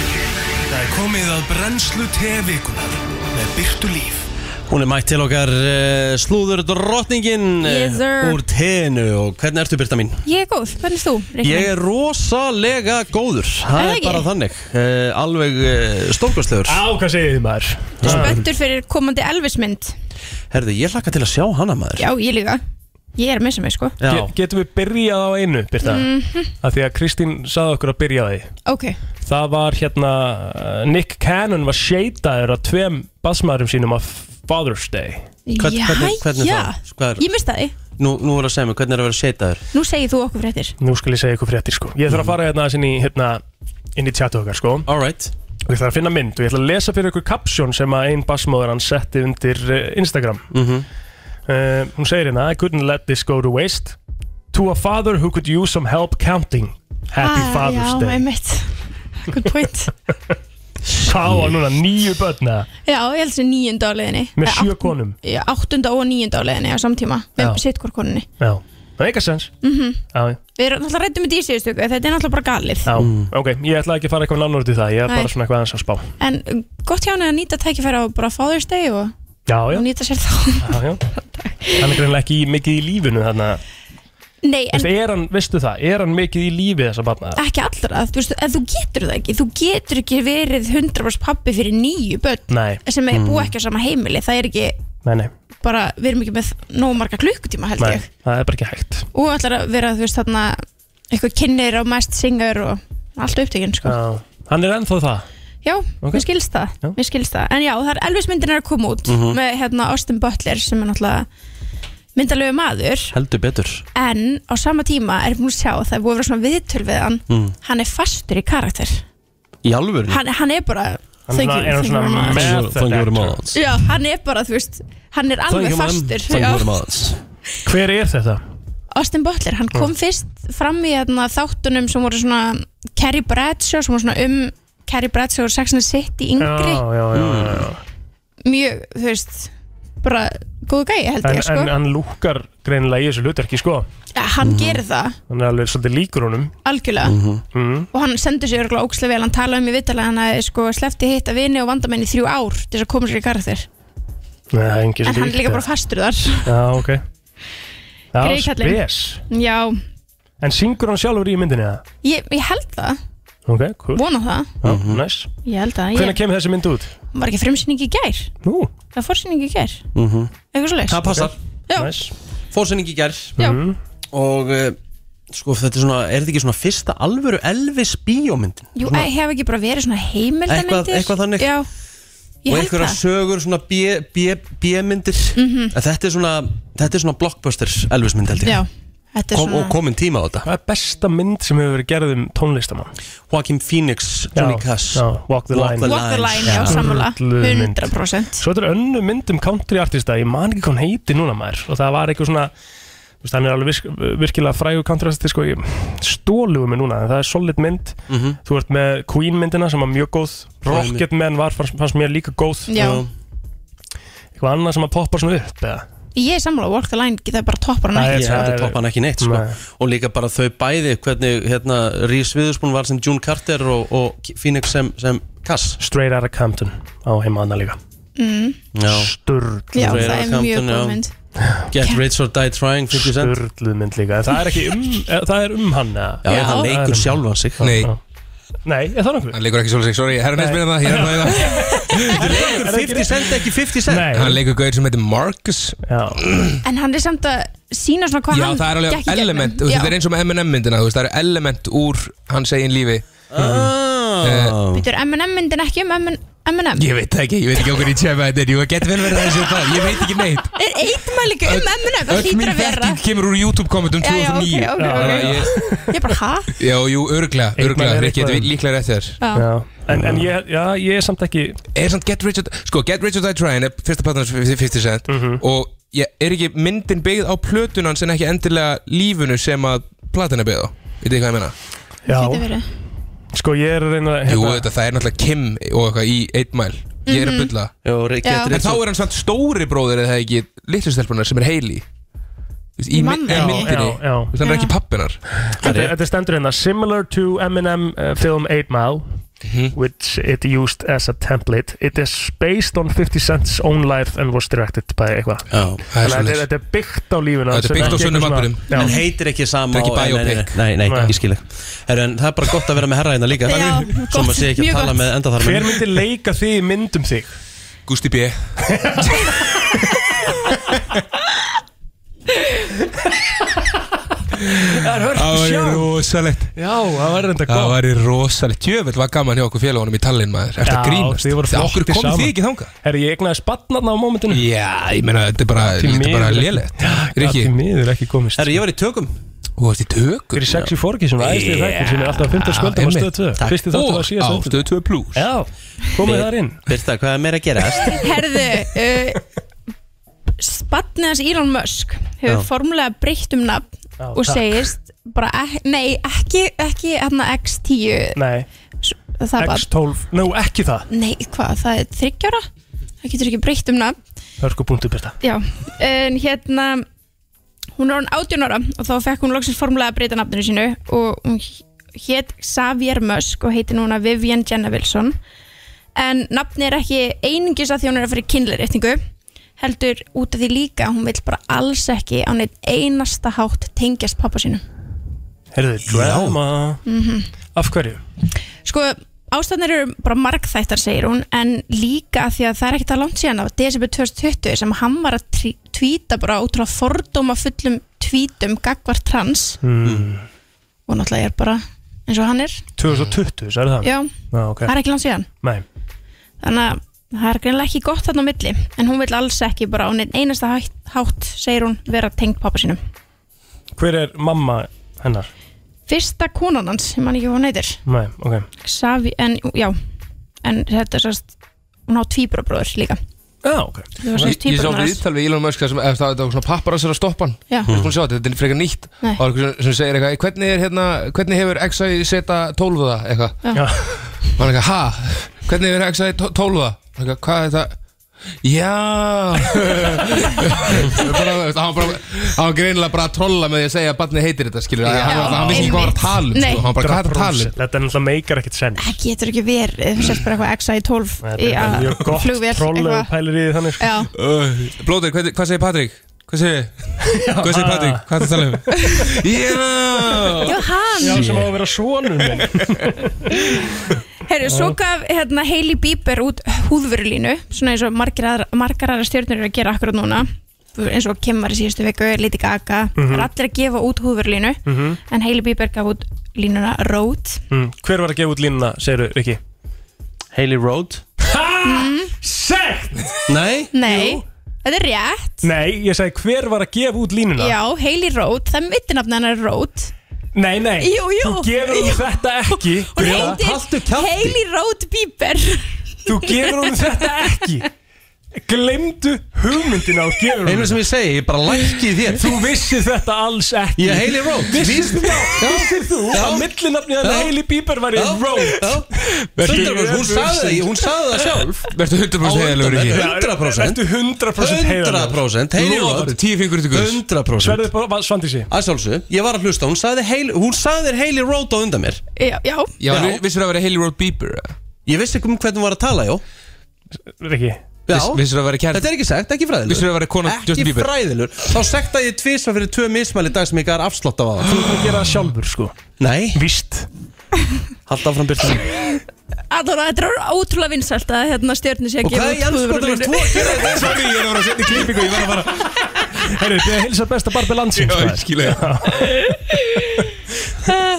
[SPEAKER 2] Það er komið að brennslu tevikunar með byrtu líf.
[SPEAKER 4] Hún er mætt til okkar uh, slúður drottningin
[SPEAKER 10] Yes, sir.
[SPEAKER 4] úr tenu og hvernig ertu Birta mín?
[SPEAKER 10] Ég er góð, hvernig erst þú? Rikki?
[SPEAKER 4] Ég er rosalega góður, það
[SPEAKER 10] það
[SPEAKER 4] er
[SPEAKER 10] ekki?
[SPEAKER 4] bara þannig uh, Alveg uh, stórkostlegur
[SPEAKER 1] Á, hvað segir þið maður?
[SPEAKER 10] Ertu spenntur fyrir komandi Elvis mynd
[SPEAKER 4] Herðu, ég hlakka til að sjá hana maður
[SPEAKER 10] Já, ég líka Ég er að missa mig sko
[SPEAKER 4] Já.
[SPEAKER 1] Ge- Getum við byrjað á einu, Birta? Mm
[SPEAKER 10] Mhm.
[SPEAKER 1] Því að Kristín saði okkur að byrja á því
[SPEAKER 10] Ok,
[SPEAKER 1] Það var hérna uh, Nick Cannon var sheitaður af tveim basmaðurum sínum af Father's Day
[SPEAKER 4] Hvern-
[SPEAKER 10] já,
[SPEAKER 4] hvernig- hvernig
[SPEAKER 10] já
[SPEAKER 4] þá? Hvað er-
[SPEAKER 10] Ég mista því
[SPEAKER 4] Nú, nú er að segja mig, hvernig er að vera seitaður?
[SPEAKER 10] Nú segir þú okkur fréttir
[SPEAKER 1] Nú skal ég segja ykkur fréttir sko Ég þarf að fara hérna aðeins inn í hérna inn í tjatu okkar sko
[SPEAKER 4] Alright
[SPEAKER 1] og ég þarf að finna mynd og ég ætla að lesa fyrir ykkur kapsjón sem að ein basmóður hann setti undir eh, Instagram uh, hún segir hérna I couldn't let this go to waste to a father who could use some help counting Happy Father's
[SPEAKER 10] Ah, Já,
[SPEAKER 1] Day
[SPEAKER 10] einmitt Good point
[SPEAKER 1] Sá hann núna nýju börna
[SPEAKER 10] Já, ég held sér nýjunda á leiðinni
[SPEAKER 1] með
[SPEAKER 10] Eh,
[SPEAKER 1] sjö
[SPEAKER 10] átt-
[SPEAKER 1] konum
[SPEAKER 10] Já, áttunda og nýjunda á leiðinni á samtíma
[SPEAKER 1] Já.
[SPEAKER 10] Með sitt hvort konunni
[SPEAKER 1] Já, það er eitthvað sens
[SPEAKER 10] Mhm.
[SPEAKER 1] Já, já.
[SPEAKER 10] Við erum náttúrulega rættum með dísiðustöku Þetta er náttúrulega bara galið
[SPEAKER 1] já,
[SPEAKER 4] Mm.
[SPEAKER 1] ok, ég ætla ekki að fara eitthvað nánar út í það Ég er bara
[SPEAKER 10] Nei.
[SPEAKER 1] svona eitthvað aðeins að spá
[SPEAKER 10] En uh, gott hjá hann að nýta tækifæra og bara Father's Day og,
[SPEAKER 1] Já, já,
[SPEAKER 10] og nýta sér þá
[SPEAKER 1] já, já Hann er greinlega ekki í- mikið í lífinu þarna
[SPEAKER 10] Nei,
[SPEAKER 1] Vist,
[SPEAKER 10] en Ah.
[SPEAKER 1] er hann, veistu það, er hann mikið í lífi þessa barna?
[SPEAKER 10] ekki allra þú, veist, en þú getur það ekki, þú getur ekki verið 100% pappi fyrir nýju börn
[SPEAKER 1] Nei, Mm.
[SPEAKER 10] sem er búið ekki á sama heimili það er ekki
[SPEAKER 1] nei, nei,
[SPEAKER 10] bara, við erum ekki með nóg marga klukkutíma held
[SPEAKER 1] nei,
[SPEAKER 10] ég
[SPEAKER 1] það er bara ekki hægt
[SPEAKER 10] og ætlar að vera, þú veist, þarna eitthvað kynir og mest singer og allt upptökin, sko
[SPEAKER 1] Já, hann er ennþá það
[SPEAKER 10] Já,
[SPEAKER 1] Ok.
[SPEAKER 10] mér skilst það,
[SPEAKER 1] Já. Mhm.
[SPEAKER 10] mér skilst það En já, það er Elvis myndin er að koma út með hérna Austin Butler sem er náttúrulega myndalegu maður
[SPEAKER 4] Heldur betur
[SPEAKER 10] en á sama tíma er ég búin að sjá að það er búin að vera svona viðtöl við hann
[SPEAKER 1] Mhm.
[SPEAKER 10] hann er fastur í karakter
[SPEAKER 4] Í alvöru
[SPEAKER 10] hann, hann er bara
[SPEAKER 1] Hann er
[SPEAKER 10] thank you-
[SPEAKER 1] svona- er hann
[SPEAKER 10] thank you
[SPEAKER 1] svona
[SPEAKER 10] very much.
[SPEAKER 1] með-
[SPEAKER 4] Thank you very much
[SPEAKER 10] já, hann er bara, þú veist hann er
[SPEAKER 4] Thank
[SPEAKER 10] alveg
[SPEAKER 4] you, ma'am.
[SPEAKER 10] fastur
[SPEAKER 4] Thank you
[SPEAKER 10] já.
[SPEAKER 4] very much
[SPEAKER 1] Hver er þetta?
[SPEAKER 10] Austin Butler, hann kom fyrst fram í hérna, þáttunum sem voru svona Carrie Bradshaw, sem voru svona um Carrie Bradshaw og Saxon City yngri
[SPEAKER 1] Já, já, já, já,
[SPEAKER 4] Mm.
[SPEAKER 1] já.
[SPEAKER 10] mjög, þú veist bara góðu gæi held
[SPEAKER 1] En,
[SPEAKER 10] ég, sko
[SPEAKER 1] en hann lúkar greinilega í þessu hlutverki sko
[SPEAKER 10] Ja, hann gerir það,
[SPEAKER 1] Hann er alveg svolítið líkur honum
[SPEAKER 10] algjörlega
[SPEAKER 1] mm.
[SPEAKER 10] og hann sendur sér örgulega ókslega vel hann talaði um í vittalega hann að sko, slefti hitta vini og vandamenn í þrjú ár til þess að koma sér í karakter
[SPEAKER 1] Nei, það er engin
[SPEAKER 10] en
[SPEAKER 1] sem
[SPEAKER 10] hann er líka bara
[SPEAKER 1] líkt
[SPEAKER 10] fastur þar
[SPEAKER 1] það. Já, ok
[SPEAKER 10] Grey
[SPEAKER 1] Já,
[SPEAKER 10] kallinn.
[SPEAKER 1] spes
[SPEAKER 10] já,
[SPEAKER 1] En syngur hann sjálfur í myndinni það?
[SPEAKER 10] ég, ég held það,
[SPEAKER 1] Ok, cool,
[SPEAKER 10] vona það
[SPEAKER 1] já, næs
[SPEAKER 10] ég held það,
[SPEAKER 1] Hvernig
[SPEAKER 10] ég
[SPEAKER 1] kemur þessi mynd út?
[SPEAKER 10] var ekki frumsýning í gær
[SPEAKER 1] Nú,
[SPEAKER 10] það var fórsýning í gær, mm -hmm. eitthvað svo
[SPEAKER 4] Það passar
[SPEAKER 10] já,
[SPEAKER 1] næs
[SPEAKER 4] Fórsenning í gær
[SPEAKER 10] já,
[SPEAKER 1] Mhm.
[SPEAKER 4] Og uh, sko þetta er svona Er þetta ekki svona fyrsta alvöru Elvis bíómyndin?
[SPEAKER 10] jú, æ, hef ekki bara verið svona heimildamindir
[SPEAKER 4] Eitthvað- eitthvað þannig.
[SPEAKER 10] já, ég
[SPEAKER 4] Og
[SPEAKER 10] held
[SPEAKER 4] einhverja
[SPEAKER 10] það Mhm.
[SPEAKER 4] sögur svona B- B- B-myndir En þetta er svona Þetta er svona blockbuster Elvis mynd held
[SPEAKER 10] já,
[SPEAKER 4] ég
[SPEAKER 10] þetta er
[SPEAKER 4] Kom, Og
[SPEAKER 10] svona
[SPEAKER 4] komin tíma á þetta
[SPEAKER 1] Hvað er besta mynd sem hefur verið gerð um tónlistamann?
[SPEAKER 4] Joaquin Phoenix, Johnny
[SPEAKER 1] Já,
[SPEAKER 4] Cass
[SPEAKER 1] já, Walk the Line.
[SPEAKER 10] walk the line, já,
[SPEAKER 4] Já.
[SPEAKER 10] sammála
[SPEAKER 1] Rulluð mynd.
[SPEAKER 10] 100%
[SPEAKER 1] Svo þetta er önnu mynd um country artista Ég man ekki hvað hann heiti núna maður Og það var eitthvað svona þú veist, Hann er alveg virk, virkilega frægur country artista sko, ég- Stóluðu mig núna en Það er solid mynd Þú ert með Queen myndina sem var mjög góð Rocketman var, fannst, fannst mér líka góð
[SPEAKER 10] já,
[SPEAKER 1] Eitthvað annað sem að poppa svona upp eða?
[SPEAKER 10] ég er sammála, walk the line, það bara toppar hann
[SPEAKER 1] Nei,
[SPEAKER 10] ekki
[SPEAKER 4] Ég
[SPEAKER 1] Það
[SPEAKER 4] hefði
[SPEAKER 1] er-
[SPEAKER 4] toppan ekki neitt sko.
[SPEAKER 1] Nei.
[SPEAKER 4] og líka bara þau bæði hvernig hérna, Rís Viðurspún var sem June Carter og, og Phoenix sem, sem Cass
[SPEAKER 1] Straight Outta Compton á heima annað líka
[SPEAKER 4] já.
[SPEAKER 1] Sturlu
[SPEAKER 10] Já,
[SPEAKER 4] Straight Outta
[SPEAKER 10] það er mjög
[SPEAKER 4] Compton, já.
[SPEAKER 10] góð mynd
[SPEAKER 4] Get Rich or Die Trying 50 cent
[SPEAKER 1] Sturlu mynd líka En Það er ekki um, eh, það er um hann eða?
[SPEAKER 4] Já, já, hann
[SPEAKER 10] Já.
[SPEAKER 4] leikur sjálfan sig
[SPEAKER 8] Nei,
[SPEAKER 1] Já. Nei, er það nokkuð?
[SPEAKER 8] Hann leikur ekki svolítið, sorry, ég herra neins meira það, ég herra neins meira
[SPEAKER 4] það 50 cent ekki 50 cent
[SPEAKER 8] það Hann leikur gauðir sem heitir Marcus Já,
[SPEAKER 10] En hann er samt að sína svona hvað hann
[SPEAKER 8] það er
[SPEAKER 10] gekk í
[SPEAKER 8] alveg
[SPEAKER 10] gegnum.
[SPEAKER 8] element, þú veist,
[SPEAKER 10] Já.
[SPEAKER 8] þetta er eins og með M&M myndina, þú veist, það eru element úr hans eigin lífi Ah.
[SPEAKER 10] Býtur M&M myndin ekki um M&M? M&M?
[SPEAKER 8] Ég veit það ekki, ég veit ekki okkur í tjema þetta er, jú, það getur vel verið að þessi það, ég veit ekki neitt
[SPEAKER 10] Er eitmæl ekki um M&M? Það
[SPEAKER 8] Öll
[SPEAKER 10] hlýtur
[SPEAKER 8] mín
[SPEAKER 10] að vera
[SPEAKER 8] þekking kemur úr YouTube kommentum
[SPEAKER 10] Já, já,
[SPEAKER 8] 2009
[SPEAKER 10] ok, ok, ok.
[SPEAKER 8] Þannig að ég-
[SPEAKER 10] Ég bara, hæ?
[SPEAKER 8] Já, jú, örglega, örglega,
[SPEAKER 1] er
[SPEAKER 8] Rikki,
[SPEAKER 1] eitthvað.
[SPEAKER 8] þetta er líklega rétt þér
[SPEAKER 10] Já.
[SPEAKER 1] En, en ég, já, ég er samt ekki
[SPEAKER 8] er samt Get Rich or, sko, Get Rich or Die Tryin er fyrsta platan hans 50 Cent
[SPEAKER 1] Mhm.
[SPEAKER 8] og ég, er ekki myndin byggð á plötunan sem ekki endilega lífunu sem að platan er byggð á veit þið hvað ég meina?
[SPEAKER 1] Já,
[SPEAKER 10] Getur verið.
[SPEAKER 1] sko ég er að reyna að
[SPEAKER 8] Jú, þetta, það er náttúrulega Kim og eitthvað í 1 mile ég er að
[SPEAKER 10] Mhm.
[SPEAKER 8] bylla
[SPEAKER 10] Get Já. Rich
[SPEAKER 8] en þá er hann samt stóri bróðir eða ekki litlu stelpunar sem er heili í,
[SPEAKER 10] Ég
[SPEAKER 8] my-
[SPEAKER 10] man það
[SPEAKER 8] í
[SPEAKER 10] ekki.
[SPEAKER 8] myndinni
[SPEAKER 1] Já, já.
[SPEAKER 8] Þú veist, hann er ekki pappinar
[SPEAKER 1] Þetta þetta stendur hérna Similar to Eminem uh, film 8 Mile Which it used as a template It is based on 50 Cent's own life And was directed by eitthvað
[SPEAKER 4] það er
[SPEAKER 1] Þannig að þetta
[SPEAKER 4] svoleiðis.
[SPEAKER 1] er- þetta er byggt á lífuna
[SPEAKER 8] Þetta er byggt á sönnum atburðum.
[SPEAKER 4] Hann heitir ekki sama
[SPEAKER 8] Þetta er
[SPEAKER 4] á- nei,
[SPEAKER 8] ekki
[SPEAKER 4] nei,
[SPEAKER 8] biopic.
[SPEAKER 4] E. Nei, nei, nei,
[SPEAKER 1] Nei.
[SPEAKER 4] ég skil ekki Herru, en það er bara gott að vera með herra hérna líka
[SPEAKER 10] Já,
[SPEAKER 4] Svo
[SPEAKER 10] gott,
[SPEAKER 4] maður sé ekki að
[SPEAKER 10] mjög
[SPEAKER 4] tala
[SPEAKER 10] gott.
[SPEAKER 4] með endaþarmen
[SPEAKER 1] Hver myndi leika þig í myndum þig?
[SPEAKER 8] Gusti B
[SPEAKER 1] Það er hörð
[SPEAKER 8] það
[SPEAKER 1] sjá
[SPEAKER 8] var rosalegt
[SPEAKER 1] Já, það var reynda
[SPEAKER 8] það
[SPEAKER 1] gott
[SPEAKER 8] var rosalegt jöfnveld var gaman hjá okkur félagunum í Tallinn maður eftir að
[SPEAKER 1] Já,
[SPEAKER 8] grínast
[SPEAKER 1] þið voru
[SPEAKER 8] Þegar okkur
[SPEAKER 1] flottir
[SPEAKER 8] komið
[SPEAKER 1] saman.
[SPEAKER 8] þið ekki þangað
[SPEAKER 1] Herri, ég egnaði spannarna á mómentinu
[SPEAKER 8] Já, ég meina, þetta er bara,
[SPEAKER 1] Því
[SPEAKER 8] þetta er bara
[SPEAKER 1] miður ekki-
[SPEAKER 8] lélegt
[SPEAKER 1] Já,
[SPEAKER 8] Rikki,
[SPEAKER 1] Því miður ekki komist
[SPEAKER 4] Herru, ég var í tökum
[SPEAKER 8] þú varst í tökum
[SPEAKER 1] Fyrir 6 í fórki sem var æðislega þættir sem er alltaf 15 skvöldum á stöð 2 Fyrsti þáttur var síðast
[SPEAKER 8] Og á stöð 2 plus
[SPEAKER 1] Já, komið þar inn
[SPEAKER 4] Birta, hvað er meira að gerast?
[SPEAKER 10] Herðu, uh, spatniðans Elon Musk hefur
[SPEAKER 4] Já.
[SPEAKER 10] formulega breytt um nafn
[SPEAKER 1] Já,
[SPEAKER 10] og
[SPEAKER 1] takk.
[SPEAKER 10] segist bara, ek, nei, ekki, ekki hérna X10,
[SPEAKER 1] Nei,
[SPEAKER 10] það bara,
[SPEAKER 1] X12, nú ekki það
[SPEAKER 10] nei, hvað, það er þryggjára? Það getur ekki breytt um nafn.
[SPEAKER 1] Hörku punktu byrta
[SPEAKER 10] Já, en hérna hún er hann 18 ára og þá fekk hún loksins formulega að breyta nafninu sínu og hún hétt Xavier Musk og heitir núna Vivian Jenna Wilson en nafni er ekki einingis að því hún er að fyrir kynleirreitningu heldur út af því líka að hún vil bara alls ekki á neitt einasta hátt tengjast pappa sínum
[SPEAKER 1] Herðu, drama
[SPEAKER 10] Mhm.
[SPEAKER 1] Af hverju?
[SPEAKER 10] Sko, ástæðnir eru bara margþættar segir hún, en líka af því að það er ekkert að langt síðan af desember 2020 sem hann var að trí- tvíta bara útrúlega fordóma fullum tvítum gagvart trans og náttúrulega er bara eins og hann er,
[SPEAKER 1] 2020, sagði það?
[SPEAKER 10] já,
[SPEAKER 1] Já, ok
[SPEAKER 10] það er ekki langt síðan
[SPEAKER 1] Nei,
[SPEAKER 10] þannig að það er greinlega ekki gott þarna á milli en hún vil alls ekki bara á neinn einasta hætt, hátt segir hún vera tengd pappa sínum
[SPEAKER 1] hver er mamma hennar?
[SPEAKER 10] fyrsta konan hans, ég man ekki hvað hún heitir
[SPEAKER 1] Nei, ok
[SPEAKER 10] Xavi, en já en þetta er sérst hún á tvíbrabróður líka
[SPEAKER 1] Já, ok
[SPEAKER 10] Ég var
[SPEAKER 8] Ég,
[SPEAKER 10] semst
[SPEAKER 8] ég sá
[SPEAKER 10] tvíburinn hans.
[SPEAKER 8] viðtal við Elon Musk þar sem, eftir, það var svona papparassar að stoppa hann
[SPEAKER 10] Já.
[SPEAKER 8] Þú skoðum sjá þetta, þetta er frekar nýtt
[SPEAKER 10] Nei.
[SPEAKER 8] og það er einhver sem- sem segir eitthvað, "Æ, hvernig, er, hérna, hvernig hefur XI seta 12 það eitthvað
[SPEAKER 1] Já,
[SPEAKER 8] og hann eitthvað, ha, hvernig hefur XI 12 það og eitthvað, hvað er þetta Já bara, þú veist, hann, var bara, hann var greinilega bara að trolla með því að segja að barnið heitir þetta skilur hann, hann, hann vissi ekki hvað hann var að tala um
[SPEAKER 10] Nei.
[SPEAKER 8] sko. hann bara hvað er að tala um
[SPEAKER 1] Þetta er náttúrulega meikar ekkert senn
[SPEAKER 10] Það getur ekki verið, þú sérst bara eitthvað XI12 í
[SPEAKER 1] Þetta er
[SPEAKER 10] að
[SPEAKER 1] mjög gott
[SPEAKER 10] flugvél
[SPEAKER 1] trollu
[SPEAKER 10] eitthvað.
[SPEAKER 1] pælir í því þannig sko.
[SPEAKER 10] Já,
[SPEAKER 8] Uh, Blóður, hvað, hvað segir Patrik? Hvað segir, hvað segir
[SPEAKER 1] ah.
[SPEAKER 8] Patrik? Hvað er það að tala um? Já!
[SPEAKER 10] Jú, hann
[SPEAKER 1] Já, sem á að vera svonur minn
[SPEAKER 10] Herru, svo gaf hérna, Hailey Bieber út húðvörulínu svona eins og margar aðra- margar aðra stjórnur eru að gera akkurat núna eins og Kim var í síðustu viku, Lady Gaga
[SPEAKER 4] Mhm.
[SPEAKER 10] mm er allir að gefa út húðvörulínu en Hailey Bieber gaf út línuna Road
[SPEAKER 1] mm, Hver var að gefa út línuna, segirðu, Rikki?
[SPEAKER 4] Hailey Road
[SPEAKER 1] Sekt!
[SPEAKER 4] Nei
[SPEAKER 10] Nei, þetta er rétt
[SPEAKER 1] Nei, ég sagði hver var að gefa út línuna
[SPEAKER 10] Já, Hailey Road, það er mittinafn hennar Road
[SPEAKER 1] Nei, nei,
[SPEAKER 10] Jú, jú.
[SPEAKER 1] þú gefur
[SPEAKER 10] Jú.
[SPEAKER 1] hún þetta ekki
[SPEAKER 10] Hún
[SPEAKER 4] haltu
[SPEAKER 1] Grjóta.
[SPEAKER 10] heitir
[SPEAKER 4] kjafti.
[SPEAKER 10] Hailey Road Bieber
[SPEAKER 1] Þú gefur hún þetta ekki Glemdu hugmyndina og gefur hún
[SPEAKER 4] Einu sem ég segi, ég bara lækki í þér
[SPEAKER 1] Þú vissir þetta alls ekki
[SPEAKER 4] Ég er Hailey Road
[SPEAKER 1] Vissir þú, vissir þú
[SPEAKER 4] Já.
[SPEAKER 1] að millinafnið að
[SPEAKER 4] Já.
[SPEAKER 1] Hailey Bieber var í Road
[SPEAKER 4] Já, 100% hún sagði það, hún sagði það sjálf
[SPEAKER 8] Vertu 100%
[SPEAKER 4] Á
[SPEAKER 8] heiðalögur ekki?
[SPEAKER 4] undan, 100%.
[SPEAKER 1] Ertu 100% heiðan
[SPEAKER 4] 100% Hailey
[SPEAKER 8] Lofar,
[SPEAKER 4] Road
[SPEAKER 8] tíu fingur til guðs
[SPEAKER 4] 100%
[SPEAKER 1] Sverðið bara svandísi
[SPEAKER 4] Að sjálfsög, ég var að hlusta, hún sagði Hailey, hún sagði þér Hailey Road á undan mér
[SPEAKER 10] Já, já,
[SPEAKER 8] Já,
[SPEAKER 4] Já.
[SPEAKER 8] vi- vissir það að vera Hailey Road Bieber? eða?
[SPEAKER 4] Ég vissi ekki um hvernig hún var að tala, já
[SPEAKER 1] Rikki
[SPEAKER 4] Já,
[SPEAKER 8] Viss- Vissir það að vera kært?
[SPEAKER 4] þetta er ekki sagt, ekki fræðilur
[SPEAKER 8] Vissirðu að það væri kona Justin
[SPEAKER 4] Ekki
[SPEAKER 8] Bieber?
[SPEAKER 4] fræðilur, þá sekta ég tvisa fyrir tvö mismæli í dag sem ég gæðar afslátt af aða
[SPEAKER 1] Þú ert að gera það sjálfur sko
[SPEAKER 4] Nei,
[SPEAKER 1] Víst
[SPEAKER 4] Hald áfram Byrta
[SPEAKER 10] Allora, þetta er ótrúlega vinsælt að hérna stjörnir sé að
[SPEAKER 4] Og hvað í andskotanum ert þú að gera þetta?
[SPEAKER 1] Sorry, ég er að vera að setja í klippingu, ég var að fara Herru, þið að hilsa besta barbi landsins Já, ég
[SPEAKER 8] skil ég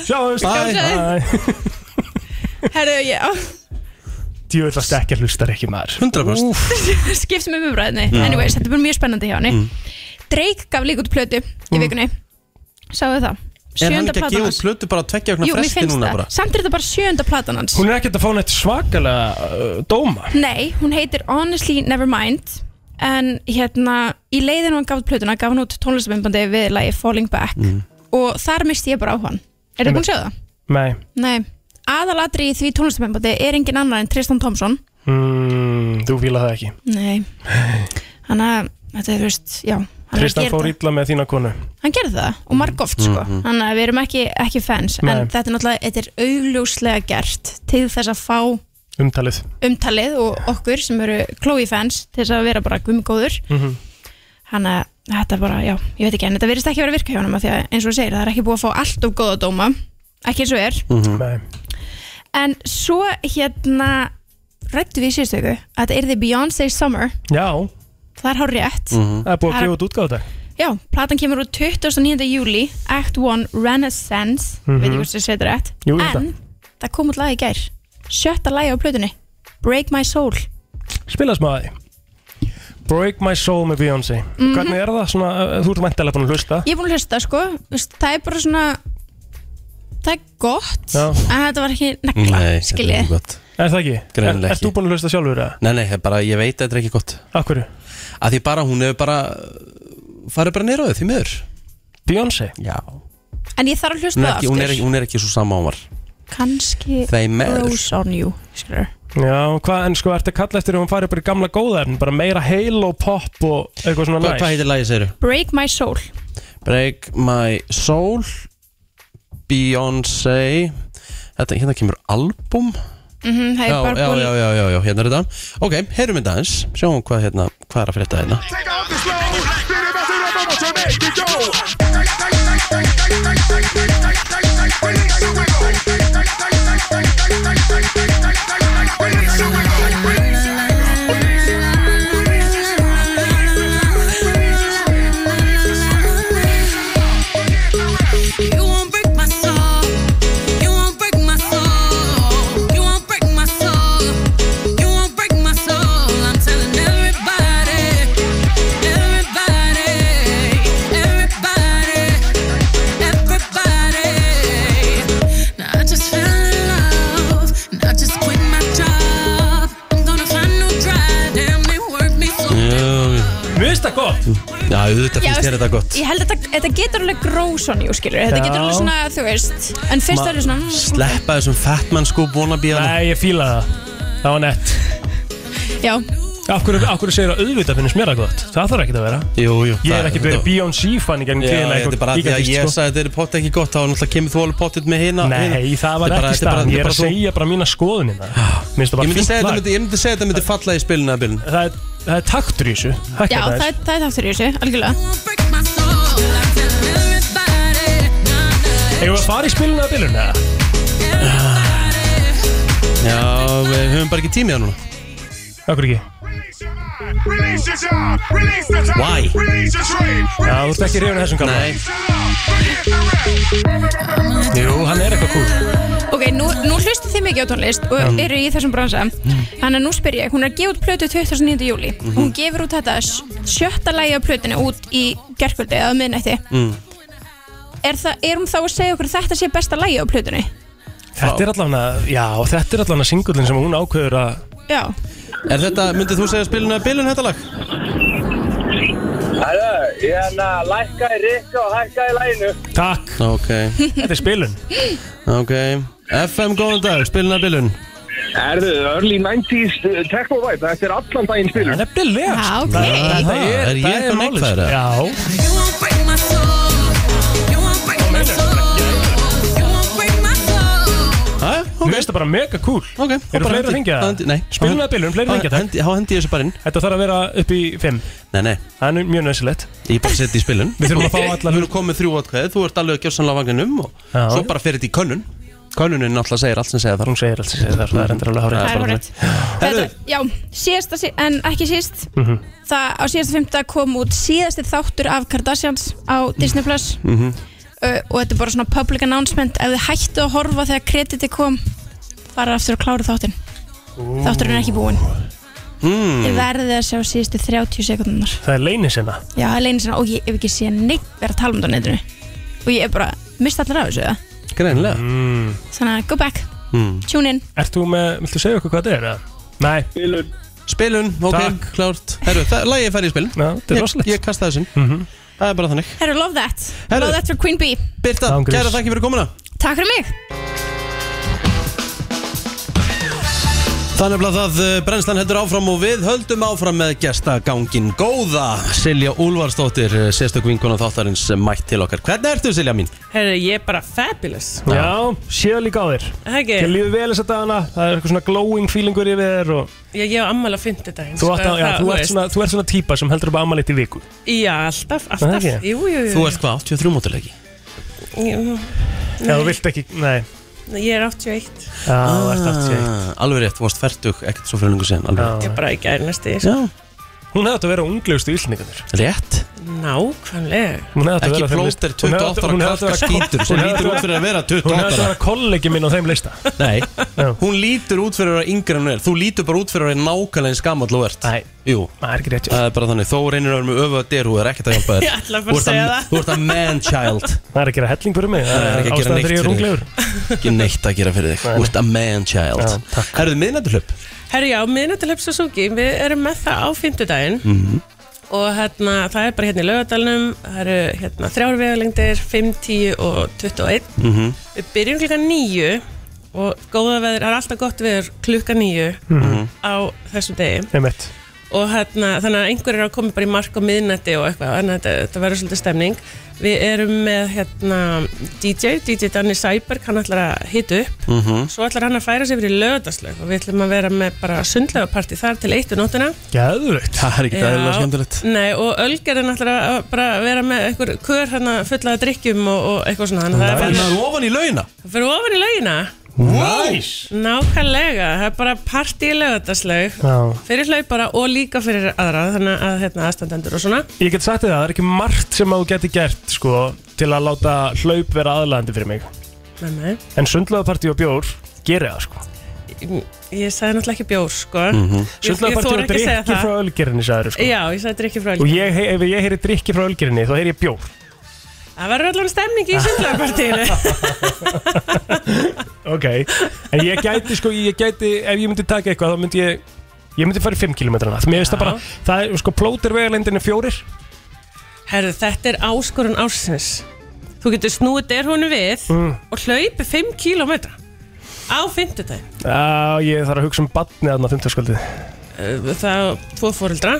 [SPEAKER 1] Sjáumst
[SPEAKER 10] Bye. Herru, já,
[SPEAKER 1] Djöðu það stekja hlustar ekki maður
[SPEAKER 4] 100% Úf.
[SPEAKER 10] skipt með umræðinni
[SPEAKER 4] Mm.
[SPEAKER 1] Já.
[SPEAKER 10] Anyways, þetta er bara mjög spennandi hjá henni Drake gaf líka út plötu í vikunni Sáðu það
[SPEAKER 4] Mm. Er hann ekki
[SPEAKER 10] Sjöunda
[SPEAKER 4] að
[SPEAKER 10] platan
[SPEAKER 4] gefa
[SPEAKER 10] hans
[SPEAKER 4] út plötu bara að tvekja okkur
[SPEAKER 10] Jú, mér
[SPEAKER 4] fresti
[SPEAKER 10] finnst
[SPEAKER 4] núna
[SPEAKER 10] það,
[SPEAKER 4] bara?
[SPEAKER 10] samt er þetta bara sjönda platan hans
[SPEAKER 1] Hún er ekkert að fá neitt svakalega uh, dóma
[SPEAKER 10] Nei, hún heitir Honestly Nevermind En hérna, í leiðinu hann gaf út plötuna gaf hann út tónlistabimbandi við lagi Falling Back
[SPEAKER 1] Mm.
[SPEAKER 10] og þar misti ég bara á hann Er þið búin að sjá það?
[SPEAKER 1] Nei
[SPEAKER 10] Nei, aðalatri í því tónlistabimbandi er engin annar en Tristan Thompson
[SPEAKER 1] mm, Þú fíla það ekki
[SPEAKER 10] Nei, hann að þetta er, þú veist, já hann er að
[SPEAKER 1] Tristan
[SPEAKER 10] gera
[SPEAKER 1] fór
[SPEAKER 10] þetta.
[SPEAKER 1] illa með þína konu
[SPEAKER 10] hann gerði það og margóft sko
[SPEAKER 1] Mhm.
[SPEAKER 10] þannig að við erum ekki, ekki fans
[SPEAKER 1] Nei.
[SPEAKER 10] en þetta er náttúrulega, þetta er augljóslega gert til þess að fá
[SPEAKER 1] Umtalið
[SPEAKER 10] umtalið og okkur sem eru Chloe fans til þess að vera bara gummigóður
[SPEAKER 1] Mhm.
[SPEAKER 10] þannig að þetta er bara, já, ég veit ekki en þetta verðist ekki að vera að virka hjá hann af því að eins og þú segir, það er ekki búið að fá allt of góða dóma ekki eins og er
[SPEAKER 1] Nei
[SPEAKER 10] en svo hérna rættu við í síðustu viku að þetta yrði Beyoncé Summer
[SPEAKER 1] Já
[SPEAKER 10] það er hár rétt
[SPEAKER 1] Það er búið að
[SPEAKER 10] Það er-
[SPEAKER 1] gefa út útgáðu dag
[SPEAKER 10] Já, platan kemur úr 29. júli Act 1 Renaissance
[SPEAKER 1] Mhm.
[SPEAKER 10] veit ég hvort þið setur rétt
[SPEAKER 1] Jú, ég veit
[SPEAKER 10] en það kom út lag í gær sjötta lagi á plötunni Break My Soul
[SPEAKER 1] Spila smá að því Break My Soul með Beyoncé
[SPEAKER 10] Mhm.
[SPEAKER 1] Hvernig er það svona, uh, þú ert mæntilega búin að hlusta
[SPEAKER 10] ég er búin að hlusta sko Vist, það er bara svona það er gott
[SPEAKER 1] Já.
[SPEAKER 10] en þetta var ekki negla
[SPEAKER 4] Nei, þetta er
[SPEAKER 10] skiljið
[SPEAKER 4] ekki gott
[SPEAKER 1] Er það ekki?
[SPEAKER 4] Greinilega
[SPEAKER 1] Er- Ert
[SPEAKER 4] ekki.
[SPEAKER 1] þú búin að hlusta sjálfur það?
[SPEAKER 4] Nei, nei, það er bara, ég veit að þetta er ekki gott
[SPEAKER 1] Af hverju?
[SPEAKER 4] Að því bara, hún hefur bara uh, farið bara neyra á þau, því miður
[SPEAKER 1] Beyoncé?
[SPEAKER 4] Já
[SPEAKER 10] en ég þarf að hlusta
[SPEAKER 4] Hún er
[SPEAKER 10] það
[SPEAKER 4] ekki,
[SPEAKER 10] aftur
[SPEAKER 4] hún er ekki, hún er ekki svo sama á var
[SPEAKER 10] kannski
[SPEAKER 4] Þeir meður.
[SPEAKER 10] Rose on You skilur.
[SPEAKER 1] Já, hvað, en sko, ertu að kalla eftir að hún fari bara í gamla góða efn Bara meira heil og pop og eitthvað svona
[SPEAKER 4] Hvað
[SPEAKER 1] næs
[SPEAKER 4] hvað heitir lagið, segiru?
[SPEAKER 10] Break My Soul
[SPEAKER 4] Break My Soul Beyoncé Þetta, hérna kemur album
[SPEAKER 10] mm -hmm, það er
[SPEAKER 4] já,
[SPEAKER 10] bara
[SPEAKER 4] já,
[SPEAKER 10] búin
[SPEAKER 4] já, já, já, já, hérna er þetta Ok, heyrum þetta eins, sjáum hvað, hérna, hvað er að frétta hérna
[SPEAKER 9] You won't break my soul. You won't break my soul. You won't break my soul. You won't break my soul. I'm telling everybody, everybody, everybody, everybody. Now I just fell in love. And I just quit my job. I'm gonna find no drive. Damn, they work me so.
[SPEAKER 1] Mér finnst það gott
[SPEAKER 4] Mhm. Já, auðvitað finnst þér þetta gott
[SPEAKER 10] ég held að þetta, þetta getur alveg Rose on You skilur. þetta
[SPEAKER 4] Já.
[SPEAKER 10] getur alveg svona þú veist en fyrst
[SPEAKER 4] Ma-
[SPEAKER 10] er þetta svona mm,
[SPEAKER 4] Sleppa þessum fatman sko wannabe hana
[SPEAKER 1] Nei, ég fíla það Það var nett
[SPEAKER 10] já
[SPEAKER 1] Af hverju, af hverju segir það auðvitað finnst mér það gott? Það þarf ekkert að vera
[SPEAKER 4] Jú, jú
[SPEAKER 1] Ég
[SPEAKER 4] það-
[SPEAKER 1] er ekkert verið
[SPEAKER 4] þetta-
[SPEAKER 1] Beyoncé fan í gegnum
[SPEAKER 4] Já,
[SPEAKER 1] tíðina sko.
[SPEAKER 4] þetta er bara að því að ég sagði að þetta er pott ekki gott þá náttúrulega kemur þú alveg pottit með hina
[SPEAKER 1] Nei,
[SPEAKER 4] hina.
[SPEAKER 1] það var
[SPEAKER 4] Þetta er bara-
[SPEAKER 1] ekki
[SPEAKER 4] þetta er bara-
[SPEAKER 1] staðan Ég
[SPEAKER 4] þetta
[SPEAKER 1] er
[SPEAKER 4] bara
[SPEAKER 1] að
[SPEAKER 4] þú-
[SPEAKER 1] segja bara mína skoðun hérna Minnst
[SPEAKER 4] Ég
[SPEAKER 1] það bara
[SPEAKER 4] myndi
[SPEAKER 1] fínt
[SPEAKER 4] segja þetta
[SPEAKER 1] lag
[SPEAKER 4] myndi- ég myndi segja þetta myndi falla í spilinu að bilinu
[SPEAKER 1] Það er- það er taktur í þessu
[SPEAKER 10] já, það er, það er þáttur í þessu, algjörlega
[SPEAKER 1] Eða að fara í spilinu að bilinu eða?
[SPEAKER 4] Já, við höfum bara ekki tími það núna
[SPEAKER 1] Akkur ekki
[SPEAKER 4] Why?
[SPEAKER 1] Já, þú ert ekki reyðin þessum gamla Jú, hann er eitthvað cool
[SPEAKER 10] Ok, nú, nú hlustu þið mikið á tónlist og
[SPEAKER 4] Mm.
[SPEAKER 1] Já.
[SPEAKER 10] eru í þessum bransa Þannig að nú spyr ég, hún er að gefa út plötu 29. júli
[SPEAKER 4] Mhm.
[SPEAKER 10] Hún gefur út þetta s- sjötta lagi á plötinu út í gerkvöldi eða miðnætti
[SPEAKER 4] mm.
[SPEAKER 10] er, það, er hún þá að segja okkur að þetta sé besta lagi á plötunni?
[SPEAKER 1] Þetta er allan að, já, þetta er allan að singullin sem hún ákveður að
[SPEAKER 10] Já,
[SPEAKER 4] Er þetta, myndið þú segja spilinu að bilinu þetta lag?
[SPEAKER 6] Hæðu, ég hann að lækka í rikka og hækka í læginu.
[SPEAKER 1] Takk
[SPEAKER 4] Ok,
[SPEAKER 1] Þetta er spilun
[SPEAKER 4] ok FM, góðan dag, spilinu að bilinu
[SPEAKER 6] Erðu, early 90s uh, techno vibe, þetta er allan daginn spilur.
[SPEAKER 1] Nefnilega.
[SPEAKER 10] Já, ok.
[SPEAKER 1] Það
[SPEAKER 4] Er
[SPEAKER 1] er,
[SPEAKER 4] ég
[SPEAKER 1] það er
[SPEAKER 4] eitthvað
[SPEAKER 1] málið sko.
[SPEAKER 4] neikvæður,
[SPEAKER 1] Já
[SPEAKER 4] Hæ?
[SPEAKER 1] Mér finnst það bara mega cool
[SPEAKER 4] Ok,
[SPEAKER 1] Eru fleiri að hringja?
[SPEAKER 4] Nei
[SPEAKER 1] Spilum að bilum, fleiri að hringja, takk.
[SPEAKER 4] Há hendi ég þessu bara inn
[SPEAKER 1] Þetta þarf að vera upp í 5
[SPEAKER 4] Nei, nei
[SPEAKER 1] Það er mjög nöðsilegt
[SPEAKER 4] Ég bara seti í spilun
[SPEAKER 1] Við þurfum að fá
[SPEAKER 4] alla Þú erum komið þrjú átkvæði Þú ert alveg að gjössanlega vanginum og
[SPEAKER 1] Já.
[SPEAKER 4] svo bara fer þetta í könnun Könnunin náttúrulega segir allt sem segir þar
[SPEAKER 1] Hún segir allt sem segir þar, það er endur alveg hárið
[SPEAKER 11] Það er hárrétt. Þetta, já, síðasta, sí- en ekki síst
[SPEAKER 4] Mhm.
[SPEAKER 11] það á síðasta fymta kom út síðasti þáttur af Kardashians á Disney Plus
[SPEAKER 4] Mhm.
[SPEAKER 11] uh, og þetta er bara svona public announcement ef þið hættu að horfa þegar krediti kom fara aftur að klára þáttin þátturinn er ekki búinn
[SPEAKER 4] mm,
[SPEAKER 11] þið verðið að sjá síðustu 30 sekundunar
[SPEAKER 1] Það er leyni sinna
[SPEAKER 11] já, það er leina sinna og ég hef ekki séð neitt vera að tala um þetta á netinu og ég er bara mist allar af þessu eða?
[SPEAKER 4] Greinlega
[SPEAKER 1] mm.
[SPEAKER 11] þannig að go back,
[SPEAKER 1] Hmm.
[SPEAKER 4] mm.
[SPEAKER 11] tune in
[SPEAKER 1] Ert þú með, viltu segja okkur hvað þetta er? eða? Nei
[SPEAKER 12] Spilun
[SPEAKER 4] Spilun, ok,
[SPEAKER 1] Takk.
[SPEAKER 4] klárt Herru, það- lagið fær í spilun
[SPEAKER 1] Já, þetta er
[SPEAKER 4] Ég-
[SPEAKER 1] rosalegt. Mhm.
[SPEAKER 4] Ég kasta þessin mm -hmm. Það er bara þannig
[SPEAKER 11] Herru, love that,
[SPEAKER 4] Herru.
[SPEAKER 11] love that for Queen Bee
[SPEAKER 4] Birta,
[SPEAKER 1] Ángriðs.
[SPEAKER 4] kæra þakki fyrir komuna
[SPEAKER 11] Takk fyrir mig
[SPEAKER 4] Þannig að það eh, brennslan heldur áfram og við höldum áfram með gestagangin góða Silja Úlfarsdóttir, eh, sérstök vinkona þáttarins eh, mætt til okkar Hvernig ertu Silja mín?
[SPEAKER 10] Herðu, ég er bara fabulous
[SPEAKER 1] Já, séu líka á þér
[SPEAKER 10] Það ekki?
[SPEAKER 1] Ég líður vel þess að dagana, það er eitthvað svona glowing feelingur yfir þér og
[SPEAKER 10] Ég, ég á ammæli á fimmtudaginn
[SPEAKER 1] þú, átt, að, já, þú, ert
[SPEAKER 10] veist.
[SPEAKER 1] svona, þú ert svona típa sem heldur upp ammaliðt í viku
[SPEAKER 10] Já, alltaf,
[SPEAKER 1] Það
[SPEAKER 10] alltaf
[SPEAKER 1] ekki?
[SPEAKER 10] Jú, jú, jú
[SPEAKER 4] Þú ert hvað, 83 mótilegi?
[SPEAKER 10] Ég-
[SPEAKER 1] Já, þú vilt ekki, nei
[SPEAKER 10] Ég er 81
[SPEAKER 1] Já, þú ert allt sér
[SPEAKER 4] Ah. Alveg rétt, þú varst færtug, ekkert svo fyrir lengur sen
[SPEAKER 1] Já.
[SPEAKER 10] Ég er bara í gærnasti
[SPEAKER 1] Hún hefði átt að vera unglegustu yllningarnir
[SPEAKER 4] Rétt
[SPEAKER 10] Nákvæmlega
[SPEAKER 1] Hún hefði átt að
[SPEAKER 4] Ekki
[SPEAKER 1] vera á þeim
[SPEAKER 4] plóter
[SPEAKER 1] lista. Hún hefði
[SPEAKER 4] 28
[SPEAKER 1] átt- hún
[SPEAKER 4] ára
[SPEAKER 1] hefði átt að vera-
[SPEAKER 4] krakka skítur sem
[SPEAKER 1] hún hefði átt
[SPEAKER 4] lítur út fyrir að vera 28
[SPEAKER 1] Hún hefði átt að
[SPEAKER 4] ára.
[SPEAKER 1] vera kollegi minn á þeim lista
[SPEAKER 4] Nei, hún lítur út fyrir að vera yngri en hún er Þú lítur bara út fyrir að vera nákvæmlega eins gamall og ert
[SPEAKER 1] Nei,
[SPEAKER 4] Jú
[SPEAKER 1] það er ekki rétt
[SPEAKER 4] Það er bara þannig, þó reynir að vera með öfu að dyr, þú er ekkert að hjálpa þér
[SPEAKER 10] Ég ætla að
[SPEAKER 4] Þú ert
[SPEAKER 10] fara að segja það.
[SPEAKER 4] Þú ert að man-child
[SPEAKER 1] Það er að gera helling fyrir mig
[SPEAKER 4] Það er ekki að gera
[SPEAKER 1] ástæðan
[SPEAKER 4] neitt
[SPEAKER 1] fyrir ég er
[SPEAKER 4] fyrir
[SPEAKER 1] unglegur
[SPEAKER 4] þig Ekki neitt að gera fyrir þig Þú ert að man-child Herðu, miðnættuhlaup
[SPEAKER 10] Herru, já, miðnættilöp Suzuki Við erum með það á fimmtudaginn Og hérna, það er bara hérna í laugadalnum Það eru hérna þrjár vegalengdir 5, 10 og 21
[SPEAKER 13] Mhm.
[SPEAKER 10] Við byrjum klukkan 9 Og góða veður, það er alltaf gott veður klukkan 9
[SPEAKER 1] Mhm.
[SPEAKER 10] Á þessum degi
[SPEAKER 1] Einmitt.
[SPEAKER 10] og hérna, þannig að einhverjir eru að koma bara í mark á miðnætti og eitthvað, þannig að þetta, þetta verður svolítið stemning. Við erum með hérna, DJ, DJ Danny Sæberg, hann ætlar að hita upp,
[SPEAKER 13] Mhm.
[SPEAKER 10] svo ætlar hann að færa sig fyrir lögadagslög og við ætlum að vera með bara sundlögaparti þar til eitt um nóttina.
[SPEAKER 1] Gæðvögt
[SPEAKER 4] Það er ekki dæðilega
[SPEAKER 10] Já.
[SPEAKER 4] skemmtilegt
[SPEAKER 10] Nei, og Ölgerinn ætlar að bara vera með einhver kör hérna fulla af drikkjum og, og eitthvað svona, þannig að það er
[SPEAKER 4] Það er
[SPEAKER 10] bara,
[SPEAKER 4] ofan í launa
[SPEAKER 10] það fyrir ofan í laugina.
[SPEAKER 4] Nice
[SPEAKER 10] Nákvæmlega, það er bara partí í lögadagslög
[SPEAKER 1] Já.
[SPEAKER 10] fyrir hlaupara og líka fyrir aðra þannig að hérna, aðstandendur og svona
[SPEAKER 1] Ég get sagt þér það, það er ekki margt sem að þú geti gert sko, til að láta hlaup vera aðlæðandi fyrir mig
[SPEAKER 10] Nei, nei.
[SPEAKER 1] En sundlöðapartí og bjór gerir það sko.
[SPEAKER 10] Ég- ég sagði náttúrulega ekki bjór sko.
[SPEAKER 1] Mhm.
[SPEAKER 10] ég, ég
[SPEAKER 1] Sundlaugapartí og
[SPEAKER 10] þóra ekki að segja
[SPEAKER 1] drikki
[SPEAKER 10] það
[SPEAKER 1] frá ölgerinni sagður, sko.
[SPEAKER 10] já, ég sagði drikki frá
[SPEAKER 1] Og
[SPEAKER 10] ölgerinn
[SPEAKER 1] ég, hef- ef ég heyri drikki frá ölgerinni þá heyri ég bjór
[SPEAKER 10] það verður allan stemning í sundlögapartíinu
[SPEAKER 1] Ok, en ég gæti sko, ég gæti, ef ég myndi taka eitthvað þá myndi ég, ég myndi fara í 5 km Mér veist það
[SPEAKER 10] Já.
[SPEAKER 1] bara, það er sko plótir vegalendinni fjórir
[SPEAKER 10] herðu, þetta er áskorun ársins þú getur snúið der honum við og hlaupi 5 km á 50 dag
[SPEAKER 1] Já, ég þarf að hugsa um batni þarna 50 skvöldið
[SPEAKER 10] það er tvo fóreldra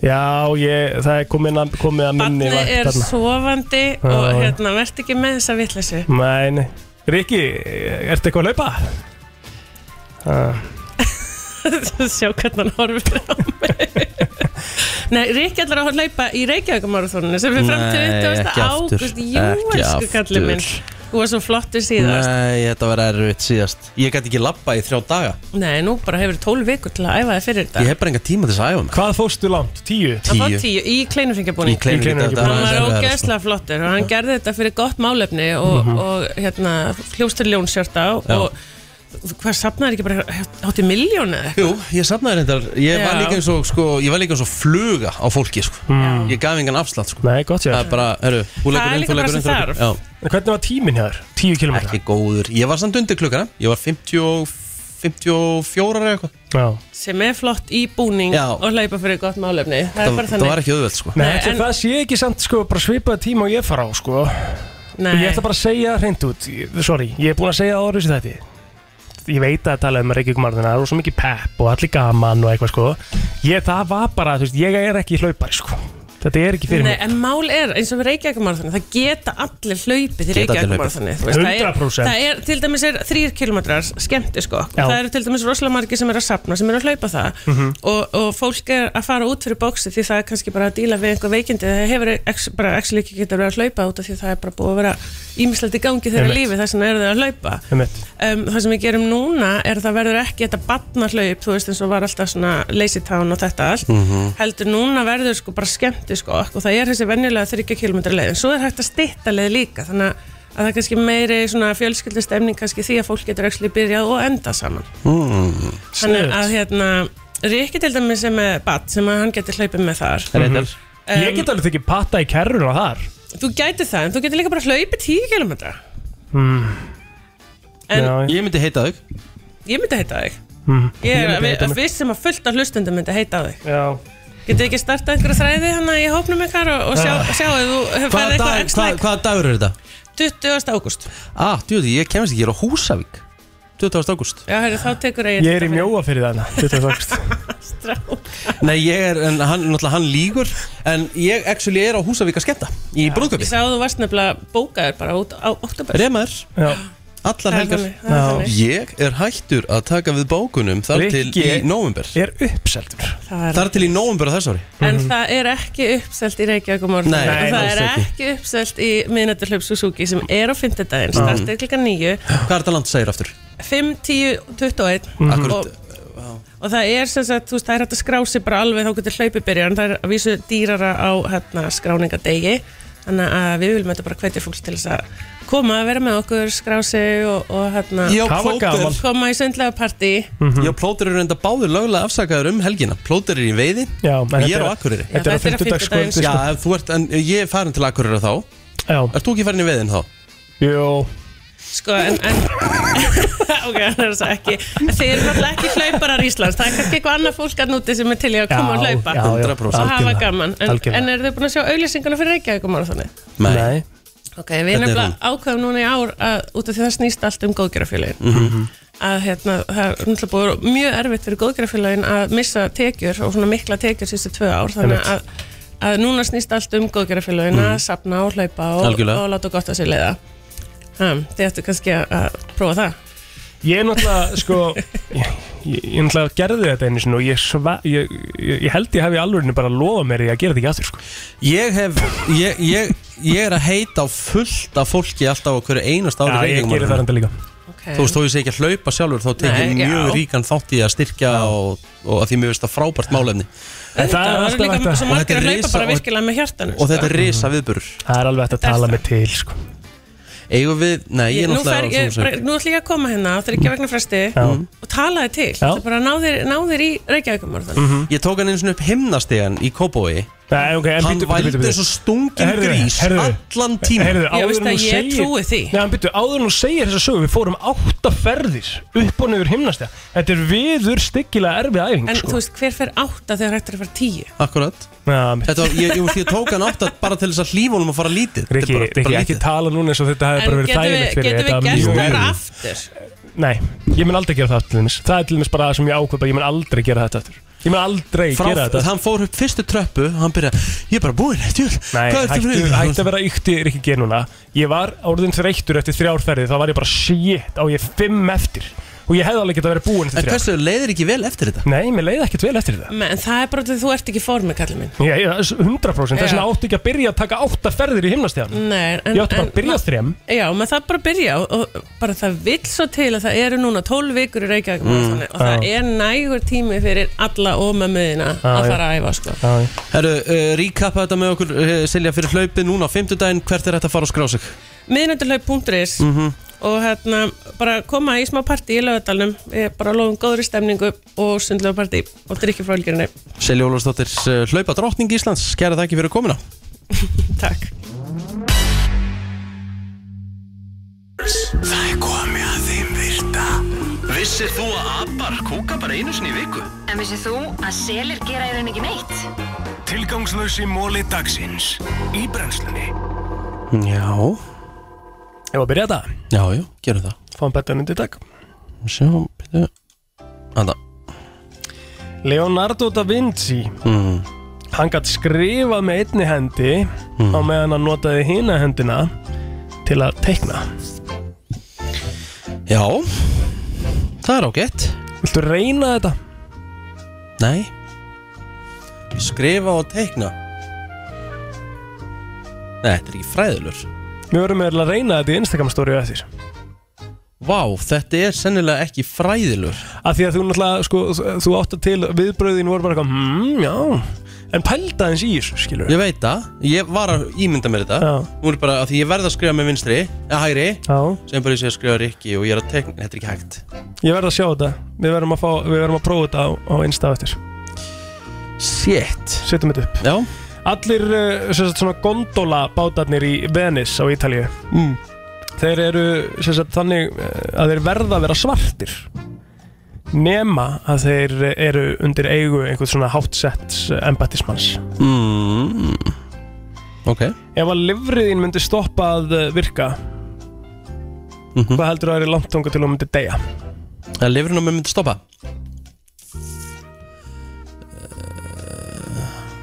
[SPEAKER 1] Já, ég, það er komið að, komið að minni
[SPEAKER 10] það
[SPEAKER 1] vakt
[SPEAKER 10] er
[SPEAKER 1] þarna.
[SPEAKER 10] sofandi og
[SPEAKER 1] Já.
[SPEAKER 10] hérna, verð ekki með þessa vitleysu
[SPEAKER 1] Nei, nei Riki, ertu eitthvað að laupa? Uh,
[SPEAKER 10] sjá hvernig hann horfir á mig Nei, Rikki ætlar að hlaupa í Reykjavíkumarathoninu sem við fram til
[SPEAKER 4] Nei,
[SPEAKER 10] 20.
[SPEAKER 4] ekki aftur,
[SPEAKER 10] águst Jú,
[SPEAKER 4] ekki
[SPEAKER 10] elsku kallið minn
[SPEAKER 4] aftur.
[SPEAKER 10] Þú var svo flottur síðast
[SPEAKER 4] Nei, þetta var erfitt síðast Ég gæti ekki labba í þrjá daga
[SPEAKER 10] Nei, nú bara hefur 12 vikur til að æfa þig fyrir þetta
[SPEAKER 4] Ég hef bara enga tíma til þess að æfa mig
[SPEAKER 1] Hvað fórstu langt? Tíu?
[SPEAKER 10] Það var tíu í kleinufingabúning
[SPEAKER 4] Í kleinufingabúning, þetta var
[SPEAKER 10] Hann
[SPEAKER 4] aðeins
[SPEAKER 10] var
[SPEAKER 4] erfiðara,
[SPEAKER 10] ógeðslega flottur og hann gerði þetta fyrir gott málefni og,
[SPEAKER 4] sko. Mhm.
[SPEAKER 10] og hérna, hljóstur ljónsjörta
[SPEAKER 4] Já.
[SPEAKER 10] og hvað sapnaði ekki bara átti miljónu eða
[SPEAKER 4] Jú, ég safnaði reyndar Ég var
[SPEAKER 10] Já.
[SPEAKER 4] líka eins og, sko, ég var líka eins og fluga á fólki, sko
[SPEAKER 1] Mm.
[SPEAKER 4] Ég gaf engan afslátt, sko
[SPEAKER 1] Nei, gott sér
[SPEAKER 4] Það er bara, herru, þú
[SPEAKER 10] Það
[SPEAKER 4] leggur
[SPEAKER 10] er
[SPEAKER 4] inn,
[SPEAKER 10] líka
[SPEAKER 4] þú
[SPEAKER 10] bara
[SPEAKER 4] leggur inn
[SPEAKER 10] sem
[SPEAKER 4] þú leggur inn.
[SPEAKER 10] þarf.
[SPEAKER 1] Já. Hvernig var tíminn hjá þér? 10 km?
[SPEAKER 4] Ekki góður, ég var samt undir klukkana Ég var 50 og 54 eða eitthvað
[SPEAKER 1] Já
[SPEAKER 10] sem er flott í búning
[SPEAKER 4] Já.
[SPEAKER 10] Mm. og hlaupa fyrir gott málefni Það er bara
[SPEAKER 4] Það
[SPEAKER 10] þannig
[SPEAKER 4] var ekki auðveld, sko
[SPEAKER 1] Nei, ætli það sé ekki samt sko bara svipaða tíma og ég fara á sko
[SPEAKER 10] Nei.
[SPEAKER 1] Ég ætla bara að segja hreint út, ég- sorry, ég er búin að segja það orðið sér þetta Ég veit að tala um Reykjavíkumarðina, það er svo mikið pepp og allir gaman og eitthvað sko Ég, það var bara, þú veist, ég er ekki hlaupari sko Þetta er ekki fyrir
[SPEAKER 10] Nei,
[SPEAKER 1] mig
[SPEAKER 10] en mál er, eins og við Reykjavíkumarðunni, það geta allir hlaupið í
[SPEAKER 1] Geta allir
[SPEAKER 10] Reykjavíkumarðunni.
[SPEAKER 1] hlaupið.
[SPEAKER 10] þú veist, það er-
[SPEAKER 1] 100%.
[SPEAKER 10] Það er til dæmis er þrýr kilometrar skemmti sko.
[SPEAKER 1] Já.
[SPEAKER 10] Það eru til dæmis rosalega margir sem eru að sapna, sem eru að hlaupa það.
[SPEAKER 1] Mhm.
[SPEAKER 10] og, og fólk er að fara út fyrir bóksi því það er kannski bara að díla við einhver veikindi það hefur ex, bara actually ekki getað verið að hlaupa út af því það er bara búið að vera ímislegt í gangi þeirra
[SPEAKER 1] Einmitt.
[SPEAKER 10] lífi þess vegna eru þeir að hlaupa
[SPEAKER 1] Einmitt.
[SPEAKER 10] um, það sem við gerum núna er að það verður ekki þetta batna hlaup þú veist eins og var alltaf svona lazy town og þetta allt
[SPEAKER 14] Mhm.
[SPEAKER 10] heldur núna verður sko bara skemmti sko og það er þessi venjulega 30 km leið en svo er hægt að stytta leið líka þannig að að það er kannski meiri svona fjölskyldustemning kannski því að fólk getur actually byrjað og enda saman
[SPEAKER 4] mm.
[SPEAKER 10] Þannig að hérna Rikki til dæmis sem er bat sem að hann getur hlaupið með þar
[SPEAKER 1] Reyndar. Ég
[SPEAKER 10] Um,
[SPEAKER 1] get alveg þykir patta í kerruna þar
[SPEAKER 10] Þú gæti það en þú getur líka bara hlaupið 10 km
[SPEAKER 1] mm.
[SPEAKER 10] En
[SPEAKER 4] Ég myndi heita þau
[SPEAKER 10] ég myndi heita þig
[SPEAKER 1] mm.
[SPEAKER 10] Ég er
[SPEAKER 4] myndi heita
[SPEAKER 10] að
[SPEAKER 4] mig.
[SPEAKER 10] við sem að fullt af hlustundum myndi heita þig
[SPEAKER 1] Já
[SPEAKER 10] Getur ekki startað einhverja þræði hann í hópnum ykkar og, og sjá,
[SPEAKER 4] Ah.
[SPEAKER 10] sjá að þú hefur
[SPEAKER 4] Hvaða
[SPEAKER 10] færið eitthvað
[SPEAKER 4] dag,
[SPEAKER 10] ekstra
[SPEAKER 4] hvað, hvaða dagur er þetta?
[SPEAKER 10] 20. ágúst
[SPEAKER 4] Ah, djúði, ég kemst ekki, ég er á Húsavík 20. ágúst
[SPEAKER 10] Já, heyrðu, þá tekur eigin
[SPEAKER 1] Ég er í mjóa fyrir þarna 20. ágúst
[SPEAKER 4] Nei, ég er, en hann, náttúrulega hann lígur En ég, actually, er á Húsavík að skemmta Í brúðköpi
[SPEAKER 10] Ég sá að þú varst nefnilega bókaður bara út á oktober
[SPEAKER 4] Remaður,
[SPEAKER 10] Það
[SPEAKER 4] allar
[SPEAKER 10] er
[SPEAKER 4] helgar
[SPEAKER 10] þannig, það er Já. þannig.
[SPEAKER 4] Ég er hættur að taka við bókunum Þar til
[SPEAKER 1] Rikki
[SPEAKER 4] í nóvember
[SPEAKER 1] Er uppseldur
[SPEAKER 10] Það er-
[SPEAKER 4] Þar til í nóvember á þess ári
[SPEAKER 10] En það er ekki uppselt í Reykjavík og morgun
[SPEAKER 4] Nei,
[SPEAKER 10] og það
[SPEAKER 4] alls
[SPEAKER 10] er
[SPEAKER 4] ekki.
[SPEAKER 10] ekki uppselt í miðnættur hlaup Suzuki sem er á fimmtudaginn,
[SPEAKER 4] Já.
[SPEAKER 10] startið klukkan 9
[SPEAKER 4] Hvað er þetta land segir aftur?
[SPEAKER 10] 5, 10, 21
[SPEAKER 4] Mhm.
[SPEAKER 10] og,
[SPEAKER 4] Akkurat,
[SPEAKER 10] og það er sem sagt, þú veist, það er hægt að skrá sig bara alveg þá getur hlaupið byrjað, en það er að vísu dýrara á hérna skráningadegi þannig að við viljum þetta bara hvetja fólk til þess að koma að vera með okkur, skrá sig og, og hérna
[SPEAKER 4] Já, Það var plóter. gaman.
[SPEAKER 10] koma í sundlega partí
[SPEAKER 4] -hmm. Já, plóter eru enda báður lögulega afsakaður um helgina Plóter eru í veiði
[SPEAKER 1] Já, en
[SPEAKER 4] og ég
[SPEAKER 1] þetta
[SPEAKER 4] er á
[SPEAKER 1] er-
[SPEAKER 4] Akureyri
[SPEAKER 1] þetta er á Já, þetta er á fimmtudagskvöldi, sko.
[SPEAKER 4] Já, ef þú ert, en ég er farin til Akureyri þá
[SPEAKER 1] Já
[SPEAKER 4] Ert þú ekki farin í veiðin þá?
[SPEAKER 1] Jó
[SPEAKER 10] Sko, en, en ok, það er svo ekki Þið eru náttúrulega ekki hlauparar Íslands Það er kannski eitthvað annað fólk að núti sem er til í að koma
[SPEAKER 1] Já,
[SPEAKER 10] að hlaupa
[SPEAKER 1] já, já,
[SPEAKER 10] og hafa
[SPEAKER 1] algjörlega,
[SPEAKER 10] gaman En,
[SPEAKER 1] algjörlega.
[SPEAKER 10] en eru þau búin að sjá auglýsinguna fyrir Reykjavík um ára þannig?
[SPEAKER 1] Nei
[SPEAKER 10] Ok, við erum
[SPEAKER 1] Hvernig er
[SPEAKER 10] nefnilega ákveðum núna í ár að, út af því það snýst allt um góðgerafélagin
[SPEAKER 1] Mhm.
[SPEAKER 10] að hérna, það er náttúrulega búið mjög erfitt fyrir góðgerafélagin að missa tekjur og svona mikla tekjur síðustu tvö ár þannig
[SPEAKER 1] Einmitt.
[SPEAKER 10] að, að núna snýst allt um góðgerafélagin
[SPEAKER 1] Mhm.
[SPEAKER 10] að sapna og hlaupa og,
[SPEAKER 1] Algjörlega.
[SPEAKER 10] og láta gott að sér leiða um, Þið ættu kannski að, að prófa það
[SPEAKER 1] Ég er náttúrulega, sko Ég, ég, ég náttúrulega gerði þetta einu sinni og ég, sva, ég, ég, ég held ég hef í alvörinu bara lofa mér í að gera þetta ekki aftur, sko
[SPEAKER 4] Ég hef, ég, ég, ég er að heita á fullt af fólki alltaf á hverju einast ári
[SPEAKER 1] Já, ég
[SPEAKER 4] Reykjavíkurmaraþoni.
[SPEAKER 1] geri það enda líka
[SPEAKER 4] Þú veist, þó ég sé ekki að hlaupa sjálfur þá tek ég
[SPEAKER 1] Nei, já.
[SPEAKER 4] mjög ríkan þátt í að styrkja og, og að því mér veist það frábært málefni
[SPEAKER 1] En það er alltaf hægt að
[SPEAKER 10] Svo margir að hlaupa bara
[SPEAKER 4] og,
[SPEAKER 10] virkilega með hjartanu sko.
[SPEAKER 4] og þetta er risa viðburur
[SPEAKER 1] Það er alveg hægt að tala mig til, sko
[SPEAKER 4] Eigum við, nei, ég er
[SPEAKER 10] Nú, fer,
[SPEAKER 4] náttúrulega
[SPEAKER 10] ég, bara- nú ætlum ég að koma hérna á
[SPEAKER 1] Mhm.
[SPEAKER 10] þryggja vegna fresti
[SPEAKER 4] Já.
[SPEAKER 10] og tala þið til Það er bara að ná þér- ná þér í Reykjavíkum
[SPEAKER 1] Mhm.
[SPEAKER 4] Ég tók hann eins og upp himnastegan í Kópói
[SPEAKER 1] Nei, ok, en
[SPEAKER 4] Hann
[SPEAKER 1] bíddu, bíddu,
[SPEAKER 4] vældi
[SPEAKER 1] bíddu.
[SPEAKER 4] eins og stungin
[SPEAKER 1] Heyrðu,
[SPEAKER 4] grís
[SPEAKER 1] heyrðu.
[SPEAKER 4] allan tíma
[SPEAKER 1] Heyrðu, áður en þú segir-
[SPEAKER 10] því
[SPEAKER 1] Nei, en byrju, áður en hún segir þessa sögu Við fórum átta ferðir upp og nefur himnastega Þetta er viður styggilega erfið æfing
[SPEAKER 10] En
[SPEAKER 1] sko.
[SPEAKER 10] þú veist, hver fer átta þegar hægt er að fara tíu?
[SPEAKER 4] Akkurat
[SPEAKER 1] ja,
[SPEAKER 4] Þetta var, ég, ég, ég tók hann átt bara til þess að hlífa honum að fara lítið
[SPEAKER 1] Rikki, Rikki, ekki tala núna eins og þetta hefði
[SPEAKER 10] En
[SPEAKER 1] bara verið
[SPEAKER 10] getum við,
[SPEAKER 1] þægilegt fyrir
[SPEAKER 10] getum við
[SPEAKER 1] þetta
[SPEAKER 10] gert
[SPEAKER 1] var mjög
[SPEAKER 10] þetta
[SPEAKER 1] erfitt.
[SPEAKER 10] aftur?
[SPEAKER 1] Nei, ég mun aldrei gera það til þess Það er til þess bara það sem ég ákveð bara, Ég mun aldrei gera þetta aftur Ég mun aldrei
[SPEAKER 4] Frá,
[SPEAKER 1] gera þetta
[SPEAKER 4] hann fór upp fyrstu tröppu hann byrjaði, ég er bara búinn djöfull,
[SPEAKER 1] Nei,
[SPEAKER 4] hvað ertu
[SPEAKER 1] hættu,
[SPEAKER 4] fyrir-
[SPEAKER 1] hættu að vera ykti Rikki G núna Ég var orðin þreyttur eftir þrjár ferði Þá var ég bara shit á ég fimm eftir Og ég hefði alveg getað verið búin eftir
[SPEAKER 4] En hversu leiðir ekki vel eftir þetta?
[SPEAKER 1] Nei, mér leiði ekkert vel eftir þetta
[SPEAKER 10] Men, en það er bara því þú ert ekki í formi, kallið minn.
[SPEAKER 1] Já, já, þess- 100% Þess
[SPEAKER 10] Já.
[SPEAKER 1] vegna áttu ekki að byrja að taka átta ferðir í himnastíðan
[SPEAKER 10] Nei,
[SPEAKER 4] Mm,
[SPEAKER 10] en,
[SPEAKER 1] Ég átti bara
[SPEAKER 10] en-
[SPEAKER 1] að byrja á þrem
[SPEAKER 10] Já, maður þarf bara að byrja og- og bara það vill svo til að það eru núna 12 vikur í Reykjavík
[SPEAKER 4] Mm,
[SPEAKER 10] og það
[SPEAKER 4] já.
[SPEAKER 10] er nægur tími fyrir alla og mömmuðina að fara að æfa sko.
[SPEAKER 4] Herru, uh, recapa þetta með okkur uh, Silja fyrir hlaupið núna á fimmtudaginn Hvert er þetta að fara og skrá sig?
[SPEAKER 10] Miðnætturhlaup.is
[SPEAKER 4] Mhm.
[SPEAKER 10] og hérna bara koma í smá partí í lögadalum, bara lofum góðri stemningu og sundlega partí og drikkja frá ylgerinni.
[SPEAKER 4] Silja Ólafsdóttir, uh, hlaupa drottning Íslands Skæra það ekki fyrir komuna
[SPEAKER 10] Takk
[SPEAKER 15] Það er komið að þeim virta Vissir þú að abar kúka bara einu sinni í viku?
[SPEAKER 9] En vissið þú að selir gera í rauninni ekki neitt?
[SPEAKER 15] Tilgangslösi móli dagsins Í brennslunni
[SPEAKER 4] Já
[SPEAKER 1] Ég var að byrja þetta
[SPEAKER 4] Já, já, gerum það
[SPEAKER 1] Fáum betur undir dag
[SPEAKER 4] Sjá, byrju Anda
[SPEAKER 1] Leonardo da Vinci
[SPEAKER 4] mm.
[SPEAKER 1] hann gætt skrifað með einni hendi á meðan hann notaði hina hendina til að teikna
[SPEAKER 4] Já, það er ágætt
[SPEAKER 1] Viltu reyna þetta?
[SPEAKER 4] Nei Skrifa og teikna Nei, þetta er ekki fræðilur
[SPEAKER 1] Við verðum eiginlega að reyna þetta í Instagram story á eftir
[SPEAKER 4] Vá, þetta er sennilega ekki fræðilur
[SPEAKER 1] Af því að þú náttúrulega, sko, þú átt til viðbröðin voru bara eitthvað, hmm, já En pælda eins í þessu, skilur
[SPEAKER 4] Ég veit það, ég var að ímynda mér þetta
[SPEAKER 1] Já.
[SPEAKER 4] Nú er bara að því ég verð að skrifa með vinstri eða hægri,
[SPEAKER 1] Já.
[SPEAKER 4] sem bara ég sé að skrifa Rikki og ég er að teikna, þetta er ekki hægt
[SPEAKER 1] Ég verð að sjá þetta, við verðum að, fá, við verðum að prófa þetta á, á Insta á eftir
[SPEAKER 4] Shit
[SPEAKER 1] Settum þetta upp
[SPEAKER 4] Já
[SPEAKER 1] Allir eh, sem sagt, svona gondola bátarnir í Venice á Ítalíu
[SPEAKER 4] mm.
[SPEAKER 1] Þeir eru sem sagt, þannig eh, að þeir verða að vera svartir Nema að þeir eh, eru undir eigu einhvern svona eh, hátsetts embattismanns
[SPEAKER 4] mm. Ok
[SPEAKER 1] Ef að livriðin myndi stoppa að eh, virka
[SPEAKER 4] Mhm.
[SPEAKER 1] Hvað heldur það er langt tunga til hún myndi deyja?
[SPEAKER 4] Að lifurinn á mér myndi stoppa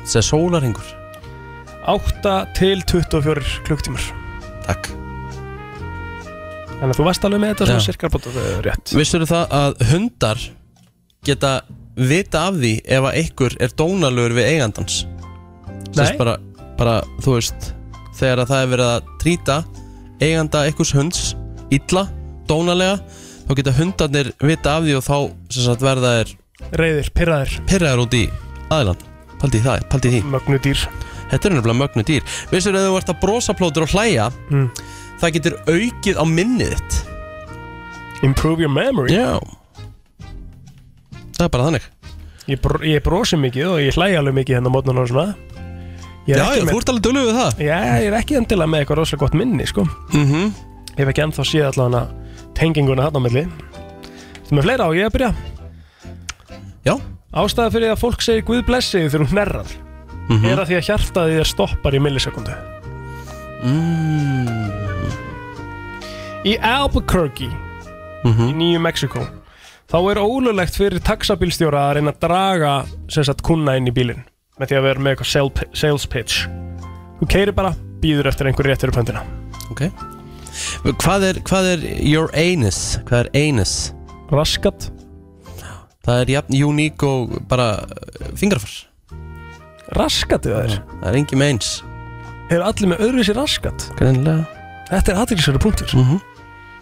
[SPEAKER 4] Það er sólarhingur
[SPEAKER 1] 8 til 24 klukktímar
[SPEAKER 4] Takk
[SPEAKER 1] Þannig að þú varst alveg með þetta svona
[SPEAKER 4] Já.
[SPEAKER 1] sirkar bóta rétt
[SPEAKER 4] Vissur það að hundar geta vita af því ef að einhver er dónalögur við eigandans Sest
[SPEAKER 1] Nei.
[SPEAKER 4] bara, bara, þú veist, þegar að það er verið að trýta eiganda einhvers hunds illa, dónalega þá geta hundarnir vita af því og þá sem sagt, verða er
[SPEAKER 1] Reyðir, pirraðir
[SPEAKER 4] Pirraðir út í aðiland Paldi það, paldi því
[SPEAKER 1] Mögnu dýr
[SPEAKER 4] Þetta er nefnilega mögnu dýr Vissur að þú ert að brosa plótur og hlæja
[SPEAKER 1] Mm.
[SPEAKER 4] það getur aukið á minnið þitt
[SPEAKER 1] Improve your memory
[SPEAKER 4] Já Það er bara þannig
[SPEAKER 1] Ég, br ég brosi mikið og ég hlæja alveg mikið hérna á mótnan og svona Ég er
[SPEAKER 4] Já,
[SPEAKER 1] ekki
[SPEAKER 4] já,
[SPEAKER 1] með-
[SPEAKER 4] þú ert alveg dölug við það
[SPEAKER 1] Já, ég er ekki endilega með eitthvað rosalega gott minni, sko
[SPEAKER 4] mm -hmm.
[SPEAKER 1] Ég hef ekki ennþá séð allavega tenginguna þarna á milli Þú með fleira á ég að byrja
[SPEAKER 4] Já
[SPEAKER 1] Ástæða fyrir að fólk segir Guð blessi þig þegar hún nærrar
[SPEAKER 4] Mhm.
[SPEAKER 1] Er að því að hjartaði þér stoppar í millisekundu
[SPEAKER 4] mm.
[SPEAKER 1] Í Albuquerque
[SPEAKER 4] Mhm.
[SPEAKER 1] í Nýju Mexiko þá er ólulegt fyrir taxabílstjóra að reyna að draga sem sagt kunna inn í bílinn með því að vera með eitthvað sale- sales pitch þú keirir bara, býður eftir einhver rétt fyrir pöndina
[SPEAKER 4] Ok Hvað er, hvað er your anus? Hvað er anus?
[SPEAKER 1] Raskat
[SPEAKER 4] Það er jafn uník og bara uh, fingrafar
[SPEAKER 1] Raskatið það er
[SPEAKER 4] Það er engin meins
[SPEAKER 1] er allir með öðruvísi raskat
[SPEAKER 4] Greinlega
[SPEAKER 1] þetta er aðeinsverður punktur
[SPEAKER 4] mm -hmm.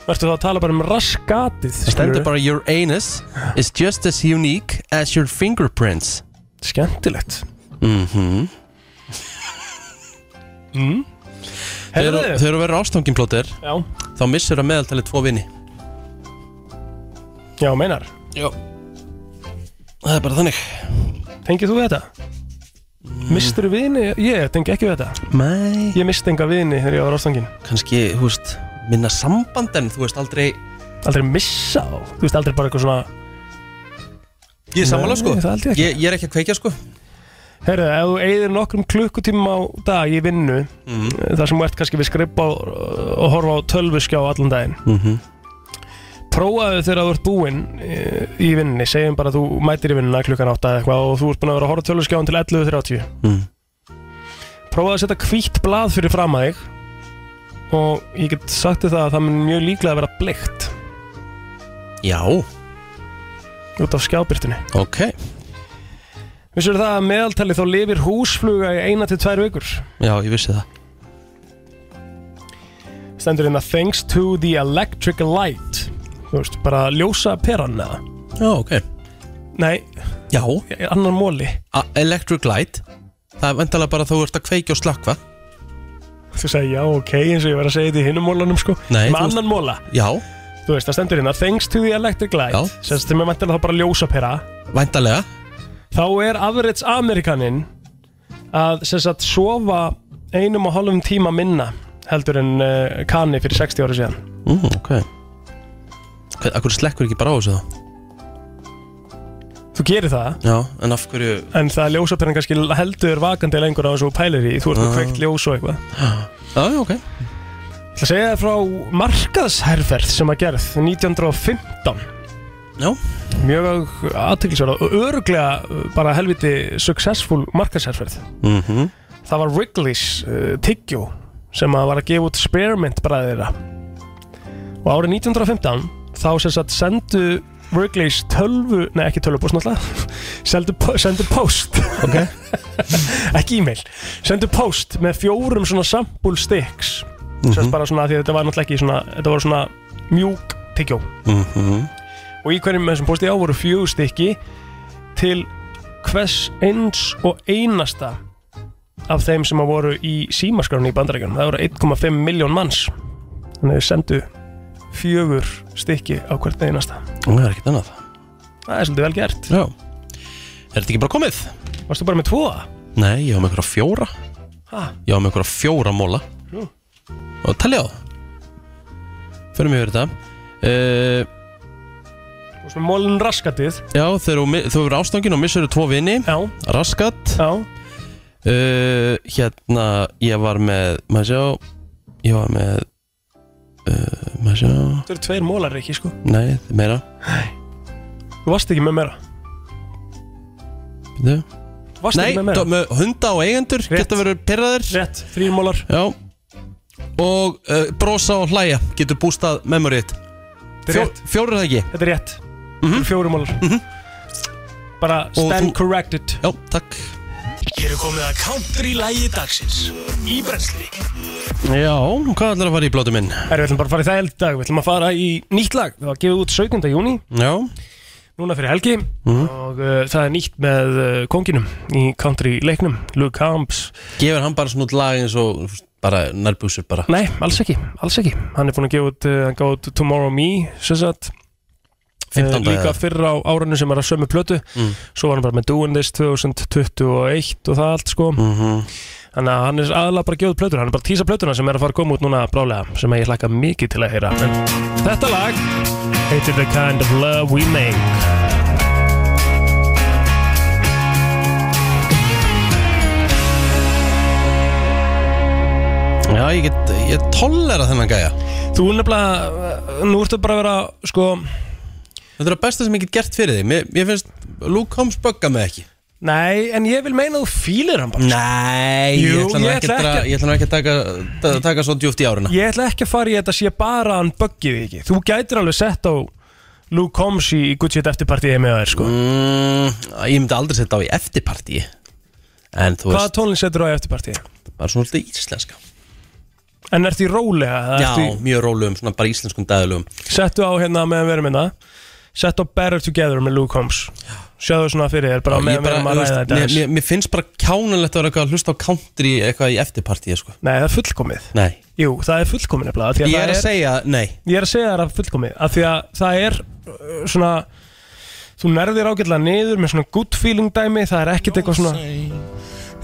[SPEAKER 1] verður þá að tala bara um raskatið
[SPEAKER 4] Það stendur
[SPEAKER 1] skilurðu?
[SPEAKER 4] bara your anus is just as unique as your fingerprints
[SPEAKER 1] skemmtilegt
[SPEAKER 4] mm -hmm.
[SPEAKER 1] mm.
[SPEAKER 4] Þegar
[SPEAKER 1] Heyrðu.
[SPEAKER 4] þegar þú verður ástangin plótir
[SPEAKER 1] Já.
[SPEAKER 4] þá missur að meðaltali tvo vini
[SPEAKER 1] já, meinar
[SPEAKER 4] Já Það er bara þannig
[SPEAKER 1] tengið þú við þetta? mistur vini? ég tengi ekki við þetta
[SPEAKER 4] Nei
[SPEAKER 1] ég misti enga vini þegar ég var ástangin
[SPEAKER 4] kannski, þú veist, minna samband en þú veist aldrei
[SPEAKER 1] aldrei missa á þú veist aldrei bara eitthvað svona
[SPEAKER 4] Ég er sammála sko
[SPEAKER 1] Nei, það held ég ekki.
[SPEAKER 4] ég, er ekki að kveikja sko
[SPEAKER 1] herru, ef þú eigðir nokkrum klukkutíma á dag í vinnu þar sem þú ert kannski við skripa og horfa á tölvuskjá allan daginn
[SPEAKER 4] Mhm.
[SPEAKER 1] prófaðu þegar þú ert búinn eh, í vinnunni, segjum bara að þú mætir í vinnuna klukkan 8 eða eitthvað og þú ert búinn að vera að horfa á tölvuskjáin til 11.30
[SPEAKER 4] Mm.
[SPEAKER 1] prófaðu að setja hvítt blað fyrir fram að þig og ég get sagt þér það að það mun mjög líklega að vera bleikt
[SPEAKER 4] Já,
[SPEAKER 1] út af skjábyrtunni
[SPEAKER 4] ok
[SPEAKER 1] Vissur það að meðaltali þá lifir húsfluga í eina til tvær vikur
[SPEAKER 4] Já, ég vissi það
[SPEAKER 1] Stendur hérna Thanks to the electric light Þú veist, bara ljósa peran eða
[SPEAKER 4] Já, ok
[SPEAKER 1] Nei,
[SPEAKER 4] Já
[SPEAKER 1] annar móli
[SPEAKER 4] A Electric light Það er vendalega bara að þú ert að kveikja og slakva
[SPEAKER 1] Þú sagði já, ok, eins og ég var að segja þetta í hinnum mólanum sko
[SPEAKER 4] Nei,
[SPEAKER 1] Með
[SPEAKER 4] þú veist-
[SPEAKER 1] annan móla
[SPEAKER 4] Já,
[SPEAKER 1] Þú veist, það stendur hérna Thanks to the electric light
[SPEAKER 4] Já.
[SPEAKER 1] Sem sem er mæntilega þá bara ljósa pera
[SPEAKER 4] vendalega
[SPEAKER 1] Þá er average Amerikanin Að sem sagt sofa einum og hálfum tíma minna Heldur en uh, kanni fyrir 60 ára síðan
[SPEAKER 4] mm, Ok Hvað- Af hverju slekkur ekki bara á þessu þá?
[SPEAKER 1] Þú gerir það
[SPEAKER 4] Já, en af hverju
[SPEAKER 1] En það ljósaperinn kannski heldur vakandi lengur á þessu og pælir í, þú ert með
[SPEAKER 4] Ah.
[SPEAKER 1] kveikt ljós og eitthvað
[SPEAKER 4] Já, já, ok
[SPEAKER 1] Það segja þér frá markaðsherferð sem að gerð 1915
[SPEAKER 4] Já.
[SPEAKER 1] Mjög aðtiklisverð og öruglega bara helviti successful markasherferð.
[SPEAKER 4] Mhm.
[SPEAKER 1] Það var Wrigley's uh, tyggjó sem að var að gefa út spearmint bræðið þeirra. Og árið 1915 þá sem sagt sendu Wrigley's tölvu, nei ekki tölvupóst náttúrulega, sendu, po- sendu post. Ok. ekki e-mail. Sendu post með fjórum svona sample sticks. Mm
[SPEAKER 4] Mhm.
[SPEAKER 1] bara svona því að þetta var náttúrulega ekki svona, þetta var svona mjúk tyggjó.
[SPEAKER 4] Mhm.
[SPEAKER 1] og í hverjum með þessum posti á voru fjögur stykki til hvers eins og einasta af þeim sem að voru í símaskránni í bandarækjunum. Það voru 1,5 miljón manns. Þannig að þau sendu fjögur stykki á hvert einasta.
[SPEAKER 4] Það er ekkert annað
[SPEAKER 1] Það er svolítið vel gert.
[SPEAKER 4] Já. Er þetta ekki bara komið?
[SPEAKER 1] Varstu bara með tvo?
[SPEAKER 4] Nei, ég hafa með einhverja fjóra
[SPEAKER 1] Ha?
[SPEAKER 4] Ég hafa með einhverja fjóra móla
[SPEAKER 1] Nú.
[SPEAKER 4] Og talja á Förum yfir þetta uh,
[SPEAKER 1] Þú veist með mólinn raskatið.
[SPEAKER 4] Já, þegar þú mi- þú verður ástangin og missur tvo vini
[SPEAKER 1] Já
[SPEAKER 4] Raskat
[SPEAKER 1] Já
[SPEAKER 4] Hérna, ég var með Maður sjá Ég var með uh, Maður sjá
[SPEAKER 1] Þetta eru tveir mólar ekki, sko.
[SPEAKER 4] Nei, meira
[SPEAKER 1] Þú varst ekki með meira.
[SPEAKER 4] Bíddu.
[SPEAKER 1] Þú varst
[SPEAKER 4] Nei,
[SPEAKER 1] ekki með meira.
[SPEAKER 4] dó- með hunda og eigendur Geta verið perraðir
[SPEAKER 1] Rétt, þrýr mólar
[SPEAKER 4] Já Og uh, brosa og hlæja Getur bústað memoryt
[SPEAKER 1] er rétt.
[SPEAKER 4] Fjórir það ekki
[SPEAKER 1] Þetta er rétt. Mm -hmm. Fjórum mólar. Bara stand corrected.
[SPEAKER 4] Já, takk.
[SPEAKER 2] Hér er komið að country lægi dagsins Í brensli
[SPEAKER 4] Já, hvað ætlar að fara í blótu minn?
[SPEAKER 1] Herri, við ætlum bara að fara í það held dag, við ætlum að fara í nýtt lag Það var gefið út 17. júni,
[SPEAKER 4] Já
[SPEAKER 1] núna fyrir helgi Og uh, það er nýtt með uh, konginum í country leiknum, Luke Combs
[SPEAKER 4] Gefur hann bara svona út lag eins og þú veist, bara nærbúsur bara
[SPEAKER 1] Nei, alls ekki, alls ekki Hann er búin að gefa út, uh, hann gaf út Tomorrow Me, sem sagt Uh,
[SPEAKER 4] 15.
[SPEAKER 1] líka
[SPEAKER 4] eða?
[SPEAKER 1] fyrr á árunum sem er að sömu plötu
[SPEAKER 4] Mm.
[SPEAKER 1] svo var hann bara með Doing This 2021 og það allt sko
[SPEAKER 4] Mm. Mhm.
[SPEAKER 1] þannig að hann er aðalega bara að gefa út plötur hann er bara að tísa plötuna sem er að fara að koma út núna brálega sem ég hlakka mikið til að heyra en þetta lag heitir The Kind of Love We Make
[SPEAKER 4] Já, ég get, ég tollera þennan gæja
[SPEAKER 1] Þú nefnilega, uh, nú ertu bara að vera, sko
[SPEAKER 4] Þetta er að besta sem ég get gert fyrir þig Mér, mér finnst Luke Combs bugga mig ekki
[SPEAKER 1] Nei, en ég vil meina að þú fílir hann bara
[SPEAKER 4] Nei,
[SPEAKER 1] Jú,
[SPEAKER 4] ég ætla nú
[SPEAKER 1] ég
[SPEAKER 4] ekki,
[SPEAKER 1] ætla
[SPEAKER 4] að dra-
[SPEAKER 1] ekki-
[SPEAKER 4] ég ætla nú ekki að taka, ta- taka svo djúft í áruna
[SPEAKER 1] Ég ætla ekki að fara í þetta sé bara að hann böggið ekki Þú gætir alveg sett á Luke Combs í, í Gucci eftirpartíði með þér, sko
[SPEAKER 4] mm, Ég myndi aldrei setja á í eftirparti En þú
[SPEAKER 1] Hvaða
[SPEAKER 4] veist,
[SPEAKER 1] tónlinn setur á í eftirpartíði?
[SPEAKER 4] bara svona alltaf íslenska
[SPEAKER 1] En ertu í rólega? eða
[SPEAKER 4] Já,
[SPEAKER 1] ertu í-
[SPEAKER 4] mjög rólegum, svona bara íslenskum dæðlugum
[SPEAKER 1] Settu á hérna meðan við erum hérna Settu á Better Together með Luke Combs Sjáðu svona fyrir þér bara
[SPEAKER 4] Ég
[SPEAKER 1] meðan við
[SPEAKER 4] bara,
[SPEAKER 1] erum
[SPEAKER 4] þú
[SPEAKER 1] að
[SPEAKER 4] veist,
[SPEAKER 1] ræða þetta
[SPEAKER 4] mér,
[SPEAKER 1] aðeins.
[SPEAKER 4] mér, mér finnst bara kjánulegt að vera eitthvað að hlusta á country eitthvað í eftirpartíi sko.
[SPEAKER 1] Nei, það er fullkomið
[SPEAKER 4] Nei,
[SPEAKER 1] Jú, það er fullkomið nefnilega af því
[SPEAKER 4] ég
[SPEAKER 1] það
[SPEAKER 4] er að segja nei
[SPEAKER 1] Ég er að segja þér að fullkomið af Því að það er uh, svona Þú nærðir ágætlega niður með svona good feeling dæmi Það er ekkert eitthvað svona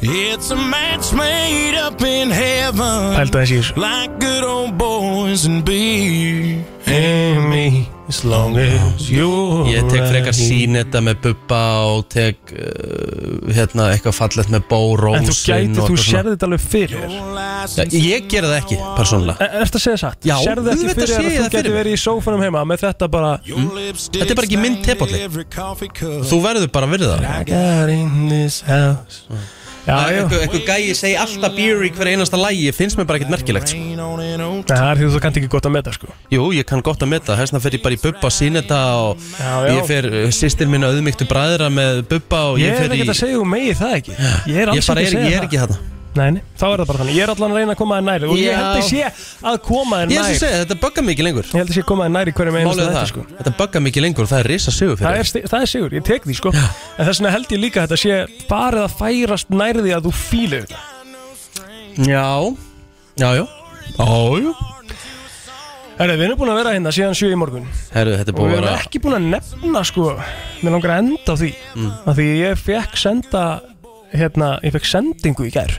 [SPEAKER 2] It's a match made up in heaven
[SPEAKER 1] Pældu aðeins í þessu.
[SPEAKER 2] Like good old boys and be And me As long as you're
[SPEAKER 4] Ég tek frekar
[SPEAKER 2] right.
[SPEAKER 4] sínetta með bubba og tek uh, hérna, eitthvað fallegt með bó, rósin
[SPEAKER 1] En þú gæti, þú sérði þetta alveg fyrir þér.
[SPEAKER 4] ja, Ég gera það ekki, persónulega
[SPEAKER 1] Er þetta að segja satt?
[SPEAKER 4] Já,
[SPEAKER 1] Sérðu þetta
[SPEAKER 4] auðvitað
[SPEAKER 1] ekki fyrir
[SPEAKER 4] sé ég
[SPEAKER 1] þér að
[SPEAKER 4] það
[SPEAKER 1] þú gæti
[SPEAKER 4] fyrir mér.
[SPEAKER 1] verið í sófanum heima með þetta bara
[SPEAKER 4] Þetta er bara ekki minn tepalli Þú verður bara að virða það
[SPEAKER 1] I got in this house
[SPEAKER 4] Mm.
[SPEAKER 1] Já, já,
[SPEAKER 4] Eitthvað eitthvað gæi segi alltaf beer í hver einasta lægi finnst mér bara ekkert merkilegt sko.
[SPEAKER 1] Nei, það er því þú kannt ekki gott að meta sko
[SPEAKER 4] Jú, ég kann gott að meta, þessna fer ég bara í bubba sínetta og
[SPEAKER 1] Já, já.
[SPEAKER 4] ég fer uh, sýstir minna auðmygtu bræðra með bubba og
[SPEAKER 1] Ég,
[SPEAKER 4] ég,
[SPEAKER 1] er
[SPEAKER 4] fer í
[SPEAKER 1] ekkert að segja um megi það ekki Ég er
[SPEAKER 4] Ég
[SPEAKER 1] alls
[SPEAKER 4] bara
[SPEAKER 1] ekki að
[SPEAKER 4] er,
[SPEAKER 1] segja
[SPEAKER 4] ég er ekki þarna
[SPEAKER 1] það Nei, nei, þá er það bara þannig Ég er allan að reyna að koma þér næri Og
[SPEAKER 4] Já.
[SPEAKER 1] ég held að ég sé að koma þér
[SPEAKER 4] Ég er
[SPEAKER 1] nær
[SPEAKER 4] að segja, þetta bugga mikið lengur
[SPEAKER 1] Ég held að ég koma þér næri hverjum einasta
[SPEAKER 4] Málið er
[SPEAKER 1] þetta
[SPEAKER 4] það,
[SPEAKER 1] sko
[SPEAKER 4] þetta bugga mikið lengur Það er risa sigur fyrir
[SPEAKER 1] Það er, sti- það er sigur, ég tek því sko En þess vegna held ég líka að þetta sé farið að færast nærði að þú fílu þetta
[SPEAKER 4] þig. Já, já, já Ájú
[SPEAKER 1] Herra, við erum búin að vera hérna síðan sjö í morgun
[SPEAKER 4] Herru, þetta er
[SPEAKER 1] Og
[SPEAKER 4] búið
[SPEAKER 1] við
[SPEAKER 4] að
[SPEAKER 1] erum
[SPEAKER 4] vera
[SPEAKER 1] ekki búin að nefna sko Mér langar að enda á því mm. Af því ég fekk senda Hérna, ég fekk sendingu í gær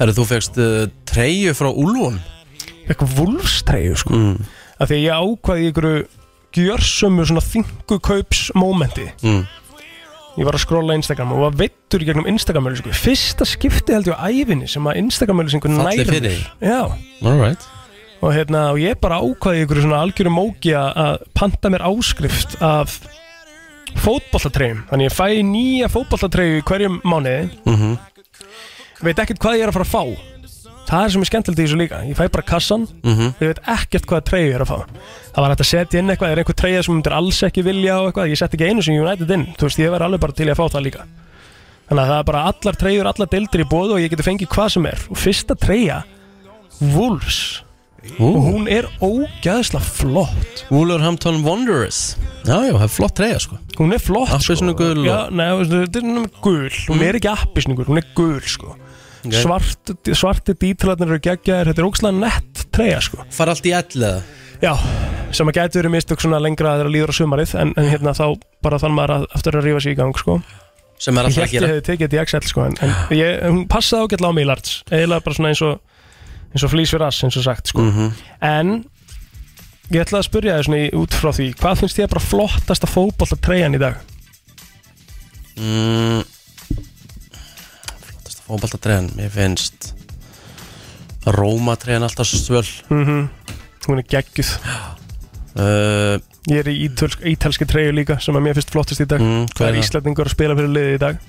[SPEAKER 4] Herru, þú fegst uh, treyju frá Úlfun
[SPEAKER 1] Fekk vúlstreyju sko
[SPEAKER 4] Mm.
[SPEAKER 1] Af því að ég ákvaði í einhverju gjörsömu svona þingu kaups momenti
[SPEAKER 4] mm.
[SPEAKER 1] Ég var að skrolla Instagram og var veittur í gegnum Instagram-auðlýsingu Fyrsta skipti held ég á ævinni sem að Instagram-auðlýsingu
[SPEAKER 4] Falli
[SPEAKER 1] nærður
[SPEAKER 4] fyrir þig.
[SPEAKER 1] Já,
[SPEAKER 4] All right
[SPEAKER 1] og, hérna, og ég bara ákvaði ykkur svona algjörum móki að- að panta mér áskrift af fótboltatreyjum þannig ég fæ nýja fótboltatreyju í hverjum mánuði
[SPEAKER 4] Mhm.
[SPEAKER 1] veit ekkert hvað ég er að fara að fá það er sem er skemmtilegt í þessu líka ég fæ bara kassan,
[SPEAKER 4] Mhm.
[SPEAKER 1] ég veit ekkert hvaða treyju ég er að fá það var hægt að setja inn eitthvað er einhver treyja sem þú myndir alls ekki vilja og eitthvað ég setti ekki einu sem United inn þú veist, ég verð alveg bara til í að fá það líka þannig að það er bara allar treyjur, allar deildir í bóðu og ég geti fengið hvað sem er og fyrsta treyja, Wolves og hún er ógæðsla flott
[SPEAKER 4] Wolverhampton Wanderers Já, já, það er flott treyja sko
[SPEAKER 1] Hún er flott
[SPEAKER 4] Appisinu sko. gul Mm.
[SPEAKER 1] Já, nei, veistu, þetta er nefnum gul Hún er ekki appisningur, hún er gul sko
[SPEAKER 4] Ok.
[SPEAKER 1] Svart, Svarti dítralarnir eru geggjaðir Þetta er ógslag nett treyja sko
[SPEAKER 4] Far allt í elliða
[SPEAKER 1] Já, sem að gæti verið mistök svona lengra þegar líður á sumarið en, en hérna þá bara þann maður að aftur að rífa sig í gang sko
[SPEAKER 4] Sem er alltaf að
[SPEAKER 1] Ég
[SPEAKER 4] gera.
[SPEAKER 1] held ég hefði tekið þetta í Axel sko en, en ég, hún passaði ágætlega á mig í larts eiginlega bara svona eins og eins og flýs fyrir ass eins og sagt sko
[SPEAKER 4] Mhm.
[SPEAKER 1] en ég ætlaði að spyrja þér svona í, út frá því hvað finnst þér bara flottasta fótbolta treyjan í dag?
[SPEAKER 4] mm, Flottasta fótbaltatreyjan Mér finnst Rómatreyjan alltaf svo svöl
[SPEAKER 1] mm Hún er geggjuð
[SPEAKER 4] uh,
[SPEAKER 1] Ég er í ítölsk, ítalski treyju líka sem að mér finnst flottast í dag
[SPEAKER 4] Mm, hvað
[SPEAKER 1] Það
[SPEAKER 4] er
[SPEAKER 1] er
[SPEAKER 4] það?
[SPEAKER 1] Íslandingur að spila fyrir liðið í dag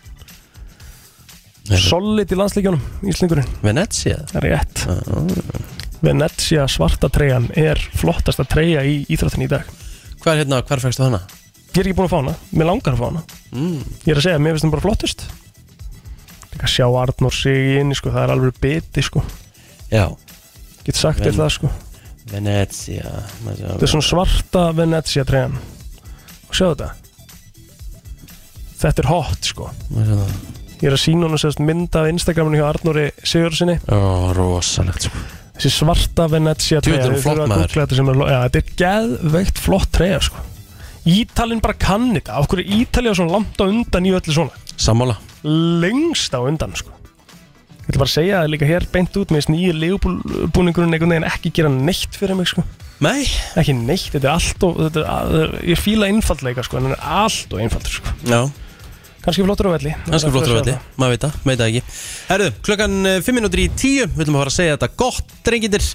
[SPEAKER 1] Solid í landslíkjónum, Íslandingurinn
[SPEAKER 4] Venezia
[SPEAKER 1] Það er rétt
[SPEAKER 4] Ah.
[SPEAKER 1] Venezia svarta treyjan er flottasta treyja í íþróttinni í dag
[SPEAKER 4] Hvað er hérna, hvar fækstu hana?
[SPEAKER 1] Ég er ekki búin að fá hana, mér langar að fá hana
[SPEAKER 4] Mm.
[SPEAKER 1] Ég er að segja, mér finnst hún bara flottust Líka að sjá Arnór sig í inni sko, það er alveg biti sko
[SPEAKER 4] Já
[SPEAKER 1] Get sagt þér
[SPEAKER 4] Ven-
[SPEAKER 1] það sko
[SPEAKER 4] Venezia Þetta
[SPEAKER 1] Þetta er svona svarta Venezia treyjan Og sjáðu þetta Þetta er hot sko
[SPEAKER 4] svona
[SPEAKER 1] Ég er að sína hún sérst mynda af Instagraminu hjá Arnóri Sigurðssoni
[SPEAKER 4] Já, rosalegt sko
[SPEAKER 1] Þessi svarta Venezia
[SPEAKER 4] Djú, þetta er
[SPEAKER 1] treyja,
[SPEAKER 4] hún
[SPEAKER 1] við
[SPEAKER 4] flott,
[SPEAKER 1] þurfum að
[SPEAKER 4] maður.
[SPEAKER 1] googla þetta sem er, lo- já, Þetta er geðveikt flott treyja sko. Ítalinn bara kann þetta Okkur er Ítalja svona langt á undan í öllu svona
[SPEAKER 4] Sammála
[SPEAKER 1] Lengst á undan sko. Ég ætla bara að segja það líka hér beint út með þessi nýju legubúningurinn einhvern veginn ekki gera neitt fyrir mig sko.
[SPEAKER 4] Nei
[SPEAKER 1] Ekki neitt, þetta er allt og þetta er, Ég fíla einfaldleika sko, en hann er allt og einfaldur sko.
[SPEAKER 4] Já
[SPEAKER 1] Kanski flottur á velli
[SPEAKER 4] Kannski flottur velli, maður veit það, maður veit það ekki Herðu, klokkan 5 minútur í 10 Við ætlum að fara að segja þetta gott, drengindir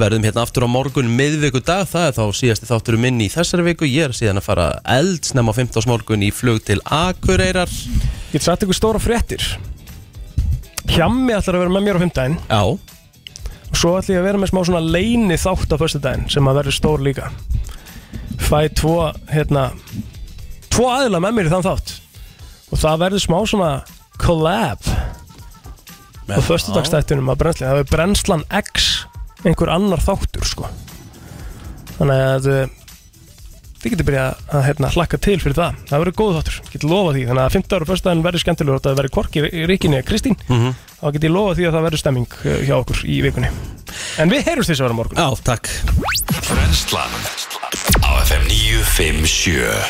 [SPEAKER 4] Verðum hérna aftur á morgun miðviku dag Það er þá síðasti þátturum minn í þessari viku Ég er síðan að fara eldsnefn á 15. morgun Í flug til Akureyrar
[SPEAKER 1] Ég get sagt ykkur stóra fréttir Hjammi ætlar að vera með mér á fimmdæn
[SPEAKER 4] Já
[SPEAKER 1] Og svo ætla ég að vera með smá svona leini þátt á föstudæn Sem að verður stór líka Fæ tvo, hérna Tvo aðila með mér í þann þátt Og það verður smá svona collab
[SPEAKER 4] Já.
[SPEAKER 1] Á föstudagstættunum að brennslan Það er brennslan X Einhver annar þáttur, sko Þannig að eh, Þið getur byrjað að, að hérna, hlakka til fyrir það Það verður góð þáttur, ég get lofa því Þannig að 15 ára föstudaginn verður skemmtilegur þótt að Það verður Korki, Ríkinni, Kristín
[SPEAKER 4] Mhm.
[SPEAKER 1] Þá get ég lofa því að það verður stemming eh, hjá okkur í vikunni En við heyrjumst þess að vera morgun
[SPEAKER 4] Já, takk
[SPEAKER 2] Brennslan á FM 957